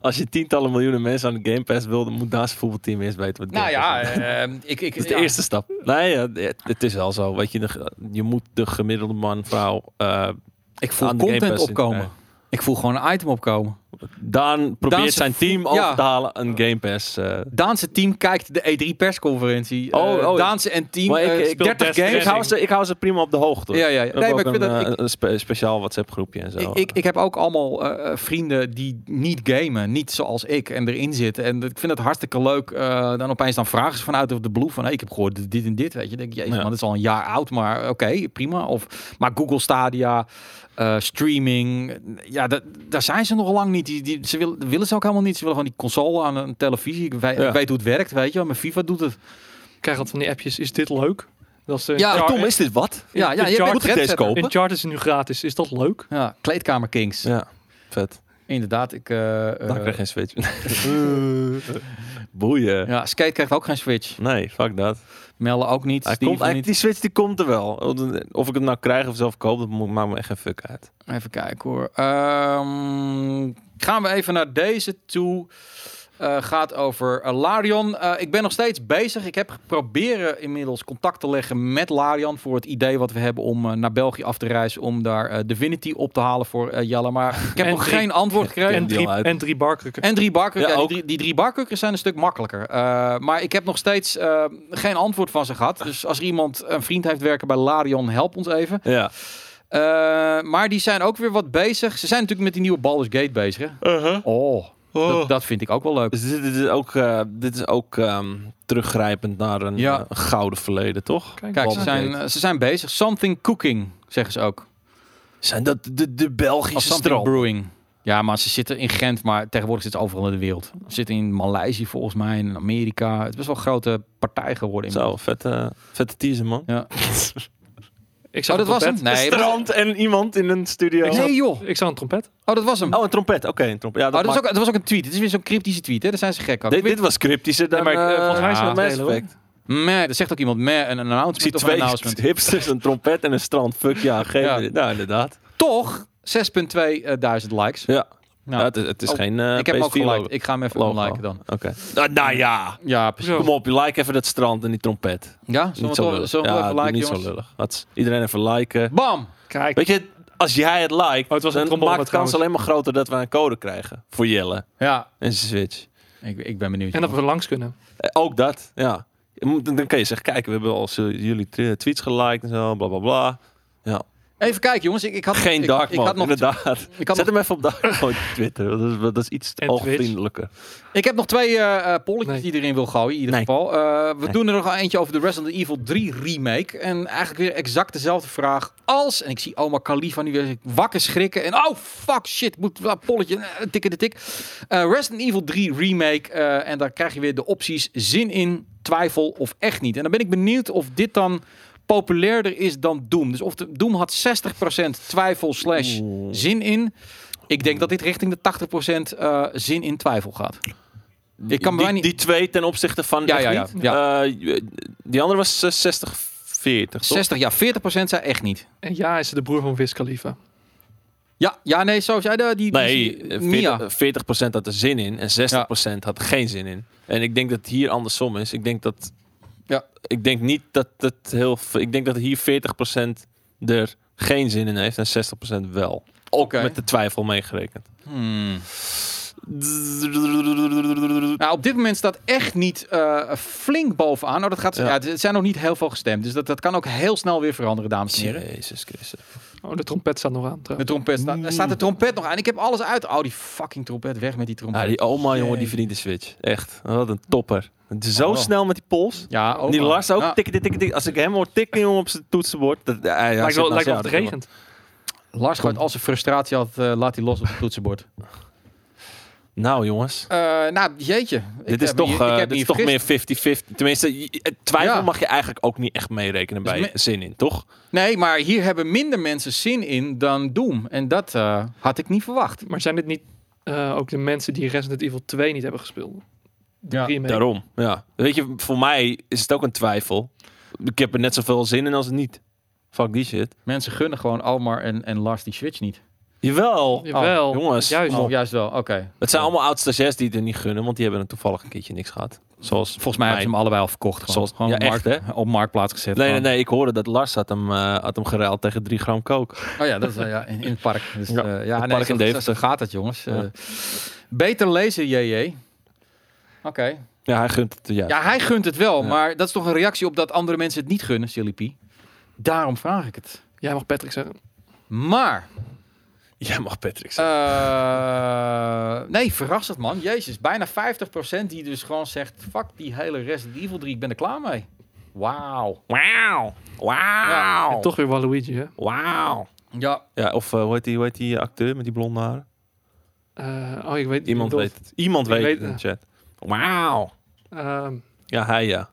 [SPEAKER 2] Als je tientallen miljoenen mensen aan de Game Pass wil, dan moet daar zijn voetbalteam eerst weten wat
[SPEAKER 1] Nou
[SPEAKER 2] Game Pass
[SPEAKER 1] ja,
[SPEAKER 2] is.
[SPEAKER 1] ehm, ik, ik,
[SPEAKER 2] Dat is de
[SPEAKER 1] ja.
[SPEAKER 2] eerste stap. Nee, ja, het- het is wel zo. Weet je, de ge- je moet de gemiddelde man, vrouw... eh,
[SPEAKER 1] ik voel
[SPEAKER 2] aan de Game
[SPEAKER 1] content
[SPEAKER 2] Pass in-
[SPEAKER 1] opkomen. Ik voel gewoon een item opkomen.
[SPEAKER 2] Daan probeert
[SPEAKER 1] Daan
[SPEAKER 2] zijn
[SPEAKER 1] zijn
[SPEAKER 2] team
[SPEAKER 1] vo-
[SPEAKER 2] over
[SPEAKER 1] ja.
[SPEAKER 2] te halen een Game Pass. eh.
[SPEAKER 1] Daanse team kijkt de E3 persconferentie.
[SPEAKER 2] Oh,
[SPEAKER 1] Eh,
[SPEAKER 2] oh.
[SPEAKER 1] Daanse en team
[SPEAKER 2] Maar ik-
[SPEAKER 1] eh,
[SPEAKER 2] ik speel
[SPEAKER 1] 30
[SPEAKER 3] Death
[SPEAKER 1] games.
[SPEAKER 2] ik, hou
[SPEAKER 3] Stranding.
[SPEAKER 2] ze, ik hou ze prima op de hoogte.
[SPEAKER 1] Ja, ja, ja.
[SPEAKER 2] We
[SPEAKER 1] Nee, maar
[SPEAKER 2] hebben
[SPEAKER 1] ik
[SPEAKER 2] ook
[SPEAKER 1] vind
[SPEAKER 2] een,
[SPEAKER 1] dat...
[SPEAKER 2] eh, een spe- speciaal WhatsApp groepje en zo.
[SPEAKER 1] Ik, ik, ik heb ook allemaal eh, eh, vrienden die niet gamen, niet zoals ik, en erin zitten. En dat- ik vind het hartstikke leuk. eh, dan opeens dan vragen ze vanuit of de blue van, hey, ik heb gehoord dit en dit, weet je. Dan Denk, ik, jezus
[SPEAKER 2] Ja.
[SPEAKER 1] man, dit is al een jaar oud, maar oké, prima. Of, maar Google Stadia, eh, streaming, ja, dat, daar zijn ze nog lang niet. Die, die, ze willen, willen ze ook helemaal niet. Ze willen gewoon die console aan een televisie. Ik, weet- ik
[SPEAKER 2] Ja.
[SPEAKER 1] weet hoe het werkt, weet je. wel. Mijn FIFA doet het.
[SPEAKER 3] Ik krijg altijd van die appjes, is dit leuk? Dat ze
[SPEAKER 1] Ja,
[SPEAKER 2] Maar
[SPEAKER 3] Uncharted-
[SPEAKER 2] Tom, is dit wat?
[SPEAKER 1] Ja, ja,
[SPEAKER 3] de
[SPEAKER 1] je bent
[SPEAKER 3] chart-
[SPEAKER 2] Moet ik deze
[SPEAKER 1] trendsetter.
[SPEAKER 2] kopen?
[SPEAKER 3] Uncharted is nu gratis, is dat leuk?
[SPEAKER 1] Ja, Kleedkamer Kings.
[SPEAKER 2] Ja, vet.
[SPEAKER 1] Inderdaad, ik... eh, eh,
[SPEAKER 2] Dan krijg je geen Switch. Boeien.
[SPEAKER 1] ja, Skate krijgt ook geen Switch.
[SPEAKER 2] Nee, fuck dat.
[SPEAKER 1] Melle ook niet.
[SPEAKER 2] Hij
[SPEAKER 1] Steven
[SPEAKER 2] komt, hij-
[SPEAKER 1] niet.
[SPEAKER 2] die Switch die komt er wel. Of ik hem nou krijg of zelf koop, dat mo- maakt me echt geen fuck uit.
[SPEAKER 1] Even kijken hoor. Ehm, gaan we even naar deze toe. Eh, gaat over eh, Larion. Eh, ik ben nog steeds bezig. Ik heb proberen inmiddels contact te leggen met Larion voor het idee wat we hebben om eh, naar België af te reizen om daar eh, Divinity op te halen voor eh, Jelle. Maar ik heb
[SPEAKER 3] En
[SPEAKER 1] nog
[SPEAKER 3] drie-
[SPEAKER 1] geen antwoord gekregen.
[SPEAKER 2] ken
[SPEAKER 3] En
[SPEAKER 2] die
[SPEAKER 3] drie,
[SPEAKER 2] al uit.
[SPEAKER 3] en drie barkrukken.
[SPEAKER 1] En drie barkrukken.
[SPEAKER 2] Ja,
[SPEAKER 1] Ja, die,
[SPEAKER 2] ook.
[SPEAKER 1] drie- die drie barkrukken zijn een stuk makkelijker. Eh, maar ik heb nog steeds eh, geen antwoord van ze gehad. Dus als er iemand een vriend heeft werken bij Larion, help ons even.
[SPEAKER 2] Ja.
[SPEAKER 1] Eh, maar die zijn ook weer wat bezig. Ze zijn natuurlijk met die nieuwe Baldur's Gate bezig. Hè?
[SPEAKER 2] Uh-huh.
[SPEAKER 1] Oh, Dat, dat vind ik ook wel leuk.
[SPEAKER 2] Dus dit, dit is ook, eh, dit is ook ehm, teruggrijpend naar een
[SPEAKER 1] Ja.
[SPEAKER 2] eh, een gouden verleden, toch?
[SPEAKER 3] Kijk,
[SPEAKER 1] Kijk, ze
[SPEAKER 2] Baldur's
[SPEAKER 1] zijn,
[SPEAKER 2] Gate.
[SPEAKER 1] eh, ze zijn bezig. Something cooking, zeggen ze ook.
[SPEAKER 2] Zijn dat de, de
[SPEAKER 1] Of
[SPEAKER 2] Belgische
[SPEAKER 1] something
[SPEAKER 2] stroom?
[SPEAKER 1] brewing. Ja, maar ze zitten in Gent, maar tegenwoordig zitten ze overal in de wereld. Ze zitten in Maleisië volgens mij, in Amerika. Het is best wel een grote partij geworden.
[SPEAKER 2] Zo, vette, vette teaser, man.
[SPEAKER 1] Ja. Oh,
[SPEAKER 3] Ik zag
[SPEAKER 1] dat
[SPEAKER 3] een
[SPEAKER 1] was hem?
[SPEAKER 3] trompet.
[SPEAKER 1] Nee, dat was-
[SPEAKER 2] Strand en iemand in een studio.
[SPEAKER 1] nee joh.
[SPEAKER 3] Ik zag een trompet.
[SPEAKER 1] Oh, dat was hem.
[SPEAKER 2] Oh, een trompet. Oké, een trompet. Ja,
[SPEAKER 1] Oh,
[SPEAKER 2] dat
[SPEAKER 1] dat, was
[SPEAKER 2] maakt-
[SPEAKER 1] ook, dat was ook een tweet. Het is weer zo'n cryptische tweet, hè? Daar zijn ze gek ook.
[SPEAKER 2] dit, dit was cryptischer dan
[SPEAKER 3] Nee, maar ik, eh, volgens mij is
[SPEAKER 2] eh,
[SPEAKER 3] het wel
[SPEAKER 2] Mass
[SPEAKER 3] delen, hoor.
[SPEAKER 2] Effect.
[SPEAKER 1] Meh, dat zegt ook iemand. Meh, een
[SPEAKER 2] Ik zie
[SPEAKER 1] announcement of een
[SPEAKER 2] twee
[SPEAKER 1] announcement.
[SPEAKER 2] hipsters, een trompet en een strand. Fuck ja, geef
[SPEAKER 1] Ja.
[SPEAKER 2] me dit. Nou, inderdaad.
[SPEAKER 1] Toch 6.2 eh, duizend likes.
[SPEAKER 2] Ja,
[SPEAKER 1] Nou,
[SPEAKER 2] Ja, het is, het is
[SPEAKER 1] Oh,
[SPEAKER 2] geen eh
[SPEAKER 1] ik heb hem ook
[SPEAKER 2] PS4 logo.
[SPEAKER 1] geliked. Ik ga hem even
[SPEAKER 2] Logo.
[SPEAKER 1] liken dan.
[SPEAKER 2] Oké. Nou, nou ja.
[SPEAKER 1] Ja, precies.
[SPEAKER 3] Zo.
[SPEAKER 2] Kom op, je like even dat strand en die trompet.
[SPEAKER 1] Ja,
[SPEAKER 2] Niet
[SPEAKER 1] zullen we,
[SPEAKER 2] zo
[SPEAKER 1] toch-
[SPEAKER 2] lullig.
[SPEAKER 1] zullen we
[SPEAKER 2] ja,
[SPEAKER 1] even
[SPEAKER 2] doe
[SPEAKER 1] liken,
[SPEAKER 2] niet
[SPEAKER 1] jongens?
[SPEAKER 2] zo lullig. Wat, iedereen even liken.
[SPEAKER 1] Bam!
[SPEAKER 3] Kijk,
[SPEAKER 2] Weet je, als jij het
[SPEAKER 1] Oh,
[SPEAKER 2] like,
[SPEAKER 3] was een
[SPEAKER 2] dan
[SPEAKER 3] trombone
[SPEAKER 2] maakt de kans
[SPEAKER 3] trouwens.
[SPEAKER 2] alleen maar groter dat we een code krijgen. Voor Jelle
[SPEAKER 1] Ja,
[SPEAKER 2] en zijn Switch.
[SPEAKER 1] ik, ik ben benieuwd.
[SPEAKER 3] en dat
[SPEAKER 1] jongens.
[SPEAKER 3] we langs kunnen.
[SPEAKER 2] Eh, Ook dat, ja. Je moet- Dan dan kan je zeggen, kijk, we hebben al zo jullie t- tweets geliked en zo, bla bla bla. Ja.
[SPEAKER 1] Even kijken, jongens. Ik, ik had,
[SPEAKER 2] Geen
[SPEAKER 1] ik,
[SPEAKER 2] dark
[SPEAKER 1] ik had
[SPEAKER 2] mode,
[SPEAKER 1] nog,
[SPEAKER 2] inderdaad.
[SPEAKER 1] ik, had
[SPEAKER 2] Zet
[SPEAKER 1] nog,
[SPEAKER 2] hem even op dark mode op Twitter, want dat is, dat is iets
[SPEAKER 3] En
[SPEAKER 2] oogvriendelijker.
[SPEAKER 1] ik heb nog twee eh, eh, polletjes
[SPEAKER 3] Nee.
[SPEAKER 1] die erin wil gooien, in ieder
[SPEAKER 2] Nee.
[SPEAKER 1] geval. Eh, we
[SPEAKER 2] Nee.
[SPEAKER 1] doen er nog eentje over de Resident Evil 3 remake. En eigenlijk weer exact dezelfde vraag als... En ik zie oma Khalifa nu weer wakker schrikken. En oh, fuck, shit, moet dat polletje eh, tikken de tik. Eh, Resident Evil 3 remake. eh, en daar krijg je weer de opties zin in, twijfel of echt niet. En dan ben ik benieuwd of dit dan populairder is dan Doom. Dus of de, Doom had 60% twijfel slash
[SPEAKER 2] Oeh.
[SPEAKER 1] zin in. Ik denk dat dit richting de 80% eh, zin in twijfel gaat. Ik kan
[SPEAKER 2] die,
[SPEAKER 1] bijna niet-
[SPEAKER 2] die twee ten opzichte van
[SPEAKER 1] Ja,
[SPEAKER 2] echt
[SPEAKER 1] ja, ja,
[SPEAKER 2] niet. Eh, die andere was eh, 60, 40, toch?
[SPEAKER 1] 60, ja, 40% zei echt niet.
[SPEAKER 3] En ja, is ze de broer van Wiz Khalifa.
[SPEAKER 1] Ja, ja nee, zo zei de- die, die,
[SPEAKER 2] Nee,
[SPEAKER 1] die-
[SPEAKER 2] eh,
[SPEAKER 1] Mia.
[SPEAKER 2] 40%, 40 had er zin in en 60% had er geen zin in. En ik denk dat het hier andersom is. Ik denk dat.
[SPEAKER 1] Ja.
[SPEAKER 2] Ik denk niet dat het heel. v- Ik denk dat hier 40% er geen zin in heeft en 60% wel. Ook
[SPEAKER 1] Oké.
[SPEAKER 2] met de twijfel meegerekend.
[SPEAKER 1] Hmm. Nou, op dit moment staat echt niet eh, flink bovenaan. Nou, dat gaat, ja.
[SPEAKER 2] Ja.
[SPEAKER 1] het- het zijn nog niet heel veel gestemd. Dus dat, dat kan ook heel snel weer veranderen, dames en heren.
[SPEAKER 2] Jezus Christus.
[SPEAKER 3] Oh, de trompet staat nog aan
[SPEAKER 1] De
[SPEAKER 3] trouwens.
[SPEAKER 1] trompet staat, er staat de trompet nog aan. Ik heb alles uit. Oh, die fucking trompet. Weg met die trompet.
[SPEAKER 2] Ja,
[SPEAKER 1] Ja,
[SPEAKER 2] Ah, die oma, jongen,
[SPEAKER 1] Jee.
[SPEAKER 2] die verdient de switch. Echt. Wat een topper. Zo
[SPEAKER 1] Oh.
[SPEAKER 2] snel met die pols.
[SPEAKER 1] oma.
[SPEAKER 2] Die Lars ook.
[SPEAKER 1] Ja.
[SPEAKER 2] Tikken, tikken, tikken. Als ik hem hoor tikken jongen, op zijn toetsenbord. Dat, ja, hij
[SPEAKER 3] lijkt
[SPEAKER 2] zit nou
[SPEAKER 3] wel, lijkt
[SPEAKER 2] naast
[SPEAKER 3] wel
[SPEAKER 2] jou,
[SPEAKER 3] of het
[SPEAKER 2] dat jongen.
[SPEAKER 3] regent.
[SPEAKER 1] Lars gooit al zijn frustratie had, eh, laat hij los op het toetsenbord.
[SPEAKER 2] Nou, jongens.
[SPEAKER 1] Eh, nou, jeetje.
[SPEAKER 2] Dit is toch, eh, dit is toch meer 50-50. Tenminste, je- eh, twijfel
[SPEAKER 1] Ja.
[SPEAKER 2] mag je eigenlijk ook niet echt meerekenen
[SPEAKER 1] Dus
[SPEAKER 2] bij
[SPEAKER 1] me-
[SPEAKER 2] zin in, toch?
[SPEAKER 1] Nee, maar hier hebben minder mensen zin in dan Doom. En dat eh, had ik niet verwacht.
[SPEAKER 3] Maar zijn dit niet eh, ook de mensen die Resident Evil 2 niet hebben gespeeld?
[SPEAKER 1] Ja.
[SPEAKER 3] Remake.
[SPEAKER 2] Daarom. Ja. Weet je, voor mij is het ook een twijfel. Ik heb er net zoveel zin in als het niet. Fuck die shit.
[SPEAKER 1] Mensen gunnen gewoon Almar en, en Lars die Switch niet.
[SPEAKER 2] Jawel.
[SPEAKER 3] Jawel.
[SPEAKER 2] jongens.
[SPEAKER 3] Juist.
[SPEAKER 1] Oh, juist wel. Oké.
[SPEAKER 2] Het zijn allemaal oud-stagiairs die het er niet gunnen, want die hebben het toevallig een keertje niks gehad. Zoals
[SPEAKER 1] Volgens mij hebben ze hem allebei al verkocht. Gewoon,
[SPEAKER 2] Zoals-
[SPEAKER 1] gewoon
[SPEAKER 2] ja,
[SPEAKER 1] op,
[SPEAKER 2] echt,
[SPEAKER 1] markt, op marktplaats gezet.
[SPEAKER 2] Nee, nee,
[SPEAKER 1] gewoon.
[SPEAKER 2] nee, ik hoorde dat Lars had hem, eh, had hem geruild tegen 3 gram coke.
[SPEAKER 1] Oh ja, dat is eh, ja, in, in het park. Dus,
[SPEAKER 2] Ja,
[SPEAKER 1] ja, ja nee,
[SPEAKER 2] park in
[SPEAKER 1] zo- zo-
[SPEAKER 2] Deventer.
[SPEAKER 1] zo gaat het, jongens.
[SPEAKER 2] Ja.
[SPEAKER 1] Eh, beter lezen, JJ. Oké.
[SPEAKER 2] Ja, hij gunt het. Ja.
[SPEAKER 1] Ja, hij gunt het wel,
[SPEAKER 2] Ja.
[SPEAKER 1] maar dat is toch een reactie op dat andere mensen het niet gunnen, Silly P. Daarom vraag ik het.
[SPEAKER 3] Jij mag Patrick zeggen.
[SPEAKER 1] Maar,
[SPEAKER 2] Jij mag Patrick zijn.
[SPEAKER 1] eh, nee, verrassend man. Jezus, bijna 50% die dus gewoon zegt, fuck die hele Resident Evil 3, ik ben er klaar mee. Wauw.
[SPEAKER 2] Wauw.
[SPEAKER 1] Ja,
[SPEAKER 2] Wauw.
[SPEAKER 3] Toch weer Waluigi, hè?
[SPEAKER 2] Wauw.
[SPEAKER 1] Ja,
[SPEAKER 2] Ja, of eh, hoe, heet die, hoe heet die acteur met die blonde haren?
[SPEAKER 3] Eh, oh, ik weet
[SPEAKER 2] Iemand
[SPEAKER 3] ik bedoel,
[SPEAKER 2] weet het. Iemand
[SPEAKER 3] Ik
[SPEAKER 2] weet,
[SPEAKER 3] weet
[SPEAKER 2] het in de
[SPEAKER 3] het.
[SPEAKER 2] chat. Wauw.
[SPEAKER 3] ehm,
[SPEAKER 2] Ja, hij ja.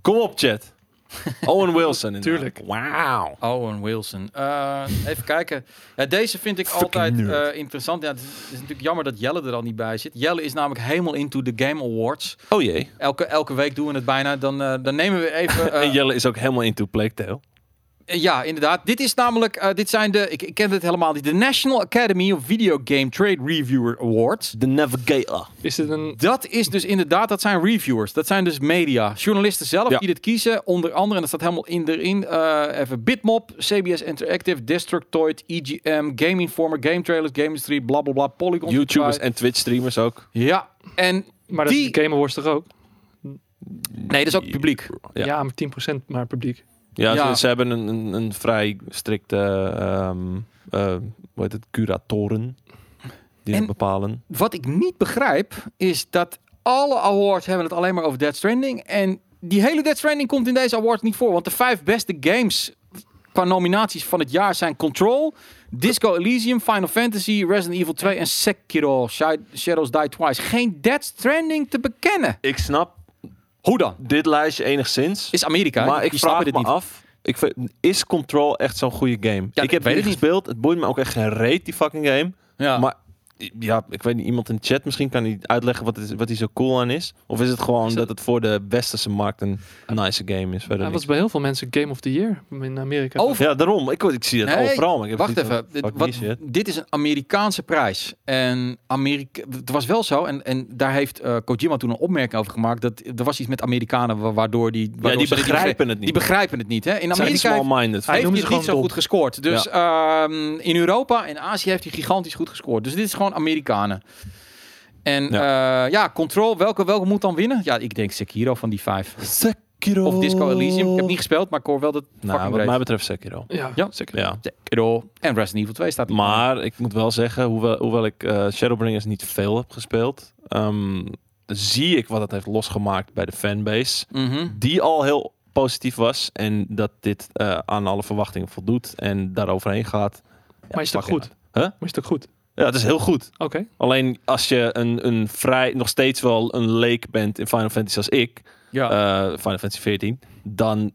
[SPEAKER 2] Kom op, chat. Owen Wilson. inderdaad.
[SPEAKER 3] Tuurlijk.
[SPEAKER 2] Wauw.
[SPEAKER 1] Owen Wilson. Eh, even kijken. Ja, deze vind ik
[SPEAKER 2] Fucking
[SPEAKER 1] altijd
[SPEAKER 2] nerd.
[SPEAKER 1] eh, interessant. Ja, het, is, het is natuurlijk jammer dat Jelle er al niet bij zit. Jelle is namelijk helemaal into the Game Awards.
[SPEAKER 2] Oh jee.
[SPEAKER 1] Elke, elke week doen we het bijna. Dan, eh, dan nemen we even... eh,
[SPEAKER 2] en Jelle is ook helemaal into Plague Tale.
[SPEAKER 1] eh, ja, inderdaad. Dit is namelijk... eh, dit zijn de... Ik, ik ken het helemaal niet. De National Academy of Video Game Trade Reviewer Awards.
[SPEAKER 2] The Navigator.
[SPEAKER 3] is dit een...
[SPEAKER 1] Dat is dus inderdaad, dat zijn reviewers. Dat zijn dus media. Journalisten zelf
[SPEAKER 2] Ja.
[SPEAKER 1] die dit kiezen. Onder andere, en dat staat helemaal in erin, eh, even Bitmob, CBS Interactive, Destructoid, EGM, Game Informer, Game Trailers, Game Industry, bla bla bla, Polygon.
[SPEAKER 2] YouTubers
[SPEAKER 1] Supply.
[SPEAKER 2] en Twitch streamers ook.
[SPEAKER 1] Ja, en
[SPEAKER 3] Maar dat is
[SPEAKER 1] Die-
[SPEAKER 3] de Game Awards toch ook?
[SPEAKER 1] nee, dat is ook publiek.
[SPEAKER 2] Ja.
[SPEAKER 3] Ja, maar 10% maar publiek.
[SPEAKER 2] Ja,
[SPEAKER 1] Ja.
[SPEAKER 2] Ze, ze hebben een, een, een vrij strikte ehm eh, hoe heet het, curatoren die
[SPEAKER 1] En-
[SPEAKER 2] dat bepalen.
[SPEAKER 1] Wat ik niet begrijp, is dat alle awards hebben het alleen maar over Dead Stranding. En die hele Dead Stranding komt in deze awards niet voor. Want de vijf beste games qua nominaties van het jaar zijn Control, Disco Elysium, Final Fantasy, Resident Evil 2 en Sekiro, Sha- Shadows Die Twice. Geen Dead Stranding te bekennen.
[SPEAKER 2] Ik snap
[SPEAKER 1] Hoe dan?
[SPEAKER 2] dit lijstje enigszins,
[SPEAKER 1] Is Amerika.
[SPEAKER 2] maar
[SPEAKER 1] Die
[SPEAKER 2] ik
[SPEAKER 1] snappen
[SPEAKER 2] vraag me
[SPEAKER 1] dit niet.
[SPEAKER 2] af, ik vind- is Control echt zo'n goede game?
[SPEAKER 1] Ja,
[SPEAKER 2] ik heb
[SPEAKER 1] ik weet het
[SPEAKER 2] niet
[SPEAKER 1] niet. Ah.
[SPEAKER 2] gespeeld, het boeit me ook echt geen reet, die fucking game.
[SPEAKER 1] Ja.
[SPEAKER 2] Maar ja, ik weet niet, iemand in de chat misschien kan die uitleggen wat, het is, wat die zo cool aan is. Of is het gewoon
[SPEAKER 3] Is
[SPEAKER 2] dat
[SPEAKER 3] dat-
[SPEAKER 2] het voor de westerse markt een nice game is?
[SPEAKER 3] Dat
[SPEAKER 2] Verder
[SPEAKER 3] was
[SPEAKER 2] niks.
[SPEAKER 3] bij heel veel mensen Game of the Year in Amerika.
[SPEAKER 1] Over-
[SPEAKER 2] ja, daarom. Ik, ik zie het
[SPEAKER 1] Nee,
[SPEAKER 2] overal. Maar ik heb
[SPEAKER 1] Wacht
[SPEAKER 2] zoiets van,
[SPEAKER 1] even, dit,
[SPEAKER 2] fuck die
[SPEAKER 1] wat,
[SPEAKER 2] shit.
[SPEAKER 1] dit is een Amerikaanse prijs. En Amerika, het was wel zo, en, en daar heeft eh, Kojima toen een opmerking over gemaakt. Dat er was iets met Amerikanen wa- waardoor die. waardoor
[SPEAKER 2] Ja, die
[SPEAKER 1] ze dit
[SPEAKER 2] begrijpen het
[SPEAKER 1] Die,
[SPEAKER 2] niet.
[SPEAKER 1] begrijpen het niet. Hè? In
[SPEAKER 2] Zijn die
[SPEAKER 1] Amerika heeft-
[SPEAKER 2] small-minded.
[SPEAKER 1] hij heeft
[SPEAKER 3] noemen
[SPEAKER 1] dit
[SPEAKER 3] ze
[SPEAKER 1] niet zo
[SPEAKER 3] gewoon
[SPEAKER 1] goed gescoord. Dus ehm, in Europa en Azië heeft hij gigantisch goed gescoord. Dus dit is gewoon Amerikanen. En ja, ja Control, welke, welke moet dan winnen? Ja, ik denk Sekiro van die vijf.
[SPEAKER 2] Sekiro.
[SPEAKER 1] Of Disco Elysium. Ik heb niet gespeeld, maar ik hoor wel dat. het
[SPEAKER 2] Nou,
[SPEAKER 1] fucking
[SPEAKER 2] wat
[SPEAKER 1] breed.
[SPEAKER 2] mij betreft Sekiro.
[SPEAKER 3] Ja,
[SPEAKER 1] Ja.
[SPEAKER 3] zeker.
[SPEAKER 2] Ja.
[SPEAKER 1] Sekiro en Resident Evil 2 staat hier.
[SPEAKER 2] Maar ik moet wel zeggen, hoewel, hoewel ik eh, Shadowbringers niet veel heb gespeeld, ehm, zie ik wat het heeft losgemaakt bij de fanbase.
[SPEAKER 1] Mhm.
[SPEAKER 2] Die al heel positief was en dat dit eh, aan alle verwachtingen voldoet en daaroverheen gaat. Ja,
[SPEAKER 3] Maar is het ook
[SPEAKER 2] fuck
[SPEAKER 3] goed?
[SPEAKER 2] it. Huh?
[SPEAKER 3] Maar is het ook goed?
[SPEAKER 2] Ja, het is heel goed.
[SPEAKER 3] Oké.
[SPEAKER 2] Alleen als je een, een vrij, nog steeds wel een leek bent in Final Fantasy als ik,
[SPEAKER 1] Ja.
[SPEAKER 2] eh, Final Fantasy 14, dan,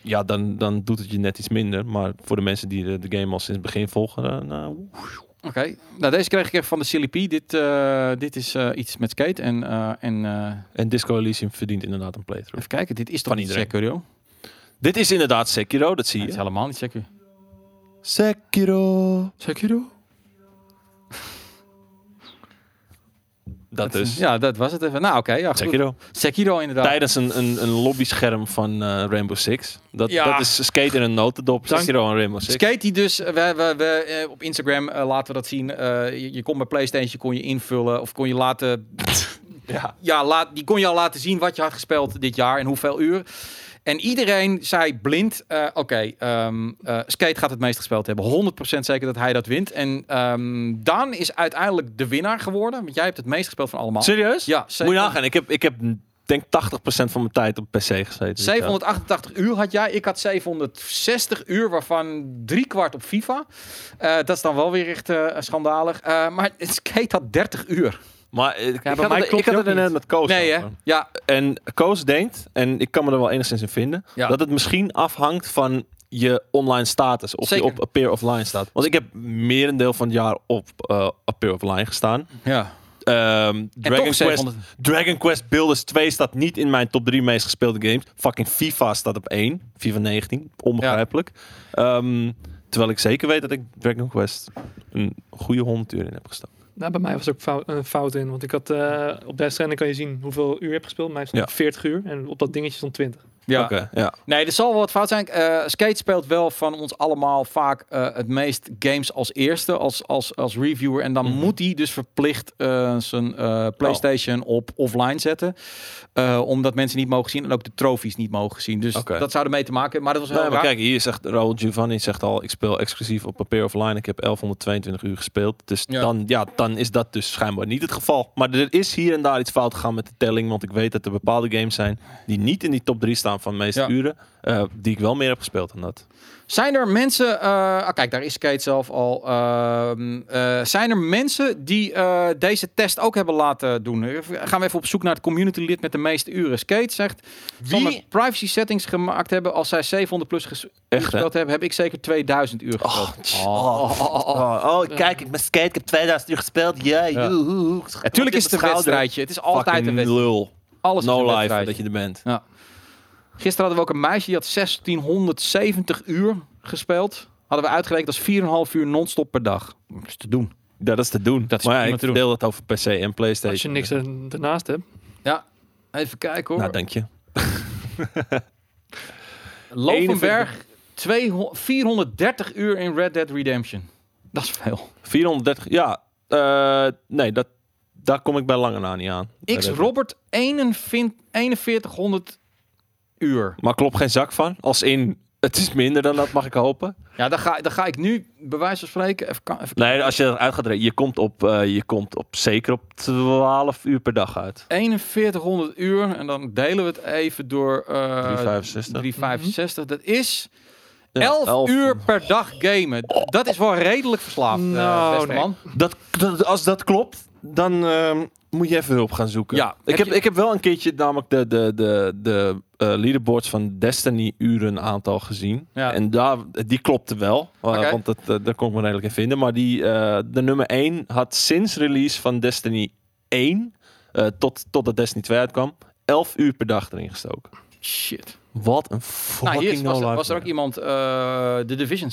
[SPEAKER 2] ja, dan, dan doet het je net iets minder. Maar voor de mensen die de, de game al sinds het begin volgen, dan, nou,
[SPEAKER 1] Oké, nou deze kreeg ik even van de Silly P. Dit, eh, dit is eh, iets met skate en, eh, en eh,
[SPEAKER 2] en Disco Elysium verdient inderdaad een playthrough.
[SPEAKER 1] even kijken, dit is toch
[SPEAKER 2] Van
[SPEAKER 1] niet
[SPEAKER 2] iedereen.
[SPEAKER 1] Sekiro? Nee,
[SPEAKER 2] Dit is inderdaad Sekiro, dat zie
[SPEAKER 1] Het is
[SPEAKER 2] je.
[SPEAKER 1] helemaal niet Sekiro.
[SPEAKER 2] Sekiro.
[SPEAKER 3] Sekiro?
[SPEAKER 2] Dat is
[SPEAKER 1] Ja, dat was het even. Nou oké, ja goed. Sekiro.
[SPEAKER 2] Sekiro.
[SPEAKER 1] inderdaad.
[SPEAKER 2] Tijdens een, een, een lobbyscherm van eh, Rainbow Six. Dat,
[SPEAKER 1] Ja.
[SPEAKER 2] dat is skate in een notendop.
[SPEAKER 1] Dank-
[SPEAKER 2] Sekiro en Rainbow Six.
[SPEAKER 1] Skate die dus, we, we, we, eh, op Instagram eh, laten we dat zien. Eh, je, je kon bij Playstation, kon je invullen of kon je laten...
[SPEAKER 2] Ja.
[SPEAKER 1] Ja, laat, die kon je al laten zien wat je had gespeeld dit jaar en hoeveel uur. En iedereen zei blind, eh, oké, ehm, eh, Skate gaat het meest gespeeld hebben. 100% zeker dat hij dat wint. En ehm Daan is uiteindelijk de winnaar geworden. Want jij hebt het meest gespeeld van allemaal.
[SPEAKER 2] Serieus?
[SPEAKER 1] Ja,
[SPEAKER 2] Moet je
[SPEAKER 1] zeven-
[SPEAKER 2] nagaan, ik heb, ik heb denk 80% van mijn tijd op PC gezeten.
[SPEAKER 1] 788 uur had jij. Ik had 760 uur, waarvan drie kwart op FIFA. Eh, dat is dan wel weer echt eh, schandalig. Eh, maar Skate had 30 uur.
[SPEAKER 2] Maar eh, ik,
[SPEAKER 3] bij
[SPEAKER 2] had
[SPEAKER 3] mij
[SPEAKER 2] het- ik,
[SPEAKER 3] klopt
[SPEAKER 2] had
[SPEAKER 3] het
[SPEAKER 2] het er
[SPEAKER 3] ook
[SPEAKER 2] net met Koos
[SPEAKER 1] Nee, hè?
[SPEAKER 2] over.
[SPEAKER 1] Ja,
[SPEAKER 2] En Koos denkt, en ik kan me er wel enigszins in vinden,
[SPEAKER 1] Ja.
[SPEAKER 2] dat het misschien afhangt van je online status. Of je
[SPEAKER 1] Zeker.
[SPEAKER 2] op Appear Offline staat. Want ik heb merendeel van het jaar op eh Appear Offline gestaan.
[SPEAKER 1] ja.
[SPEAKER 2] Ehm,
[SPEAKER 1] En
[SPEAKER 2] Dragon,
[SPEAKER 1] toch
[SPEAKER 2] Quest,
[SPEAKER 1] 700.
[SPEAKER 2] Dragon Quest Builders 2 staat niet in mijn top 3 meest gespeelde games. Fucking FIFA staat op 1. FIFA 19. Onbegrijpelijk. Ehm, Terwijl ik zeker weet dat ik Dragon Quest een goede 100 uur in heb gestoken.
[SPEAKER 3] Nou, bij mij was er ook fout, een fout in. Want ik had eh, op de stranding kan je zien hoeveel uur je hebt gespeeld. Bij mij stond
[SPEAKER 2] Ja.
[SPEAKER 3] 40 uur en op dat dingetje stond 20.
[SPEAKER 1] Ja.
[SPEAKER 2] Oké, ja.
[SPEAKER 1] Nee, er zal wel wat fout zijn. Eh, Skate speelt wel van ons allemaal vaak eh, het meest games als eerste, als, als, als reviewer. En dan
[SPEAKER 2] Mhm.
[SPEAKER 1] moet hij dus verplicht eh, zijn eh, PlayStation op offline zetten. Eh, omdat mensen niet mogen zien en ook de trofies niet mogen zien. Dus
[SPEAKER 2] Oké.
[SPEAKER 1] dat zou ermee te maken hebben. Maar dat was heel
[SPEAKER 2] Nee, Nou, maar
[SPEAKER 1] raar.
[SPEAKER 2] kijk, hier zegt Raul Giovanni zegt al, ik speel exclusief op papier offline. Ik heb 1122 uur gespeeld. Dus
[SPEAKER 1] Ja.
[SPEAKER 2] Dan, ja, dan is dat dus schijnbaar niet het geval. Maar er is hier en daar iets fout gegaan met de telling. Want ik weet dat er bepaalde games zijn die niet in die top 3 staan van de meeste
[SPEAKER 1] Ja.
[SPEAKER 2] uren. eh, die ik wel meer heb gespeeld dan dat.
[SPEAKER 1] Zijn er mensen, eh, ah, kijk, daar is Skate zelf al. ehm, eh, zijn er mensen die eh, deze test ook hebben laten doen? Even- Gaan we even op zoek naar het community lid met de meeste uren. Skate zegt, wie privacy settings gemaakt hebben als zij 700 plus ges- uur
[SPEAKER 2] Echt, hè?
[SPEAKER 1] gespeeld hebben, heb ik zeker 2000 uur gespeeld.
[SPEAKER 2] tch.
[SPEAKER 1] Oh, oh, oh, oh.
[SPEAKER 3] kijk,
[SPEAKER 2] ik ben skate. Ik heb 2000 uur gespeeld.
[SPEAKER 1] Ja. Natuurlijk is het een wedstrijdje. Het is altijd een wedstrijd.
[SPEAKER 2] lul.
[SPEAKER 1] Alles is een
[SPEAKER 2] No life
[SPEAKER 1] wedstrijdje.
[SPEAKER 2] dat je er bent.
[SPEAKER 1] Gisteren hadden we ook een meisje die had 1670 uur gespeeld. Hadden we uitgerekend als 4,5 uur non-stop per dag. Dat is te doen.
[SPEAKER 2] Ja, dat is te doen.
[SPEAKER 1] Dat is
[SPEAKER 2] maar
[SPEAKER 1] prima
[SPEAKER 2] ja, ik
[SPEAKER 1] te doen.
[SPEAKER 2] deel dat over PC en PlayStation.
[SPEAKER 3] Als je niks er- ernaast hebt. eh,
[SPEAKER 1] Even kijken hoor.
[SPEAKER 2] Nou, dank je.
[SPEAKER 1] Lovenberg, 200 430 uur in Red Dead Redemption. Dat is veel.
[SPEAKER 2] 430, ja. eh, nee, dat, daar kom ik bij lange na niet aan.
[SPEAKER 1] X Robert, 41 4100 uur.
[SPEAKER 2] Maar klopt geen zak van. Als in, het is minder dan dat, mag ik hopen.
[SPEAKER 1] Ja, dan ga, dan ga ik nu, bij wijze van spreken, even... ka- even
[SPEAKER 2] Nee, als je eruit gaat rekenen, je komt op, eh, je komt op zeker op 12 uur per dag uit.
[SPEAKER 1] 4100 uur en dan delen we het even door eh,
[SPEAKER 2] 365.
[SPEAKER 1] 365. Dat is
[SPEAKER 2] Ja,
[SPEAKER 1] 11
[SPEAKER 2] elf.
[SPEAKER 1] uur per dag gamen. Dat is wel redelijk verslaafd, eh,
[SPEAKER 3] Nou,
[SPEAKER 1] beste
[SPEAKER 3] nee.
[SPEAKER 1] man.
[SPEAKER 2] Dat, dat- als dat klopt, dan ehm, moet je even hulp gaan zoeken.
[SPEAKER 1] Ja,
[SPEAKER 2] ik,
[SPEAKER 1] heb
[SPEAKER 2] heb,
[SPEAKER 1] je-
[SPEAKER 2] ik heb wel een keertje namelijk de, de, de, de eh, leaderboards van Destiny uren aantal gezien.
[SPEAKER 1] Ja.
[SPEAKER 2] En daar, die klopte wel, eh,
[SPEAKER 1] Oké.
[SPEAKER 2] want dat, eh, daar kon ik me redelijk in vinden. Maar die, eh, de nummer 1 had sinds release van Destiny 1, eh tot, totdat Destiny 2 uitkwam, 11 uur per dag erin gestoken.
[SPEAKER 1] Shit.
[SPEAKER 2] Wat een fucking
[SPEAKER 1] Nou, hier is-
[SPEAKER 2] no
[SPEAKER 1] was,
[SPEAKER 2] life
[SPEAKER 1] was er ook
[SPEAKER 2] man.
[SPEAKER 1] iemand, eh, de Division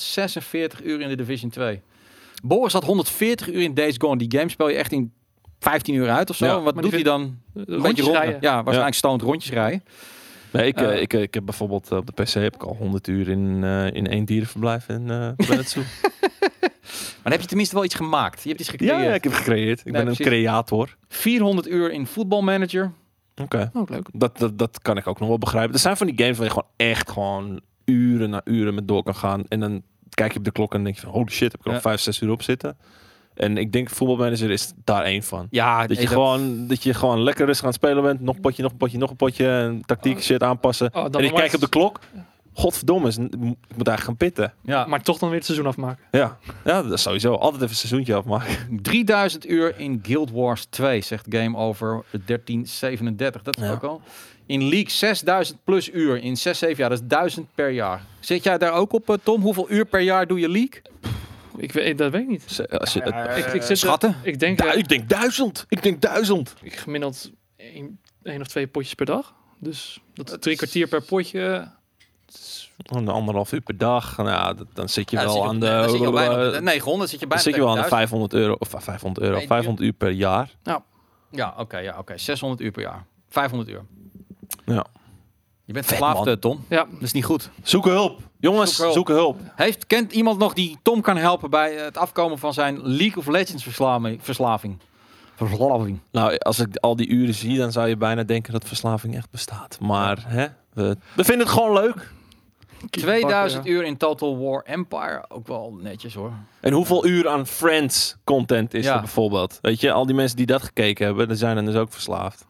[SPEAKER 1] 646 uur in de Division 2. Boris had 140 uur in Days Gone. Die game speel je echt in 15 uur uit of zo.
[SPEAKER 2] Ja.
[SPEAKER 1] En wat
[SPEAKER 3] Maar
[SPEAKER 1] doet
[SPEAKER 3] die
[SPEAKER 1] hij
[SPEAKER 3] vind-
[SPEAKER 1] dan?
[SPEAKER 3] Een
[SPEAKER 1] Beetje
[SPEAKER 3] beetje
[SPEAKER 1] ronden.
[SPEAKER 3] rijden.
[SPEAKER 1] Ja, waarschijnlijk stoned rondjes rijden.
[SPEAKER 2] Nee, ik, eh,
[SPEAKER 1] Eh.
[SPEAKER 2] ik, ik heb bijvoorbeeld eh, op de PC heb ik al 100 uur in, eh, in één dierenverblijf in eh Planet Zoo.
[SPEAKER 1] Maar dan heb je tenminste wel iets gemaakt. Je hebt iets
[SPEAKER 2] Ja,
[SPEAKER 1] gecreëerd.
[SPEAKER 2] ja, ik heb gecreëerd. Ik
[SPEAKER 1] Nee,
[SPEAKER 2] ben
[SPEAKER 1] precies.
[SPEAKER 2] een creator.
[SPEAKER 1] 400 uur in Football Manager.
[SPEAKER 2] Oké.
[SPEAKER 3] Ook leuk.
[SPEAKER 2] Dat, dat, dat kan ik ook nog wel begrijpen. Er zijn van die games waar je gewoon echt gewoon uren na uren met door kan gaan. En dan kijk je op de klok en denk je van holy shit, heb ik er
[SPEAKER 1] Ja.
[SPEAKER 2] nog vijf, zes uur op zitten. En ik denk voetbalmanager is daar één van.
[SPEAKER 1] Ja,
[SPEAKER 2] Dat je,
[SPEAKER 1] nee,
[SPEAKER 2] gewoon, dat je gewoon lekker rustig aan het spelen bent. Nog een potje, nog een potje, nog een potje. En tactiek
[SPEAKER 3] Oh.
[SPEAKER 2] shit aanpassen.
[SPEAKER 3] Oh, dan
[SPEAKER 2] en je
[SPEAKER 3] wordt-
[SPEAKER 2] kijkt op de klok. Godverdomme, is- ik moet eigenlijk gaan pitten.
[SPEAKER 1] Ja.
[SPEAKER 3] Maar toch dan weer het seizoen afmaken.
[SPEAKER 2] Ja, ja dat is sowieso. Altijd even een seizoentje afmaken.
[SPEAKER 1] 3000 uur in Guild Wars 2, zegt Game Over 1337. Dat is
[SPEAKER 2] Ja.
[SPEAKER 1] ook al. In League 6000 plus uur in 6, 7 jaar. Dat is 1000 per jaar. Zit jij daar ook op, eh, Tom? Hoeveel uur per jaar doe je League?
[SPEAKER 3] Ik weet, dat weet ik niet.
[SPEAKER 2] Dus, eh, Als je, eh,
[SPEAKER 3] ik, ik zit,
[SPEAKER 1] Schatten?
[SPEAKER 3] Ik denk
[SPEAKER 2] du-
[SPEAKER 3] eh,
[SPEAKER 2] ik denk duizend. Ik denk duizend.
[SPEAKER 3] ik gemiddeld één, één of twee potjes per dag. Dus dat is drie kwartier per potje. Het is-
[SPEAKER 2] Een Oh, anderhalf uur per dag. Nou, ja, dat- dan zit je
[SPEAKER 1] Ja, dan
[SPEAKER 2] wel
[SPEAKER 1] zit je-
[SPEAKER 2] aan de.
[SPEAKER 1] dan zit je al bijna op de
[SPEAKER 2] eh,
[SPEAKER 1] 900 zit je
[SPEAKER 2] dan
[SPEAKER 1] bijna
[SPEAKER 2] zit je wel aan de
[SPEAKER 1] tegen
[SPEAKER 2] 500 euro. Of 500 euro.
[SPEAKER 1] Nee,
[SPEAKER 2] 500 uur per jaar.
[SPEAKER 1] 1000. Ja, oké. ja, oké. 600 uur per jaar. 500 uur.
[SPEAKER 2] Ja.
[SPEAKER 1] Je bent
[SPEAKER 2] Vet,
[SPEAKER 1] verslaafd,
[SPEAKER 2] man.
[SPEAKER 1] eh, Tom.
[SPEAKER 3] ja,
[SPEAKER 1] Dat is niet goed.
[SPEAKER 2] Zoek hulp. Jongens,
[SPEAKER 1] Zoek hulp.
[SPEAKER 2] zoek hulp.
[SPEAKER 1] Heeft, kent iemand nog die Tom kan helpen bij eh, het afkomen van zijn League of Legends verslaving? Verslaving. verslaving.
[SPEAKER 2] Nou, als ik al die uren zie, dan zou je bijna denken dat verslaving echt bestaat. Maar hè, we, we vinden het gewoon leuk.
[SPEAKER 1] 2000 uur in Total War Empire. Ook wel netjes hoor.
[SPEAKER 2] En hoeveel uur aan Friends content is
[SPEAKER 1] Ja.
[SPEAKER 2] er bijvoorbeeld? Weet je, al die mensen die dat gekeken hebben, dan zijn dan dus ook verslaafd.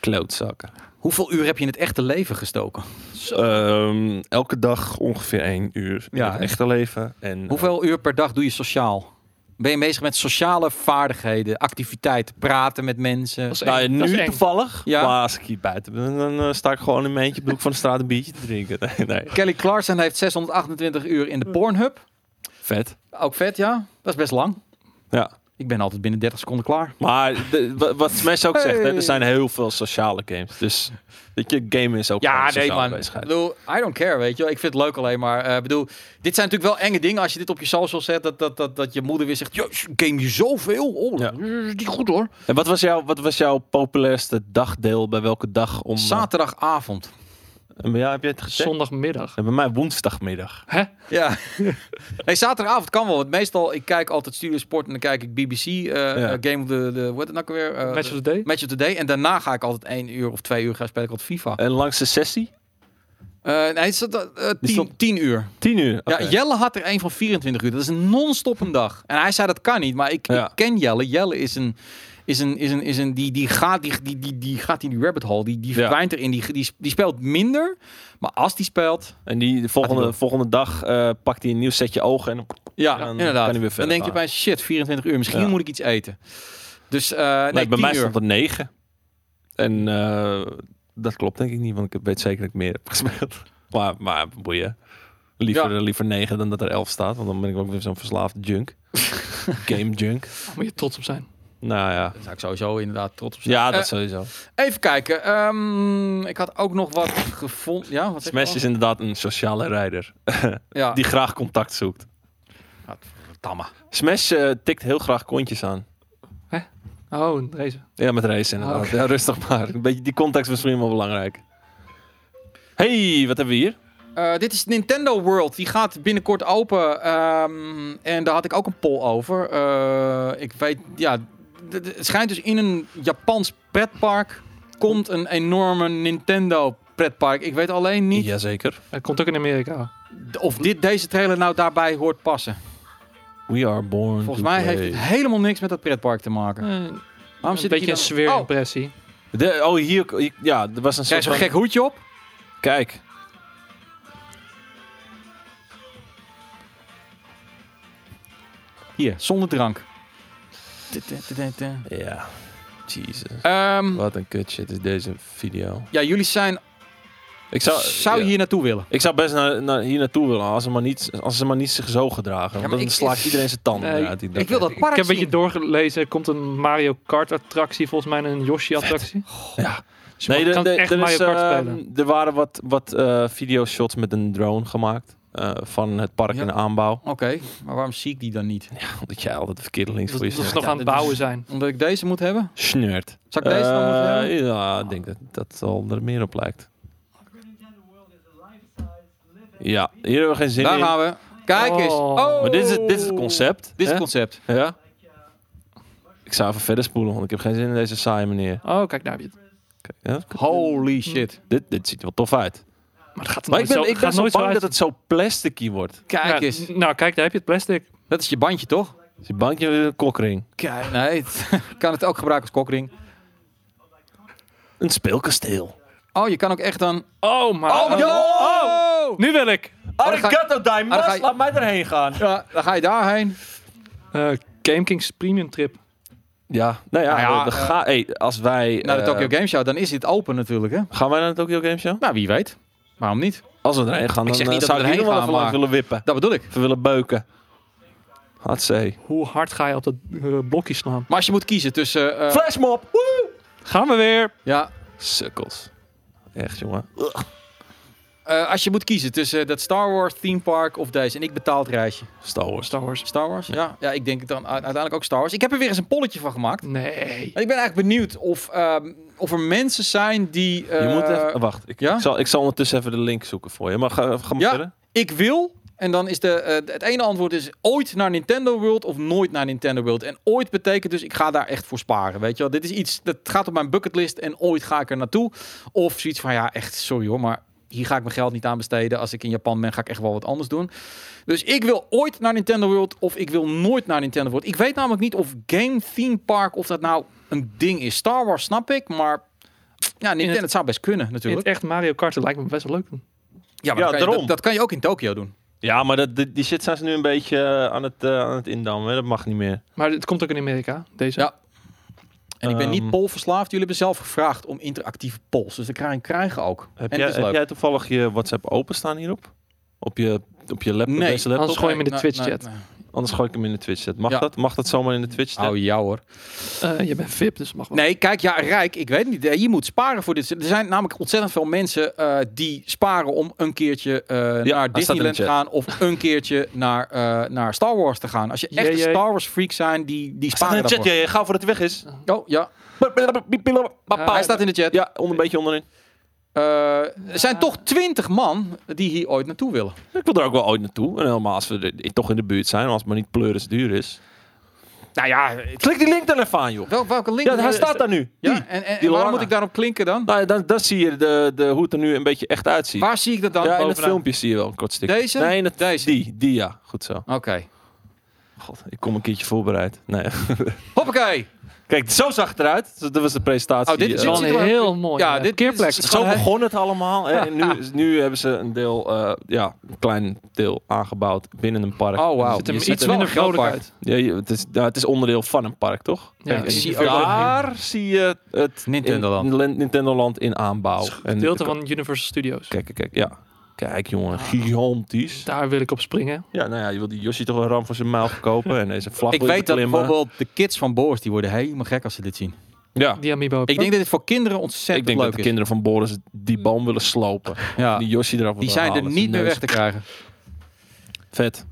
[SPEAKER 2] Klootzakken.
[SPEAKER 1] Hoeveel uur heb je in het echte leven gestoken?
[SPEAKER 2] Nou. Ehm, elke dag ongeveer één uur. In
[SPEAKER 1] Ja,
[SPEAKER 2] het
[SPEAKER 1] hè?
[SPEAKER 2] echte leven. En, eh,
[SPEAKER 1] Hoeveel uur per dag doe je sociaal? Ben je bezig met sociale vaardigheden, activiteiten, praten met mensen?
[SPEAKER 3] Dat is
[SPEAKER 2] Nou,
[SPEAKER 3] eng. Dat is
[SPEAKER 2] nu
[SPEAKER 3] eng.
[SPEAKER 2] toevallig.
[SPEAKER 1] Ja.
[SPEAKER 2] Maar als ik hier buiten ben, dan eh, sta ik gewoon in mijn eentje op de hoek van de straat een biertje te drinken. Nee, nee.
[SPEAKER 1] Kelly Clarkson heeft 628 uur in de Pornhub.
[SPEAKER 2] Vet.
[SPEAKER 1] Ook vet, ja. Dat is best lang.
[SPEAKER 2] Ja.
[SPEAKER 1] Ik ben altijd binnen 30 seconden klaar.
[SPEAKER 2] Maar de- wa- wat Smash ook zegt, hè,
[SPEAKER 1] Hey.
[SPEAKER 2] er zijn heel veel sociale games. Dus weet je, gamen is ook gewoon
[SPEAKER 1] Ja,
[SPEAKER 2] een
[SPEAKER 1] nee,
[SPEAKER 2] sociale
[SPEAKER 1] man. Ik
[SPEAKER 2] bezigheid.
[SPEAKER 1] bedoel, I don't care, weet je wel. Ik vind het leuk alleen maar. eh, Ik bedoel, dit zijn natuurlijk wel enge dingen. Als je dit op je social zet, dat, dat, dat, dat je moeder weer zegt... "Jezus, game je zoveel? Oh,
[SPEAKER 2] Ja.
[SPEAKER 1] dat is niet goed hoor.
[SPEAKER 2] En wat was, jouw, wat was jouw populairste dagdeel? Bij welke dag? Om, eh,
[SPEAKER 1] Zaterdagavond.
[SPEAKER 2] ja, heb je het gezegd?
[SPEAKER 3] Zondagmiddag.
[SPEAKER 2] Ja, bij mij woensdagmiddag.
[SPEAKER 3] Hè?
[SPEAKER 1] Ja. nee, zaterdagavond kan wel. Want meestal, ik kijk altijd Studio Sport en dan kijk ik BBC. eh, eh, Game of the... the hoe heet het nou ook weer? Eh,
[SPEAKER 3] Match of the day?
[SPEAKER 1] Match of the Day. En daarna ga ik altijd één uur of twee uur gaan spelen. Ik altijd FIFA.
[SPEAKER 2] En langs de sessie?
[SPEAKER 1] Eh, nee, het is, dat, eh, tien,
[SPEAKER 2] stond-
[SPEAKER 1] tien uur.
[SPEAKER 2] Tien uur. Oké.
[SPEAKER 1] Ja, Jelle had er een van 24 uur. Dat is een non-stop een dag. En hij zei dat kan niet, maar ik,
[SPEAKER 2] Ja.
[SPEAKER 1] ik ken Jelle. Jelle is een... Is een, is een, is een die, die, gaat, die, die, die, die gaat in die rabbit hole. Die, die
[SPEAKER 2] Ja.
[SPEAKER 1] verdwijnt erin. Die, die, die speelt minder. Maar als die speelt...
[SPEAKER 2] En die de volgende,
[SPEAKER 1] Gaat hij
[SPEAKER 2] volgende dag eh, pakt hij een nieuw setje ogen. En,
[SPEAKER 1] Ja,
[SPEAKER 2] Dan kan
[SPEAKER 1] inderdaad.
[SPEAKER 2] hij weer verder
[SPEAKER 1] dan denk je
[SPEAKER 2] gaan.
[SPEAKER 1] bij shit, 24 uur. Misschien
[SPEAKER 2] Ja.
[SPEAKER 1] moet ik iets eten. Dus eh, nee,
[SPEAKER 2] nee, bij
[SPEAKER 1] 10
[SPEAKER 2] mij
[SPEAKER 1] uur.
[SPEAKER 2] stond het negen. En eh, dat klopt denk ik niet, want ik weet zeker dat ik meer heb gespeeld. Maar, maar boeien. Liever, liever negen dan dat er elf staat, want dan ben ik ook weer zo'n verslaafde junk. Game junk.
[SPEAKER 3] Daar moet je trots op zijn.
[SPEAKER 2] Nou ja.
[SPEAKER 1] Daar zou ik sowieso inderdaad trots op zijn.
[SPEAKER 2] Ja, dat
[SPEAKER 1] Eh,
[SPEAKER 2] sowieso.
[SPEAKER 1] Even kijken. ehm, ik had ook nog wat gevonden. Ja, wat zeg je
[SPEAKER 2] Smash is inderdaad een sociale rijder
[SPEAKER 1] al? Ja,
[SPEAKER 2] die graag contact zoekt.
[SPEAKER 1] tamme.
[SPEAKER 2] Smash eh, tikt heel graag kontjes aan.
[SPEAKER 3] Oh, deze.
[SPEAKER 2] Ja, met race inderdaad.
[SPEAKER 3] Ah, oké.
[SPEAKER 2] Ja, rustig maar. Een beetje die context is misschien wel belangrijk. Hey, wat hebben we hier?
[SPEAKER 1] Eh, dit is Nintendo World. Die gaat binnenkort open. Ehm, en daar had ik ook een poll over. Eh, ik weet, ja. d- d- Het schijnt dus in een Japans pretpark. komt een enorme Nintendo pretpark. Ik weet alleen niet
[SPEAKER 2] Jazeker.
[SPEAKER 3] Hij komt ook in Amerika.
[SPEAKER 1] d- of dit, deze trailer nou daarbij hoort passen.
[SPEAKER 2] We are born
[SPEAKER 1] Volgens
[SPEAKER 2] to
[SPEAKER 1] mij
[SPEAKER 2] play.
[SPEAKER 1] heeft het helemaal niks met dat pretpark te maken.
[SPEAKER 3] Eh,
[SPEAKER 1] Waarom
[SPEAKER 3] een
[SPEAKER 1] zit ik
[SPEAKER 3] beetje
[SPEAKER 1] hier
[SPEAKER 3] een
[SPEAKER 1] dan- Oh,
[SPEAKER 3] sfeerimpressie.
[SPEAKER 2] De, oh, hier, hier- Ja, er was een
[SPEAKER 1] krijg je
[SPEAKER 2] soort
[SPEAKER 1] zo'n gek
[SPEAKER 2] van-
[SPEAKER 1] hoedje op?
[SPEAKER 2] Kijk.
[SPEAKER 1] Hier, zonder drank.
[SPEAKER 2] Ja. Jesus.
[SPEAKER 1] Ehm,
[SPEAKER 2] Wat een kut shit is deze video.
[SPEAKER 1] ja, jullie zijn,
[SPEAKER 2] Ik zou,
[SPEAKER 1] zou
[SPEAKER 2] ja.
[SPEAKER 1] hier naartoe willen.
[SPEAKER 2] ik zou best naar, naar hier naartoe willen als ze maar niet, als ze maar niet zich zo gedragen.
[SPEAKER 1] maar
[SPEAKER 2] want dan
[SPEAKER 1] ik-
[SPEAKER 2] slaat iedereen zijn tanden
[SPEAKER 3] Nee,
[SPEAKER 2] uit. die
[SPEAKER 1] Ik wil dat
[SPEAKER 3] Ik
[SPEAKER 1] park
[SPEAKER 3] heb een beetje
[SPEAKER 1] zien.
[SPEAKER 3] doorgelezen. Er komt een Mario Kart attractie, volgens mij en een Yoshi attractie.
[SPEAKER 2] Ja.
[SPEAKER 3] Dus je
[SPEAKER 2] Nee,
[SPEAKER 3] mag-
[SPEAKER 2] de-
[SPEAKER 3] kan
[SPEAKER 2] de-
[SPEAKER 3] echt
[SPEAKER 2] er,
[SPEAKER 3] Mario
[SPEAKER 2] is,
[SPEAKER 3] Kart
[SPEAKER 2] eh,
[SPEAKER 3] spelen.
[SPEAKER 2] er waren wat, wat eh videoshots met een drone gemaakt. eh, van het park
[SPEAKER 1] Ja.
[SPEAKER 2] in de aanbouw.
[SPEAKER 1] Oké, maar waarom zie ik die dan niet?
[SPEAKER 2] Omdat jij altijd de verkeerde links
[SPEAKER 3] Dat
[SPEAKER 2] voor je
[SPEAKER 3] dat ze
[SPEAKER 2] snert.
[SPEAKER 3] nog
[SPEAKER 1] Ja,
[SPEAKER 3] aan het
[SPEAKER 1] dit is-
[SPEAKER 3] bouwen zijn.
[SPEAKER 1] Omdat ik deze moet hebben?
[SPEAKER 2] Snert.
[SPEAKER 1] Zal ik deze dan moeten
[SPEAKER 2] Eh,
[SPEAKER 1] hebben?
[SPEAKER 2] Ja, ik denk dat dat al er meer op lijkt. Ja, hier hebben we geen zin
[SPEAKER 1] Daar
[SPEAKER 2] in.
[SPEAKER 1] gaan we. Kijk eens.
[SPEAKER 3] Oh.
[SPEAKER 1] Oh.
[SPEAKER 2] Maar dit is, het, dit is het concept.
[SPEAKER 1] Dit is
[SPEAKER 2] hè?
[SPEAKER 1] het concept.
[SPEAKER 2] Ja. Ik zou even verder spoelen, want ik heb geen zin in deze saaie meneer.
[SPEAKER 3] Oh, kijk, daar heb je het.
[SPEAKER 2] Kijk, ja, k-
[SPEAKER 1] Holy shit.
[SPEAKER 2] dit, dit ziet er wel tof uit.
[SPEAKER 3] Maar het gaat
[SPEAKER 2] Maar
[SPEAKER 3] nooit
[SPEAKER 2] ik ben,
[SPEAKER 3] zo,
[SPEAKER 2] ik ben
[SPEAKER 3] gaat
[SPEAKER 2] zo
[SPEAKER 3] nooit
[SPEAKER 2] bang
[SPEAKER 3] uit.
[SPEAKER 2] dat het zo plasticky wordt.
[SPEAKER 1] Kijk
[SPEAKER 3] Ja,
[SPEAKER 1] eens.
[SPEAKER 3] n- Nou, kijk, daar heb je het plastic.
[SPEAKER 1] Dat is je bandje, toch?
[SPEAKER 2] Dus die bankje met een kokring.
[SPEAKER 1] Kijk. Nee, het- kan het ook gebruiken als kokring.
[SPEAKER 2] Een speelkasteel.
[SPEAKER 1] Oh, je kan ook echt dan...
[SPEAKER 3] Oh, maar...
[SPEAKER 1] Oh, oh.
[SPEAKER 3] Nu wil ik.
[SPEAKER 1] Arigato,
[SPEAKER 2] Diamond,
[SPEAKER 1] Mas, laat
[SPEAKER 2] mij erheen gaan.
[SPEAKER 1] Ja, dan ga je daarheen.
[SPEAKER 3] Eh, Game Kings Premium Trip.
[SPEAKER 2] Ja, nou ja,
[SPEAKER 1] Nou ja,
[SPEAKER 2] de- de
[SPEAKER 1] eh,
[SPEAKER 2] ga, hey, als wij...
[SPEAKER 1] Naar de
[SPEAKER 2] eh,
[SPEAKER 1] Tokyo Game Show, dan is dit open natuurlijk, hè?
[SPEAKER 2] Gaan wij naar de Tokyo Game Show?
[SPEAKER 1] Nou, wie weet. Waarom niet?
[SPEAKER 2] Als we erheen gaan,
[SPEAKER 1] Ik
[SPEAKER 2] dan
[SPEAKER 1] zeg
[SPEAKER 2] eh,
[SPEAKER 1] niet dat
[SPEAKER 2] zou
[SPEAKER 1] we
[SPEAKER 2] ik hier
[SPEAKER 1] erheen
[SPEAKER 2] nog wel
[SPEAKER 1] gaan,
[SPEAKER 2] even langs
[SPEAKER 1] maar-
[SPEAKER 2] willen wippen.
[SPEAKER 1] Dat bedoel ik.
[SPEAKER 2] Even willen beuken. Hatsé.
[SPEAKER 3] Hoe hard ga je op dat eh, blokje slaan?
[SPEAKER 1] Maar als je moet kiezen tussen... eh,
[SPEAKER 2] Flashmob! Woe!
[SPEAKER 3] Gaan we weer.
[SPEAKER 1] ja,
[SPEAKER 2] Sukkels. Echt, jongen.
[SPEAKER 1] eh, als je moet kiezen tussen dat Star Wars theme park of deze. En ik betaal het reisje.
[SPEAKER 2] Star Wars.
[SPEAKER 3] Star Wars.
[SPEAKER 1] Star Wars? Ja, ja ik denk dan u- uiteindelijk ook Star Wars. Ik heb er weer eens een polletje van gemaakt.
[SPEAKER 3] Nee.
[SPEAKER 1] En ik ben eigenlijk benieuwd of, ehm, of er mensen zijn die...
[SPEAKER 2] Je
[SPEAKER 1] eh,
[SPEAKER 2] moet even... Wacht, ik,
[SPEAKER 1] ja?
[SPEAKER 2] ik, zal, ik zal ondertussen even de link zoeken voor je. Maar ga, ga maar
[SPEAKER 1] Ja.
[SPEAKER 2] verder.
[SPEAKER 1] Ik wil... En dan is de, eh, het ene antwoord is ooit naar Nintendo World of nooit naar Nintendo World. En ooit betekent dus ik ga daar echt voor sparen, weet je wel. Dit is iets, dat gaat op mijn bucketlist en ooit ga ik er naartoe. Of zoiets van, ja echt, sorry hoor, maar hier ga ik mijn geld niet aan besteden. Als ik in Japan ben, ga ik echt wel wat anders doen. Dus ik wil ooit naar Nintendo World of ik wil nooit naar Nintendo World. Ik weet namelijk niet of Game Theme Park, of dat nou een ding is. Star Wars snap ik, maar ja, Nintendo,
[SPEAKER 3] het-
[SPEAKER 1] het, zou best kunnen
[SPEAKER 3] In het
[SPEAKER 1] natuurlijk.
[SPEAKER 3] echt Mario Kart dat lijkt me best wel leuk.
[SPEAKER 1] ja,
[SPEAKER 2] Ja,
[SPEAKER 1] dat kan je-
[SPEAKER 2] daarom.
[SPEAKER 1] dat, dat kan je ook in Tokio doen.
[SPEAKER 2] Ja, maar dat, die, die shit zijn ze nu een beetje eh, aan het, eh, aan het indammen. hè. Dat mag niet meer.
[SPEAKER 3] Maar het komt ook in Amerika, deze.
[SPEAKER 1] Ja. En ik ben niet
[SPEAKER 2] Ehm.
[SPEAKER 1] polverslaafd. Jullie hebben zelf gevraagd om interactieve polls. Dus ik krijg ik krijgen ook.
[SPEAKER 2] Heb,
[SPEAKER 1] en
[SPEAKER 2] jij,
[SPEAKER 1] dat is
[SPEAKER 2] heb
[SPEAKER 1] leuk.
[SPEAKER 2] jij toevallig je WhatsApp openstaan hierop? Op je, op je laptop?
[SPEAKER 1] Nee.
[SPEAKER 2] Deze laptop?
[SPEAKER 3] Anders gooi je me in de
[SPEAKER 1] Nee,
[SPEAKER 3] Twitch
[SPEAKER 1] nee,
[SPEAKER 3] chat.
[SPEAKER 1] nee.
[SPEAKER 2] Anders gooi ik hem in de Twitch chat. Mag
[SPEAKER 1] Ja.
[SPEAKER 2] dat? Mag dat zomaar in de Twitch chat?
[SPEAKER 1] Oh ja hoor.
[SPEAKER 3] Eh, je bent VIP, dus mag wel.
[SPEAKER 1] Nee, kijk, ja, rijk, ik weet niet. Eh, Je moet sparen voor dit. Er zijn namelijk ontzettend veel mensen eh, die sparen om een keertje eh, naar
[SPEAKER 2] in de
[SPEAKER 1] Disneyland te
[SPEAKER 2] chat.
[SPEAKER 1] gaan of een keertje naar, eh, naar Star Wars te gaan. Als je echt een
[SPEAKER 3] JJ.
[SPEAKER 1] Star Wars freak zijn, die, die
[SPEAKER 2] Staat in
[SPEAKER 1] sparen
[SPEAKER 2] de chat,
[SPEAKER 1] daarvoor.
[SPEAKER 2] ja, ja, gauw voordat hij weg is.
[SPEAKER 1] Oh ja, hij staat in de chat.
[SPEAKER 2] Ja, onder, een beetje onderin.
[SPEAKER 1] Eh, er zijn toch twintig man die hier ooit naartoe willen.
[SPEAKER 2] Ik wil er ook wel ooit naartoe. En helemaal als we er- toch in de buurt zijn, als het maar niet pleuris duur is.
[SPEAKER 1] Nou ja, het-
[SPEAKER 2] Klik die link dan even aan, joh.
[SPEAKER 1] wel, welke link?
[SPEAKER 2] Ja, hij staat daar nu.
[SPEAKER 1] Ja,
[SPEAKER 2] Die.
[SPEAKER 1] en, en- en
[SPEAKER 2] die
[SPEAKER 1] waarom
[SPEAKER 2] lange.
[SPEAKER 1] moet ik daarop klinken dan?
[SPEAKER 2] Nou, ja, dan, dan zie je de, de, hoe het er nu een beetje echt uitziet.
[SPEAKER 1] Waar zie ik dat dan?
[SPEAKER 2] ja, in het
[SPEAKER 1] Bovenaan.
[SPEAKER 2] filmpje zie je wel een kort stukje.
[SPEAKER 1] Deze?
[SPEAKER 2] Nee, in het,
[SPEAKER 1] Deze.
[SPEAKER 2] Die, die ja. Goed zo.
[SPEAKER 1] Oké.
[SPEAKER 2] God, ik kom een keertje voorbereid. Nee.
[SPEAKER 1] Hoppakee.
[SPEAKER 2] Kijk, zo zag het eruit. Zo- Dat was de presentatie.
[SPEAKER 1] Oh, dit
[SPEAKER 3] Het
[SPEAKER 1] is
[SPEAKER 3] is
[SPEAKER 2] Eh,
[SPEAKER 3] wel een heel mooi
[SPEAKER 1] Ja,
[SPEAKER 3] eh,
[SPEAKER 1] dit
[SPEAKER 3] parkeerplek.
[SPEAKER 1] is-
[SPEAKER 2] Zo
[SPEAKER 1] Gewoon, hè?
[SPEAKER 2] begon het allemaal. hè. En nu, is- nu hebben ze een deel, eh, ja, een klein deel aangebouwd binnen een park. Dus
[SPEAKER 1] Oh wauw.
[SPEAKER 3] ziet er
[SPEAKER 1] Je
[SPEAKER 3] iets
[SPEAKER 1] wel
[SPEAKER 3] minder
[SPEAKER 1] een groot park.
[SPEAKER 3] vrolijk uit.
[SPEAKER 2] Ja, je- het, is, nou, het is onderdeel van een park, toch?
[SPEAKER 3] Ja,
[SPEAKER 2] Kijk,
[SPEAKER 3] ik
[SPEAKER 2] en
[SPEAKER 1] zie overal-
[SPEAKER 2] daar zie je het
[SPEAKER 1] Nintendo Land.
[SPEAKER 2] in, Land- Nintendo Land in aanbouw. En-
[SPEAKER 3] Gedeelte van Ah. Universal Studios.
[SPEAKER 2] Kijk, kijk, kijk, ja. Kijk, jongen, gigantisch.
[SPEAKER 3] Daar wil ik op springen.
[SPEAKER 2] Ja, nou ja, je wil die Yoshi toch een ram voor zijn maal verkopen en deze vlag
[SPEAKER 1] Ik
[SPEAKER 2] wil je
[SPEAKER 1] weet dat
[SPEAKER 2] beklimmen.
[SPEAKER 1] bijvoorbeeld de kids van Boris, die worden helemaal gek als ze dit zien.
[SPEAKER 2] Ja,
[SPEAKER 3] Die Amiibo.
[SPEAKER 1] Ik denk dat dit voor kinderen ontzettend
[SPEAKER 2] ik denk dat
[SPEAKER 1] leuk
[SPEAKER 2] de kinderen van Boris die boom willen slopen.
[SPEAKER 1] is. Ja.
[SPEAKER 2] Die
[SPEAKER 1] Die,
[SPEAKER 2] Yoshi eraf willen
[SPEAKER 1] zijn er
[SPEAKER 2] halen,
[SPEAKER 1] niet
[SPEAKER 2] zijn
[SPEAKER 1] meer
[SPEAKER 2] neus.
[SPEAKER 1] weg te krijgen.
[SPEAKER 2] Vet.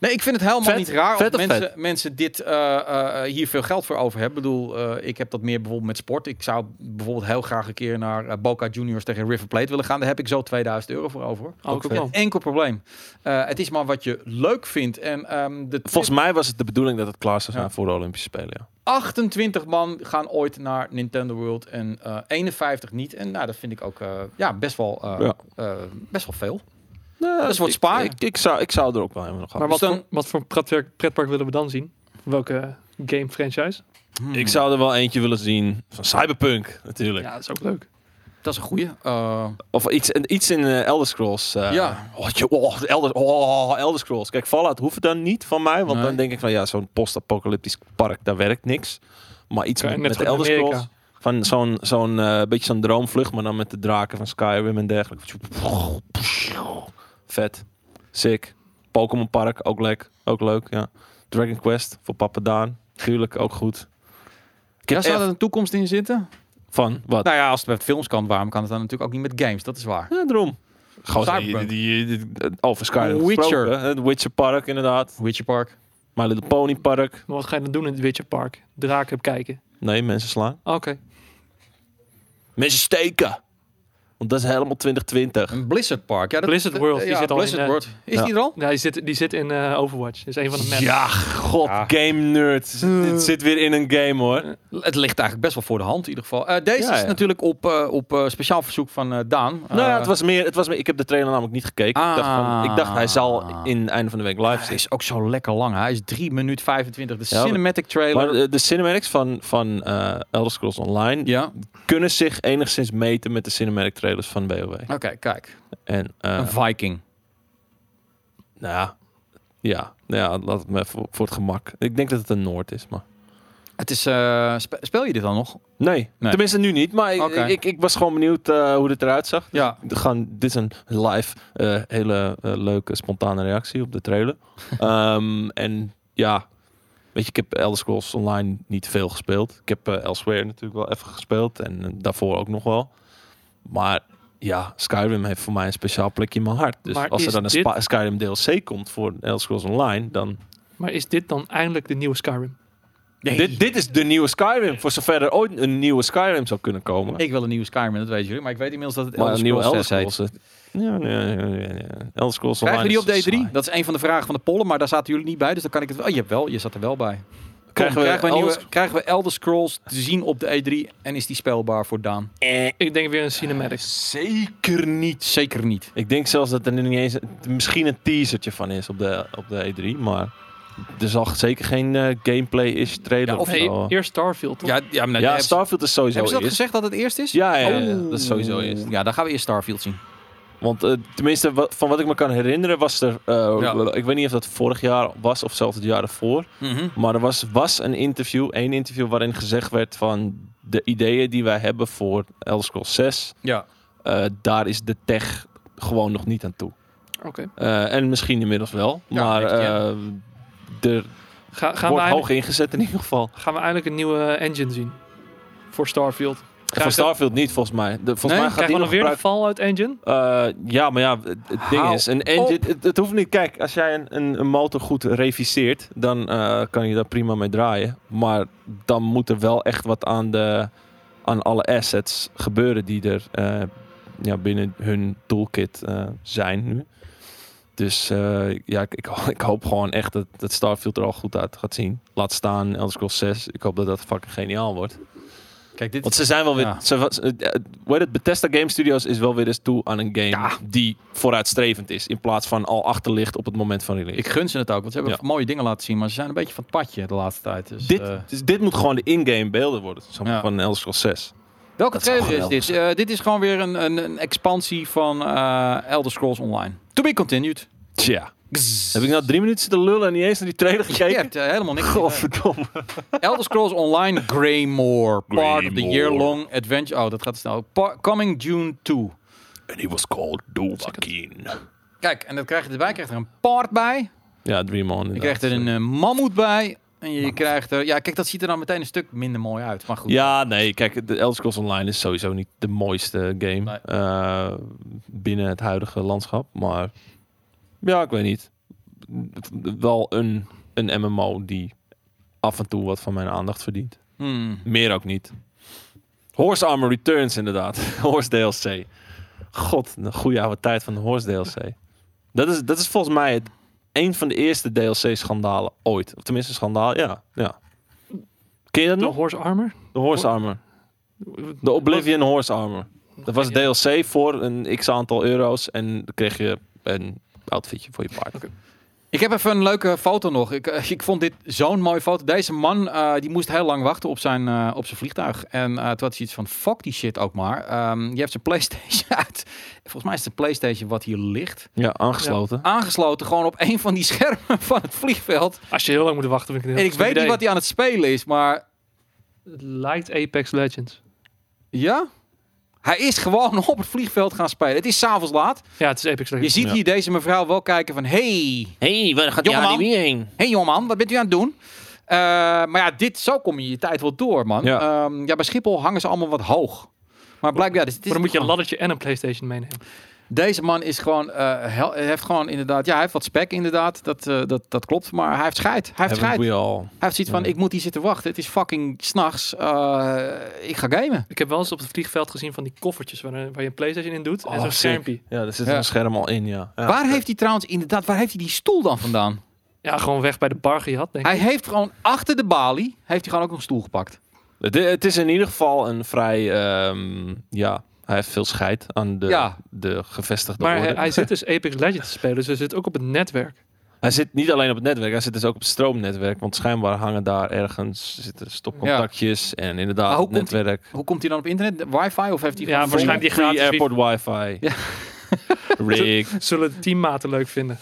[SPEAKER 1] Nee, ik vind het helemaal
[SPEAKER 2] Vet?
[SPEAKER 1] niet raar
[SPEAKER 2] Vet
[SPEAKER 1] als
[SPEAKER 2] of
[SPEAKER 1] mensen, mensen dit, eh, eh, hier veel geld voor over hebben. Ik bedoel, eh, ik heb dat meer bijvoorbeeld met sport. Ik zou bijvoorbeeld heel graag een keer naar eh, Boca Juniors tegen River Plate willen gaan. Daar heb ik zo 2000 euro voor over. hoor.
[SPEAKER 3] ook
[SPEAKER 2] Ook
[SPEAKER 3] wel.
[SPEAKER 1] Enkel probleem. Eh, het is maar wat je leuk vindt. En ehm, de
[SPEAKER 2] Volgens mij was het de bedoeling dat het klaar zou zijn
[SPEAKER 1] Ja.
[SPEAKER 2] voor de Olympische Spelen. Ja.
[SPEAKER 1] 28 man gaan ooit naar Nintendo World en eh, 51 niet. En nou, dat vind ik ook eh, ja, best, wel, eh,
[SPEAKER 2] Ja.
[SPEAKER 1] eh, best wel veel.
[SPEAKER 2] Nou,
[SPEAKER 1] Dat is wat
[SPEAKER 2] ik-
[SPEAKER 1] sparen.
[SPEAKER 2] Ik, ik, zou, ik zou er ook wel helemaal nog aan.
[SPEAKER 3] Maar wat,
[SPEAKER 1] Dus dan-
[SPEAKER 3] voor, wat voor pretpark, pretpark willen we dan zien? Welke game franchise?
[SPEAKER 2] Ik zou er wel eentje willen zien van Cyberpunk, natuurlijk.
[SPEAKER 3] Ja, dat is ook leuk.
[SPEAKER 1] Dat is een goeie. Eh,
[SPEAKER 2] Of iets, en- iets in eh, Elder Scrolls. eh.
[SPEAKER 1] Ja.
[SPEAKER 2] Oh, je, oh, Elder, oh, Elder Scrolls. Kijk, Fallout hoeft het dan niet van mij. Want
[SPEAKER 1] Nee.
[SPEAKER 2] dan denk ik van, ja, zo'n post-apocalyptisch park, daar werkt niks. Maar iets
[SPEAKER 3] Kan je
[SPEAKER 2] met,
[SPEAKER 3] net
[SPEAKER 2] met
[SPEAKER 3] goed
[SPEAKER 2] Elder
[SPEAKER 3] in Amerika.
[SPEAKER 2] Scrolls. Van zo'n, zo'n eh, beetje zo'n droomvlucht, maar dan met de draken van Skyrim en dergelijke. Vet. Sick. Pokémon Park, ook leuk. Ook leuk, ja. Dragon Quest voor Papa Daan. Tuurlijk, ook goed. Ik
[SPEAKER 1] ja,
[SPEAKER 2] heb
[SPEAKER 1] zou
[SPEAKER 2] echt
[SPEAKER 1] er een toekomst in zitten?
[SPEAKER 2] van, wat?
[SPEAKER 1] Nou ja, als het met films kan, waarom kan het dan natuurlijk ook niet met games? Dat is waar.
[SPEAKER 2] Ja, daarom. Gewoon die,
[SPEAKER 1] Cyberpunk.
[SPEAKER 2] die, die- die- over Skyrim
[SPEAKER 1] Witcher.
[SPEAKER 2] gesproken, hè. Het Witcher Park inderdaad.
[SPEAKER 1] Witcher Park.
[SPEAKER 2] My Little Pony Park.
[SPEAKER 3] Maar wat ga je dan doen in het Witcher Park? Draken kijken.
[SPEAKER 2] Nee, mensen slaan.
[SPEAKER 3] Oké.
[SPEAKER 2] Mensen steken. Want dat is helemaal 2020.
[SPEAKER 1] Een Blizzard Park. Ja, dat,
[SPEAKER 3] Blizzard World, die
[SPEAKER 1] ja,
[SPEAKER 3] zit al in,
[SPEAKER 1] Blizzard
[SPEAKER 3] eh,
[SPEAKER 1] World. Is
[SPEAKER 2] ja.
[SPEAKER 1] die er al?
[SPEAKER 3] Ja, die, zit, die zit in eh, Overwatch. Dat is een van de maps.
[SPEAKER 2] Ja, god,
[SPEAKER 1] Ja.
[SPEAKER 2] game nerd. Dit zit weer in een game hoor.
[SPEAKER 1] Het ligt eigenlijk best wel voor de hand in ieder geval. Eh, deze
[SPEAKER 2] Ja,
[SPEAKER 1] is
[SPEAKER 2] ja.
[SPEAKER 1] natuurlijk op, eh, op eh, speciaal verzoek van eh, Daan.
[SPEAKER 2] nou ja,
[SPEAKER 1] Eh,
[SPEAKER 2] het was, meer, het was meer. Ik heb de trailer namelijk niet gekeken. ik, dacht
[SPEAKER 1] Ah.
[SPEAKER 2] van, ik dacht, hij zal in het einde van de week live
[SPEAKER 1] Hij
[SPEAKER 2] zijn.
[SPEAKER 1] is ook zo lekker lang. Hij is 3 minuten 25. De
[SPEAKER 2] maar-
[SPEAKER 1] cinematic trailer.
[SPEAKER 2] Maar de, de cinematics van, van eh, Elder Scrolls Online
[SPEAKER 1] ja,
[SPEAKER 2] kunnen zich enigszins meten met de cinematic trailers van WoW.
[SPEAKER 1] oké, kijk.
[SPEAKER 2] En eh,
[SPEAKER 1] Een Viking.
[SPEAKER 2] Nou ja, ja, nou ja laat het me voor, voor het gemak. Ik denk dat het een Noord is, maar...
[SPEAKER 1] Het is, eh, spe- speel je dit dan nog?
[SPEAKER 2] Nee,
[SPEAKER 1] Nee.
[SPEAKER 2] tenminste nu niet. Maar ik-
[SPEAKER 1] Oké.
[SPEAKER 2] ik, ik, was gewoon benieuwd eh, hoe dit eruit zag.
[SPEAKER 1] Ja.
[SPEAKER 2] We Gaan, dit is een live, eh, hele eh, leuke, spontane reactie op de trailer. Ehm, en ja, weet je, ik heb Elder Scrolls Online niet veel gespeeld. Ik heb eh, Elsewhere natuurlijk wel even gespeeld. En eh, daarvoor ook nog wel. Maar ja, Skyrim heeft voor mij een speciaal plekje in mijn hart. Dus
[SPEAKER 3] Maar
[SPEAKER 2] als er
[SPEAKER 3] is
[SPEAKER 2] dan een
[SPEAKER 3] dit-
[SPEAKER 2] Spa- Skyrim DLC komt voor Elder Scrolls Online, dan
[SPEAKER 3] Maar is dit dan eindelijk de nieuwe Skyrim?
[SPEAKER 2] Dit, dit is de nieuwe Skyrim. Voor zover er ooit een nieuwe Skyrim zou kunnen komen.
[SPEAKER 1] Ik wil een nieuwe Skyrim, dat weten jullie. Maar ik weet inmiddels dat het
[SPEAKER 2] maar
[SPEAKER 1] Elder
[SPEAKER 2] een nieuwe Elder
[SPEAKER 1] Scrolls 6
[SPEAKER 2] Scrolls.
[SPEAKER 1] heet.
[SPEAKER 2] eh, Ja, nee, nee, nee, nee. Elder Scrolls
[SPEAKER 1] Krijgen we die
[SPEAKER 2] Online
[SPEAKER 1] op
[SPEAKER 2] is
[SPEAKER 1] D3?
[SPEAKER 2] saai.
[SPEAKER 1] Dat is een van de vragen van de pollen, maar daar zaten jullie niet bij. Dus dan kan ik het wel. Oh, je, hebt wel, je zat er wel bij. Kom,
[SPEAKER 2] Krijgen we
[SPEAKER 1] krijgen, we
[SPEAKER 2] Elder
[SPEAKER 1] nieuwe, krijgen we Elder Scrolls te zien op de E3? En is die speelbaar voor Daan?
[SPEAKER 3] Ik denk weer een cinematics.
[SPEAKER 2] Eh, Zeker niet.
[SPEAKER 1] Zeker niet.
[SPEAKER 2] Ik denk zelfs dat er nu niet eens... Misschien een teasertje van is op de, op de E3. Maar er zal zeker geen eh, gameplay-ish trailer
[SPEAKER 1] Ja,
[SPEAKER 2] of
[SPEAKER 1] of
[SPEAKER 3] Nee,
[SPEAKER 2] zo.
[SPEAKER 3] eerst Starfield, toch?
[SPEAKER 1] Ja, ja, maar nou,
[SPEAKER 2] ja,
[SPEAKER 1] hebben, ze-
[SPEAKER 2] Starfield is sowieso
[SPEAKER 1] hebben ze dat
[SPEAKER 2] eerst.
[SPEAKER 1] gezegd dat het eerst is?
[SPEAKER 2] Ja, ja, ja, ja,
[SPEAKER 1] Oh.
[SPEAKER 2] dat is sowieso eerst.
[SPEAKER 1] Ja, dan gaan we eerst Starfield zien.
[SPEAKER 2] Want eh, tenminste, wa- van wat ik me kan herinneren was er... eh,
[SPEAKER 1] Ja.
[SPEAKER 2] Ik weet niet of dat vorig jaar was of zelfs het jaar ervoor.
[SPEAKER 1] Mhm.
[SPEAKER 2] Maar er was, was een interview, één interview waarin gezegd werd van de ideeën die wij hebben voor Elder Scrolls 6,
[SPEAKER 1] Ja.
[SPEAKER 2] eh, daar is de tech gewoon nog niet aan toe.
[SPEAKER 3] Oké.
[SPEAKER 2] Eh, en misschien inmiddels wel,
[SPEAKER 1] Ja,
[SPEAKER 2] maar
[SPEAKER 1] next gen.
[SPEAKER 2] eh, er
[SPEAKER 3] Ga, gaan, we
[SPEAKER 2] wordt
[SPEAKER 3] eindelijk,
[SPEAKER 2] hoog ingezet in ieder geval.
[SPEAKER 3] gaan we eindelijk een nieuwe eh, engine zien? Voor Starfield.
[SPEAKER 2] En Van Starfield niet, volgens mij. De, volgens
[SPEAKER 1] Nee?
[SPEAKER 2] mij gaat
[SPEAKER 3] Krijgen
[SPEAKER 2] die
[SPEAKER 3] we
[SPEAKER 2] nog
[SPEAKER 3] nog weer
[SPEAKER 2] gebruikt-
[SPEAKER 3] een Fallout engine?
[SPEAKER 2] Eh, ja, maar ja, het, het ding
[SPEAKER 1] Hou
[SPEAKER 2] is, een engine, het, het hoeft niet. Kijk, als jij een, een, een motor goed reviseert, dan eh, kan je daar prima mee draaien. Maar dan moet er wel echt wat aan, de, aan alle assets gebeuren die er eh, ja, binnen hun toolkit eh, zijn nu. Dus eh, ja, ik, ik, ho- ik hoop gewoon echt dat, dat Starfield er al goed uit gaat zien. Laat staan Elder Scrolls 6. Ik hoop dat dat fucking geniaal wordt.
[SPEAKER 1] Kijk, dit
[SPEAKER 2] Want ze zijn wel weer.
[SPEAKER 1] Ja.
[SPEAKER 2] Ze, was- eh, eh, hoe heet het? Bethesda Game Studios is wel weer eens toe aan een game die vooruitstrevend is. In plaats van al achterlicht op het moment van release.
[SPEAKER 1] Ik gun ze het ook, want ze hebben
[SPEAKER 2] Ja.
[SPEAKER 1] mooie dingen laten zien, maar ze zijn een beetje van het padje de laatste tijd. Dus,
[SPEAKER 2] dit,
[SPEAKER 1] eh,
[SPEAKER 2] dus dit moet gewoon de in-game beelden worden. Zo
[SPEAKER 1] Ja.
[SPEAKER 2] Van Elder Scrolls 6.
[SPEAKER 1] welke
[SPEAKER 2] dat zou
[SPEAKER 1] trailer is
[SPEAKER 2] geweldig
[SPEAKER 1] dit? Eh, dit is gewoon weer een, een, een expansie van eh, Elder Scrolls Online. To be continued.
[SPEAKER 2] Tja. Heb ik nou drie minuten zitten lullen en niet eens naar die trailer
[SPEAKER 1] Je
[SPEAKER 2] gekeken?
[SPEAKER 1] hebt eh, helemaal niks.
[SPEAKER 2] Godverdomme.
[SPEAKER 1] Elder Scrolls Online Greymore. Part of the
[SPEAKER 2] Greymore.
[SPEAKER 1] year-long adventure. Oh, dat gaat snel. Pa- coming June 2.
[SPEAKER 2] And he was called Dovahkiin.
[SPEAKER 1] Kijk, en dat krijg je erbij. Je krijgt er een part bij.
[SPEAKER 2] Ja, Dream On.
[SPEAKER 1] Je
[SPEAKER 2] inderdaad.
[SPEAKER 1] krijgt er een eh, mammoet bij. En je krijgt er... Ja, kijk, dat ziet er dan meteen een stuk minder mooi uit. Maar goed.
[SPEAKER 2] Ja, nee, kijk, de Elder Scrolls Online is sowieso niet de mooiste game
[SPEAKER 1] Nee.
[SPEAKER 2] eh, binnen het huidige landschap. Maar ja, ik weet niet. Wel een, een MMO die af en toe wat van mijn aandacht verdient.
[SPEAKER 1] Hmm.
[SPEAKER 2] Meer ook niet. Horse Armor Returns inderdaad. Horse DLC. God, een goede oude tijd van de Horse DLC. Dat is, dat is volgens mij het, een van de eerste DLC-schandalen ooit. Of tenminste, schandaal, ja. ja. Ken je dat
[SPEAKER 3] De
[SPEAKER 2] nog?
[SPEAKER 3] Horse Armor?
[SPEAKER 2] De Horse Armor. De Oblivion Horse Armor. Dat was DLC voor een x aantal euro's. En dan kreeg je een outfitje voor je paard.
[SPEAKER 1] Ik heb even een leuke foto nog. Ik, eh, ik vond dit zo'n mooie foto. Deze man eh, die moest heel lang wachten op zijn, eh, op zijn vliegtuig. En eh, toen had hij iets van: fuck die shit ook maar. Ehm je hebt zijn PlayStation uit. Volgens mij is het een PlayStation wat hier ligt.
[SPEAKER 2] Ja, aangesloten.
[SPEAKER 1] Aangesloten gewoon op een van die schermen van het vliegveld.
[SPEAKER 3] Als je heel lang moet wachten, vind ik het
[SPEAKER 1] En
[SPEAKER 3] een
[SPEAKER 1] ik
[SPEAKER 3] heel
[SPEAKER 1] weet niet wat hij aan het spelen is, maar
[SPEAKER 3] Het lijkt Apex Legends.
[SPEAKER 1] ja. Hij is gewoon op het vliegveld gaan spelen. Het is s'avonds laat.
[SPEAKER 3] Ja, het is Apex
[SPEAKER 1] Je
[SPEAKER 3] Legends.
[SPEAKER 1] ziet
[SPEAKER 2] Ja.
[SPEAKER 1] hier deze mevrouw wel kijken van... Hey,
[SPEAKER 2] hey, waar gaat
[SPEAKER 1] die Jongeman.
[SPEAKER 2] niet
[SPEAKER 1] anime
[SPEAKER 2] heen?
[SPEAKER 1] Hé hey, jongeman, wat bent u aan het doen? Eh, maar ja, dit, zo kom je je tijd wel door, man.
[SPEAKER 2] Ja.
[SPEAKER 1] Ja, ja bij Schiphol hangen ze allemaal wat hoog. Maar blijkbaar, ja, dus dit is
[SPEAKER 3] Maar dan moet je een
[SPEAKER 1] gewoon-
[SPEAKER 3] laddertje en een PlayStation meenemen.
[SPEAKER 1] deze man is gewoon, eh, hel- hij heeft gewoon inderdaad, ja, hij heeft wat spek inderdaad, dat, eh, dat, dat klopt. Maar hij heeft scheid, hij heeft scheid.
[SPEAKER 2] Haven't
[SPEAKER 1] Hij
[SPEAKER 2] we all?
[SPEAKER 1] heeft zoiets van,
[SPEAKER 2] Ja.
[SPEAKER 1] ik moet hier zitten wachten, het is fucking s'nachts, Eh ik ga gamen.
[SPEAKER 3] Ik heb wel eens op het vliegveld gezien van die koffertjes waar, waar je een PlayStation in doet. en
[SPEAKER 2] Oh,
[SPEAKER 3] zo'n
[SPEAKER 2] sick.
[SPEAKER 3] schermpje.
[SPEAKER 2] Ja, daar zit
[SPEAKER 1] Ja.
[SPEAKER 2] een scherm al in, ja. Ja.
[SPEAKER 1] waar heeft hij trouwens inderdaad, waar heeft hij die stoel dan vandaan?
[SPEAKER 3] Ja, gewoon weg bij de bar gehad, denk ik.
[SPEAKER 1] Hij heeft gewoon achter de balie, heeft hij gewoon ook nog een stoel gepakt.
[SPEAKER 2] Het, het is in ieder geval een vrij... ehm, ja, hij heeft veel scheid aan de,
[SPEAKER 1] Ja.
[SPEAKER 2] de gevestigde
[SPEAKER 3] Maar
[SPEAKER 2] orde.
[SPEAKER 3] hij,
[SPEAKER 2] Hij,
[SPEAKER 3] hij zit dus Apex Legends te spelen, dus hij zit ook op het netwerk.
[SPEAKER 2] zit niet alleen op het netwerk, hij zit dus ook op het stroomnetwerk. Want schijnbaar hangen daar ergens zitten stopcontactjes en
[SPEAKER 1] Maar
[SPEAKER 2] inderdaad
[SPEAKER 1] hoe
[SPEAKER 2] het
[SPEAKER 1] komt
[SPEAKER 2] netwerk.
[SPEAKER 1] Hoe komt hij dan op internet? Wifi of heeft hij
[SPEAKER 3] Ja,
[SPEAKER 1] gewoon-
[SPEAKER 3] waarschijnlijk-
[SPEAKER 2] die
[SPEAKER 3] Free-
[SPEAKER 2] gratis
[SPEAKER 3] free
[SPEAKER 2] airport wifi.
[SPEAKER 1] Ja.
[SPEAKER 2] Rick.
[SPEAKER 3] Zullen de teammaten leuk vinden.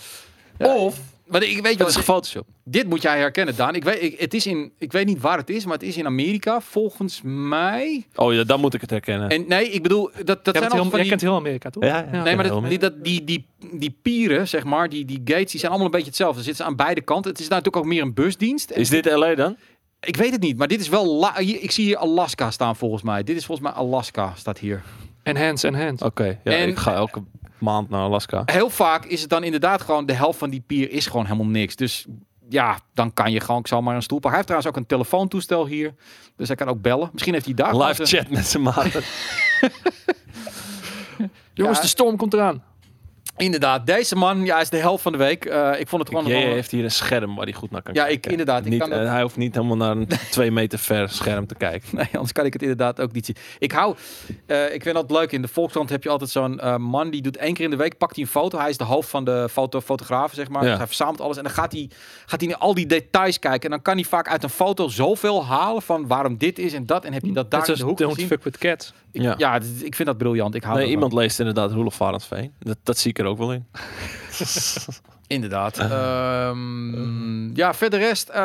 [SPEAKER 1] Of, want ik weet je
[SPEAKER 2] Dat
[SPEAKER 1] wat-
[SPEAKER 2] is gefotoshopt.
[SPEAKER 1] Dit moet jij herkennen, Daan. Ik weet, ik, het is in, ik weet niet waar het is, maar het is in Amerika, volgens mij.
[SPEAKER 2] Oh ja, dan moet ik het herkennen.
[SPEAKER 1] En nee, ik bedoel, dat, dat
[SPEAKER 3] Jij,
[SPEAKER 1] zijn
[SPEAKER 3] bent
[SPEAKER 1] al
[SPEAKER 3] heel,
[SPEAKER 1] van
[SPEAKER 3] jij
[SPEAKER 1] die...
[SPEAKER 3] kent heel Amerika, toch?
[SPEAKER 2] Ja, ja.
[SPEAKER 1] Nee, maar
[SPEAKER 2] heel
[SPEAKER 1] dat, die,
[SPEAKER 2] mee.
[SPEAKER 1] dat, die, die, die pieren, zeg maar, die, die gates, die zijn allemaal een beetje hetzelfde. Ze zitten aan beide kanten. Het is natuurlijk ook meer een busdienst. En
[SPEAKER 2] Is dit LA dan?
[SPEAKER 1] Ik weet het niet, maar dit is wel... la- hier- ik zie hier Alaska staan, volgens mij. Dit is volgens mij Alaska, staat hier.
[SPEAKER 3] En hands, en hands.
[SPEAKER 1] Oh.
[SPEAKER 2] Oké,
[SPEAKER 1] En-
[SPEAKER 2] ja,
[SPEAKER 1] Ah,
[SPEAKER 2] ik ga elke maand naar Alaska.
[SPEAKER 1] Heel vaak is het dan inderdaad gewoon... De helft van die pier is gewoon helemaal niks. Dus ja, dan kan je gewoon... Ik zal maar een stoel pakken. Hij heeft trouwens ook een telefoontoestel hier. Dus hij kan ook bellen. Misschien heeft hij daar... gewoon
[SPEAKER 2] Live
[SPEAKER 1] zijn-
[SPEAKER 2] chat met zijn maten.
[SPEAKER 3] Jongens,
[SPEAKER 1] Ja.
[SPEAKER 3] de storm komt eraan.
[SPEAKER 1] Inderdaad, deze man ja, is de helft van de week. Eh, ik vond het gewoon.
[SPEAKER 2] Jij
[SPEAKER 1] een-
[SPEAKER 2] heeft hier een scherm waar hij goed naar kan
[SPEAKER 1] Ja, ik-
[SPEAKER 2] kijken.
[SPEAKER 1] inderdaad, ik
[SPEAKER 2] Niet,
[SPEAKER 1] kan dat-
[SPEAKER 2] eh, Hij hoeft niet helemaal naar een twee meter ver scherm te kijken.
[SPEAKER 1] Nee, anders kan ik het inderdaad ook niet zien. Ik hou, eh, ik vind dat leuk. In de Volkskrant heb je altijd zo'n eh, man die doet één keer in de week, pakt hij een foto. Hij is de hoofd van de foto, fotograaf, zeg maar.
[SPEAKER 2] Ja.
[SPEAKER 1] Dus hij verzamelt alles en dan gaat hij, gaat hij naar al die details kijken. En dan kan hij vaak uit een foto zoveel halen van waarom dit is en dat. En heb
[SPEAKER 2] Mm.
[SPEAKER 1] je dat daar
[SPEAKER 3] Net
[SPEAKER 1] in de
[SPEAKER 3] zoals
[SPEAKER 1] hoek
[SPEAKER 3] Don't
[SPEAKER 1] gezien?
[SPEAKER 3] Fuck With Cats.
[SPEAKER 1] Ik-
[SPEAKER 2] Ja.
[SPEAKER 1] ja, dit- ik vind dat briljant. Ik hou
[SPEAKER 2] Nee,
[SPEAKER 1] daarvan.
[SPEAKER 2] iemand leest inderdaad Roelof Varensveen. Dat, dat zie ik er ook wel in.
[SPEAKER 1] Inderdaad.
[SPEAKER 2] Ah.
[SPEAKER 1] Ehm, ja, verder rest. eh,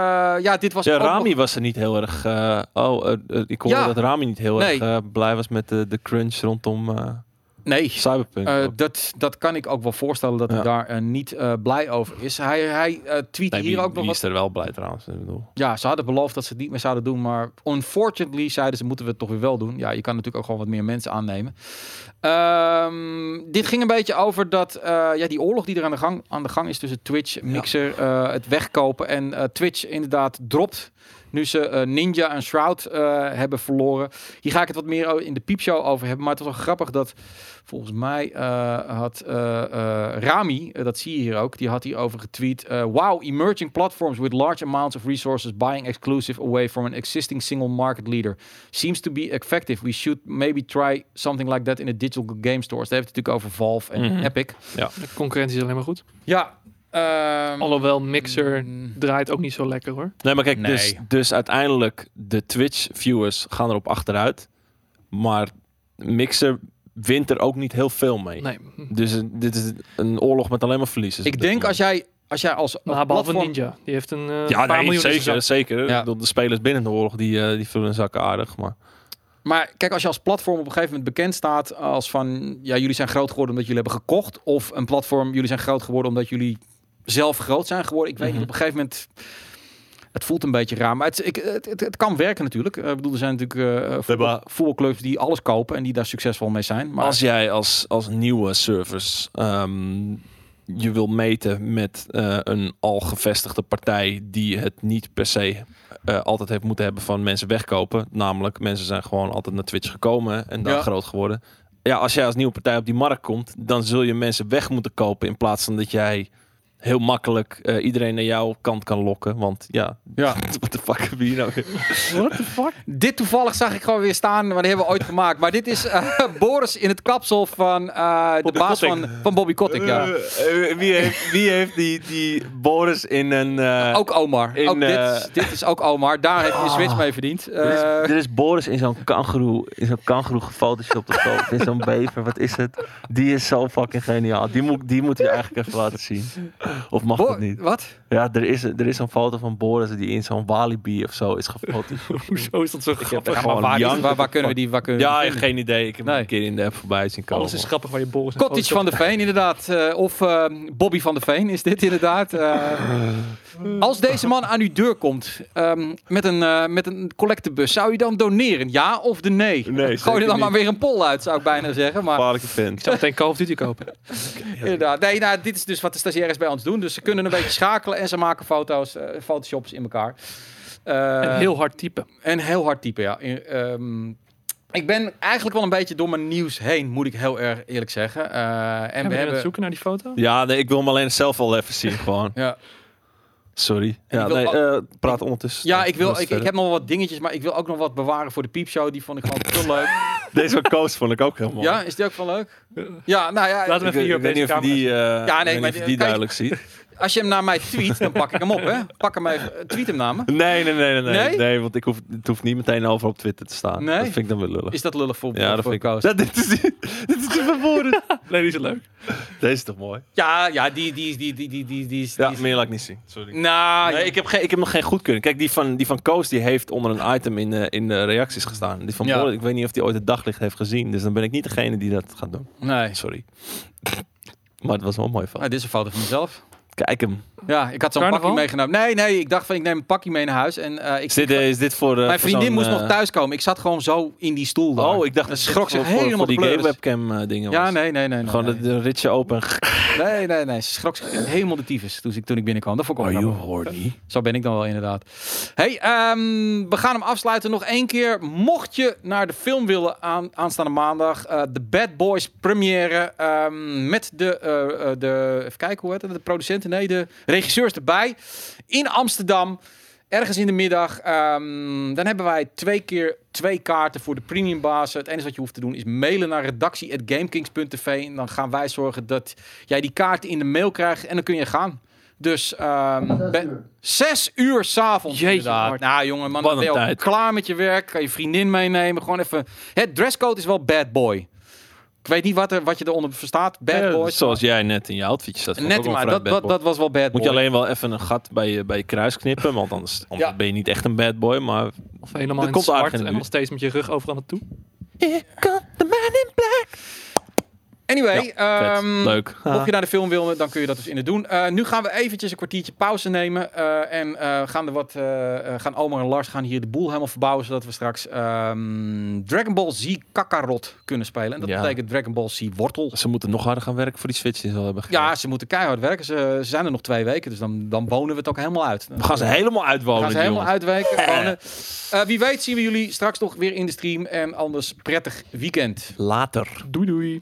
[SPEAKER 1] ja, dit was
[SPEAKER 2] Ja,
[SPEAKER 1] ook nog-
[SPEAKER 2] Rami was er niet heel erg... eh, oh, eh, eh, ik hoorde
[SPEAKER 1] Ja.
[SPEAKER 2] dat Rami niet heel
[SPEAKER 1] Nee.
[SPEAKER 2] erg eh, blij was met de, de crunch rondom... eh,
[SPEAKER 1] Nee,
[SPEAKER 2] Cyberpunk.
[SPEAKER 1] Eh,
[SPEAKER 2] ook.
[SPEAKER 1] dat, dat kan ik ook wel voorstellen dat
[SPEAKER 2] Ja.
[SPEAKER 1] hij daar eh, niet eh, blij over is. Hij, hij eh, tweette
[SPEAKER 2] Nee,
[SPEAKER 1] hier
[SPEAKER 2] wie-
[SPEAKER 1] ook nog
[SPEAKER 2] wie
[SPEAKER 1] wat.
[SPEAKER 2] is er wel blij trouwens. Ik bedoel.
[SPEAKER 1] Ja, ze hadden beloofd dat ze het niet meer zouden doen. Maar unfortunately zeiden ze, moeten we het toch weer wel doen. Ja, je kan natuurlijk ook gewoon wat meer mensen aannemen. Ehm, dit ging een beetje over dat, eh, ja, die oorlog die er aan de gang, aan de gang is tussen Twitch, Mixer, eh, het wegkopen. En eh, Twitch inderdaad dropt nu ze eh, Ninja en Shroud eh, hebben verloren. Hier ga ik het wat meer o- in de piepshow over hebben. Maar het was wel grappig dat volgens mij eh, had eh, eh, Rami, eh, dat zie je hier ook, die had hierover getweet. eh wow, emerging platforms with large amounts of resources buying exclusive away from an existing single market leader. Seems to be effective. We should maybe try something like that in the digital game stores. Daar heeft het natuurlijk over Valve en
[SPEAKER 2] Mhm.
[SPEAKER 1] Epic.
[SPEAKER 3] De concurrentie is alleen maar goed.
[SPEAKER 1] Ja, ehm,
[SPEAKER 3] Alhoewel Mixer
[SPEAKER 1] mm,
[SPEAKER 3] draait ook niet zo lekker hoor.
[SPEAKER 2] Nee, maar kijk,
[SPEAKER 1] Nee.
[SPEAKER 2] Dus, dus uiteindelijk de Twitch-viewers gaan erop achteruit. Maar Mixer wint er ook niet heel veel mee.
[SPEAKER 3] Nee. Hm.
[SPEAKER 2] Dus eh, dit is een oorlog met alleen maar verliezers. op
[SPEAKER 1] ik
[SPEAKER 2] dit
[SPEAKER 1] denk als
[SPEAKER 2] moment.
[SPEAKER 1] jij als, jij als, als
[SPEAKER 3] Maar Nou, behalve
[SPEAKER 1] platform-
[SPEAKER 3] Ninja. Die heeft een eh
[SPEAKER 2] Ja,
[SPEAKER 3] paar
[SPEAKER 2] nee,
[SPEAKER 3] miljoen in zijn
[SPEAKER 2] zeker.
[SPEAKER 3] zak.
[SPEAKER 2] zeker.
[SPEAKER 1] Ja.
[SPEAKER 2] Ik bedoel, De spelers binnen de oorlog die, eh, die vullen hun zakken aardig. Maar
[SPEAKER 1] Maar kijk, als je als platform op een gegeven moment bekend staat als van ja, jullie zijn groot geworden omdat jullie hebben gekocht. Of een platform, jullie zijn groot geworden omdat jullie zelf groot zijn geworden. Ik weet
[SPEAKER 2] Mhm.
[SPEAKER 1] niet, op een gegeven moment. Het voelt een beetje raar, maar het, ik, het, het, het kan werken natuurlijk. Eh, Ik bedoel, er zijn natuurlijk eh, voetbal-
[SPEAKER 2] hebben-
[SPEAKER 1] voetbalclubs die alles kopen en die daar succesvol mee zijn. Maar
[SPEAKER 2] als jij als, als nieuwe service ehm, je wil meten met eh, een al gevestigde partij die het niet per se eh, altijd heeft moeten hebben van mensen wegkopen. Namelijk, mensen zijn gewoon altijd naar Twitch gekomen en daar
[SPEAKER 1] Ja.
[SPEAKER 2] groot geworden. Ja, als jij als nieuwe partij op die markt komt, dan zul je mensen weg moeten kopen in plaats van dat jij heel makkelijk eh, iedereen naar jouw kant kan lokken. Want ja,
[SPEAKER 1] Ja.
[SPEAKER 2] wat de fuck heb je hier nou weer?
[SPEAKER 3] What the fuck?
[SPEAKER 1] Dit toevallig zag ik gewoon weer staan, maar die hebben we ooit gemaakt. Maar dit is eh, Boris in het kapsel van eh, de
[SPEAKER 2] Bobby
[SPEAKER 1] baas
[SPEAKER 2] Kotick.
[SPEAKER 1] van, van Bobby Kotick. Ja.
[SPEAKER 2] Eh, eh, wie, heeft, wie heeft die, die Boris in een... eh,
[SPEAKER 1] Ook Omar.
[SPEAKER 2] in,
[SPEAKER 1] ook dit,
[SPEAKER 2] eh,
[SPEAKER 1] dit is ook Omar. Daar heeft hij de switch mee verdiend. Eh,
[SPEAKER 4] Er is Boris in zo'n kangeroe, in zo'n kangeroe gefotoshopt of zo. Of in zo'n bever, wat is het? Die is zo fucking geniaal. Die moet, die moet je eigenlijk even laten zien. Of mag
[SPEAKER 1] Bo-
[SPEAKER 4] dat niet?
[SPEAKER 1] Wat?
[SPEAKER 4] Ja, er is, er is zo'n foto van Boris die in zo'n walibi of zo is gefotoshopt.
[SPEAKER 3] Hoezo is dat zo grappig?
[SPEAKER 2] gewoon
[SPEAKER 1] waar, is-
[SPEAKER 2] janken.
[SPEAKER 1] waar, waar kunnen we die? Waar kunnen we
[SPEAKER 2] Ja,
[SPEAKER 1] die
[SPEAKER 2] ik
[SPEAKER 1] vinden?
[SPEAKER 2] geen idee. Ik heb
[SPEAKER 1] Nee.
[SPEAKER 2] hem een keer in de app voorbij zien komen.
[SPEAKER 3] Alles is grappig waar je Boris en
[SPEAKER 1] Cottage van
[SPEAKER 2] Oh,
[SPEAKER 3] Photoshop-
[SPEAKER 1] de Veen, inderdaad. Eh, of eh, Bobby van de Veen is dit inderdaad. Eh, als deze man aan uw deur komt ehm, met, een, eh met een collectebus, zou u dan doneren? Ja of de nee?
[SPEAKER 2] Nee,
[SPEAKER 1] Gooi er
[SPEAKER 2] zeker
[SPEAKER 1] dan maar
[SPEAKER 2] niet.
[SPEAKER 1] weer een poll uit, zou ik bijna zeggen. Maar
[SPEAKER 2] Gevaarlijke vent.
[SPEAKER 3] Ik zou meteen Call of Duty kopen.
[SPEAKER 1] inderdaad. Nee, nou, dit is dus wat de stagiaires bij ons doen. Dus ze kunnen een beetje schakelen en ze maken foto's, eh, photoshops in elkaar. Eh,
[SPEAKER 3] en heel hard typen.
[SPEAKER 1] En heel hard typen, ja. In- ehm, ik ben eigenlijk wel een beetje door mijn nieuws heen, moet ik heel erg eerlijk zeggen. Eh, en we
[SPEAKER 3] En ben je aan het
[SPEAKER 1] hebben...
[SPEAKER 3] zoeken naar die foto?
[SPEAKER 2] Ja, nee, ik wil hem alleen zelf al even zien, gewoon.
[SPEAKER 1] Ja,
[SPEAKER 2] Sorry.
[SPEAKER 1] En
[SPEAKER 2] Ja,
[SPEAKER 1] ik wil
[SPEAKER 2] nee,
[SPEAKER 1] al-
[SPEAKER 2] eh, praat ondertussen.
[SPEAKER 1] ja ik, wil,
[SPEAKER 2] Rustig
[SPEAKER 1] ik, ik heb
[SPEAKER 2] verder.
[SPEAKER 1] nog wel wat dingetjes, maar ik wil ook nog wat bewaren voor de piepshow. Die vond ik gewoon te leuk.
[SPEAKER 2] Deze van Koos vond ik ook heel mooi.
[SPEAKER 1] Ja, is die ook van leuk? Ja, nou ja,
[SPEAKER 3] Laten
[SPEAKER 2] Ik,
[SPEAKER 3] we even
[SPEAKER 2] weet-
[SPEAKER 3] hier
[SPEAKER 2] ik
[SPEAKER 3] op
[SPEAKER 2] weet
[SPEAKER 3] deze
[SPEAKER 2] niet of je
[SPEAKER 3] camera.
[SPEAKER 2] die, eh,
[SPEAKER 1] nee,
[SPEAKER 2] ik
[SPEAKER 1] maar
[SPEAKER 2] weet niet of
[SPEAKER 1] die-
[SPEAKER 2] je die
[SPEAKER 1] kijk.
[SPEAKER 2] duidelijk ziet.
[SPEAKER 1] als je hem naar mij tweet, dan pak ik hem op, hè. Pak hem even, tweet hem naar me.
[SPEAKER 2] Nee, nee, nee, nee. Nee,
[SPEAKER 1] Nee?
[SPEAKER 2] nee want ik hoef, het hoeft niet meteen over op Twitter te staan.
[SPEAKER 1] Nee?
[SPEAKER 2] Dat vind ik dan weer lullig.
[SPEAKER 1] Is dat lullig voor,
[SPEAKER 2] ja, dat
[SPEAKER 1] voor
[SPEAKER 2] vind ik...
[SPEAKER 1] Koos?
[SPEAKER 2] Ja, dit is, dit is te verwoorden.
[SPEAKER 3] Nee, die is leuk.
[SPEAKER 2] Deze is toch mooi?
[SPEAKER 1] Ja, ja, die, die, die, die, die, die, die is...
[SPEAKER 2] Ja,
[SPEAKER 1] die is-
[SPEAKER 2] meer laat ik niet zien. Sorry.
[SPEAKER 1] Nou,
[SPEAKER 2] Nee, ik heb, geen, ik heb nog geen goedkeuring. Kijk, die van, die van Koos die heeft onder een item in, eh, in de reacties gestaan. Die van
[SPEAKER 1] Ja.
[SPEAKER 2] Boris, ik weet niet of die ooit het daglicht heeft gezien. Dus dan ben ik niet degene die dat gaat doen.
[SPEAKER 1] nee.
[SPEAKER 2] Sorry. Maar het was wel mooi
[SPEAKER 1] Ah,
[SPEAKER 2] van.
[SPEAKER 1] dit is een foto van mezelf.
[SPEAKER 2] Kijk hem.
[SPEAKER 1] Ja, ik had zo'n
[SPEAKER 3] Carnaval?
[SPEAKER 1] pakje meegenomen. Nee, nee, ik dacht van ik neem een pakje mee naar huis. En, eh, ik,
[SPEAKER 2] Is dit, eh, is dit voor. eh,
[SPEAKER 1] mijn
[SPEAKER 2] voor
[SPEAKER 1] vriendin
[SPEAKER 2] zo'n,
[SPEAKER 1] moest
[SPEAKER 2] eh,
[SPEAKER 1] nog thuiskomen. Ik zat gewoon zo in die stoel. daar.
[SPEAKER 2] Oh, ik dacht
[SPEAKER 1] En
[SPEAKER 2] dat
[SPEAKER 1] schrok
[SPEAKER 2] ze
[SPEAKER 1] zich
[SPEAKER 2] voor,
[SPEAKER 1] helemaal
[SPEAKER 2] voor die
[SPEAKER 1] de
[SPEAKER 2] gay
[SPEAKER 1] pleuris.
[SPEAKER 2] webcam eh, dingen.
[SPEAKER 1] Ja,
[SPEAKER 2] was.
[SPEAKER 1] nee, nee, nee. nee
[SPEAKER 2] Gewoon
[SPEAKER 1] nee.
[SPEAKER 2] dat de ritje open.
[SPEAKER 1] nee, nee, nee. Ze schrok zich helemaal de tyfus toen ik, toen ik binnenkwam. Dat vond
[SPEAKER 2] Oh,
[SPEAKER 1] ik ook grappig.
[SPEAKER 2] horny?
[SPEAKER 1] Zo ben ik dan wel inderdaad. Hey, ehm, we gaan hem afsluiten nog één keer. Mocht je naar de film willen aan, aanstaande maandag, eh, de Bad Boys première ehm, met de, eh, eh, de, even kijken hoe heet het, de producenten, nee, de regisseurs erbij in Amsterdam. Ergens in de middag. ehm, dan hebben wij twee keer twee kaarten voor de premiumbazen. Het enige wat je hoeft te doen is mailen naar redactie.gamekings.tv. En dan gaan wij zorgen dat jij die kaarten in de mail krijgt. En dan kun je gaan. Dus ehm, ben- zes uur s'avonds
[SPEAKER 3] Jeetje,
[SPEAKER 1] inderdaad.
[SPEAKER 3] Bart.
[SPEAKER 1] Nou jongen, man,
[SPEAKER 2] Wat
[SPEAKER 1] dan ben je
[SPEAKER 2] een
[SPEAKER 1] ook
[SPEAKER 2] tijd.
[SPEAKER 1] klaar met je werk. Kan je vriendin meenemen. Gewoon even... Het dresscode is wel bad boy. Ik weet niet wat, er, wat je eronder verstaat. Bad boy.
[SPEAKER 2] zoals jij net in je outfitje staat.
[SPEAKER 1] Net maar, dat, dat, dat was wel bad boy.
[SPEAKER 2] Moet je alleen wel even een gat bij je, bij je kruis knippen, want anders, anders
[SPEAKER 1] Ja.
[SPEAKER 2] ben je niet echt een bad boy. Maar
[SPEAKER 3] Of helemaal
[SPEAKER 2] Er
[SPEAKER 3] in
[SPEAKER 2] komt aardig
[SPEAKER 3] zwart
[SPEAKER 2] in de
[SPEAKER 3] en
[SPEAKER 2] buurt.
[SPEAKER 3] nog steeds met je rug overal naartoe.
[SPEAKER 2] Here comes the man in black.
[SPEAKER 1] Anyway,
[SPEAKER 2] Vet.
[SPEAKER 1] ehm,
[SPEAKER 2] Leuk.
[SPEAKER 1] Mocht je naar de film wil, dan kun je dat dus inderdaad doen. Eh, nu gaan we eventjes een kwartiertje pauze nemen. eh, en eh, gaan, er wat, eh, eh, gaan Omar en Lars gaan hier de boel helemaal verbouwen. Zodat we straks ehm, Dragon Ball Z Kakarot kunnen spelen. En dat
[SPEAKER 2] Ja.
[SPEAKER 1] betekent Dragon Ball Z Wortel.
[SPEAKER 2] Ze moeten nog harder gaan werken voor die Switch die ze al hebben gekregen.
[SPEAKER 1] Ja, ze moeten keihard werken. Ze, ze zijn er nog twee weken. Dus dan, dan wonen we het ook helemaal uit.
[SPEAKER 2] We gaan ze helemaal
[SPEAKER 1] We
[SPEAKER 2] uitwonen,
[SPEAKER 1] gaan ze
[SPEAKER 2] die
[SPEAKER 1] helemaal
[SPEAKER 2] jongens.
[SPEAKER 1] uitwijken. wonen. Eh, wie weet zien we jullie straks nog weer in de stream. En anders prettig weekend.
[SPEAKER 2] Later.
[SPEAKER 3] Doei doei.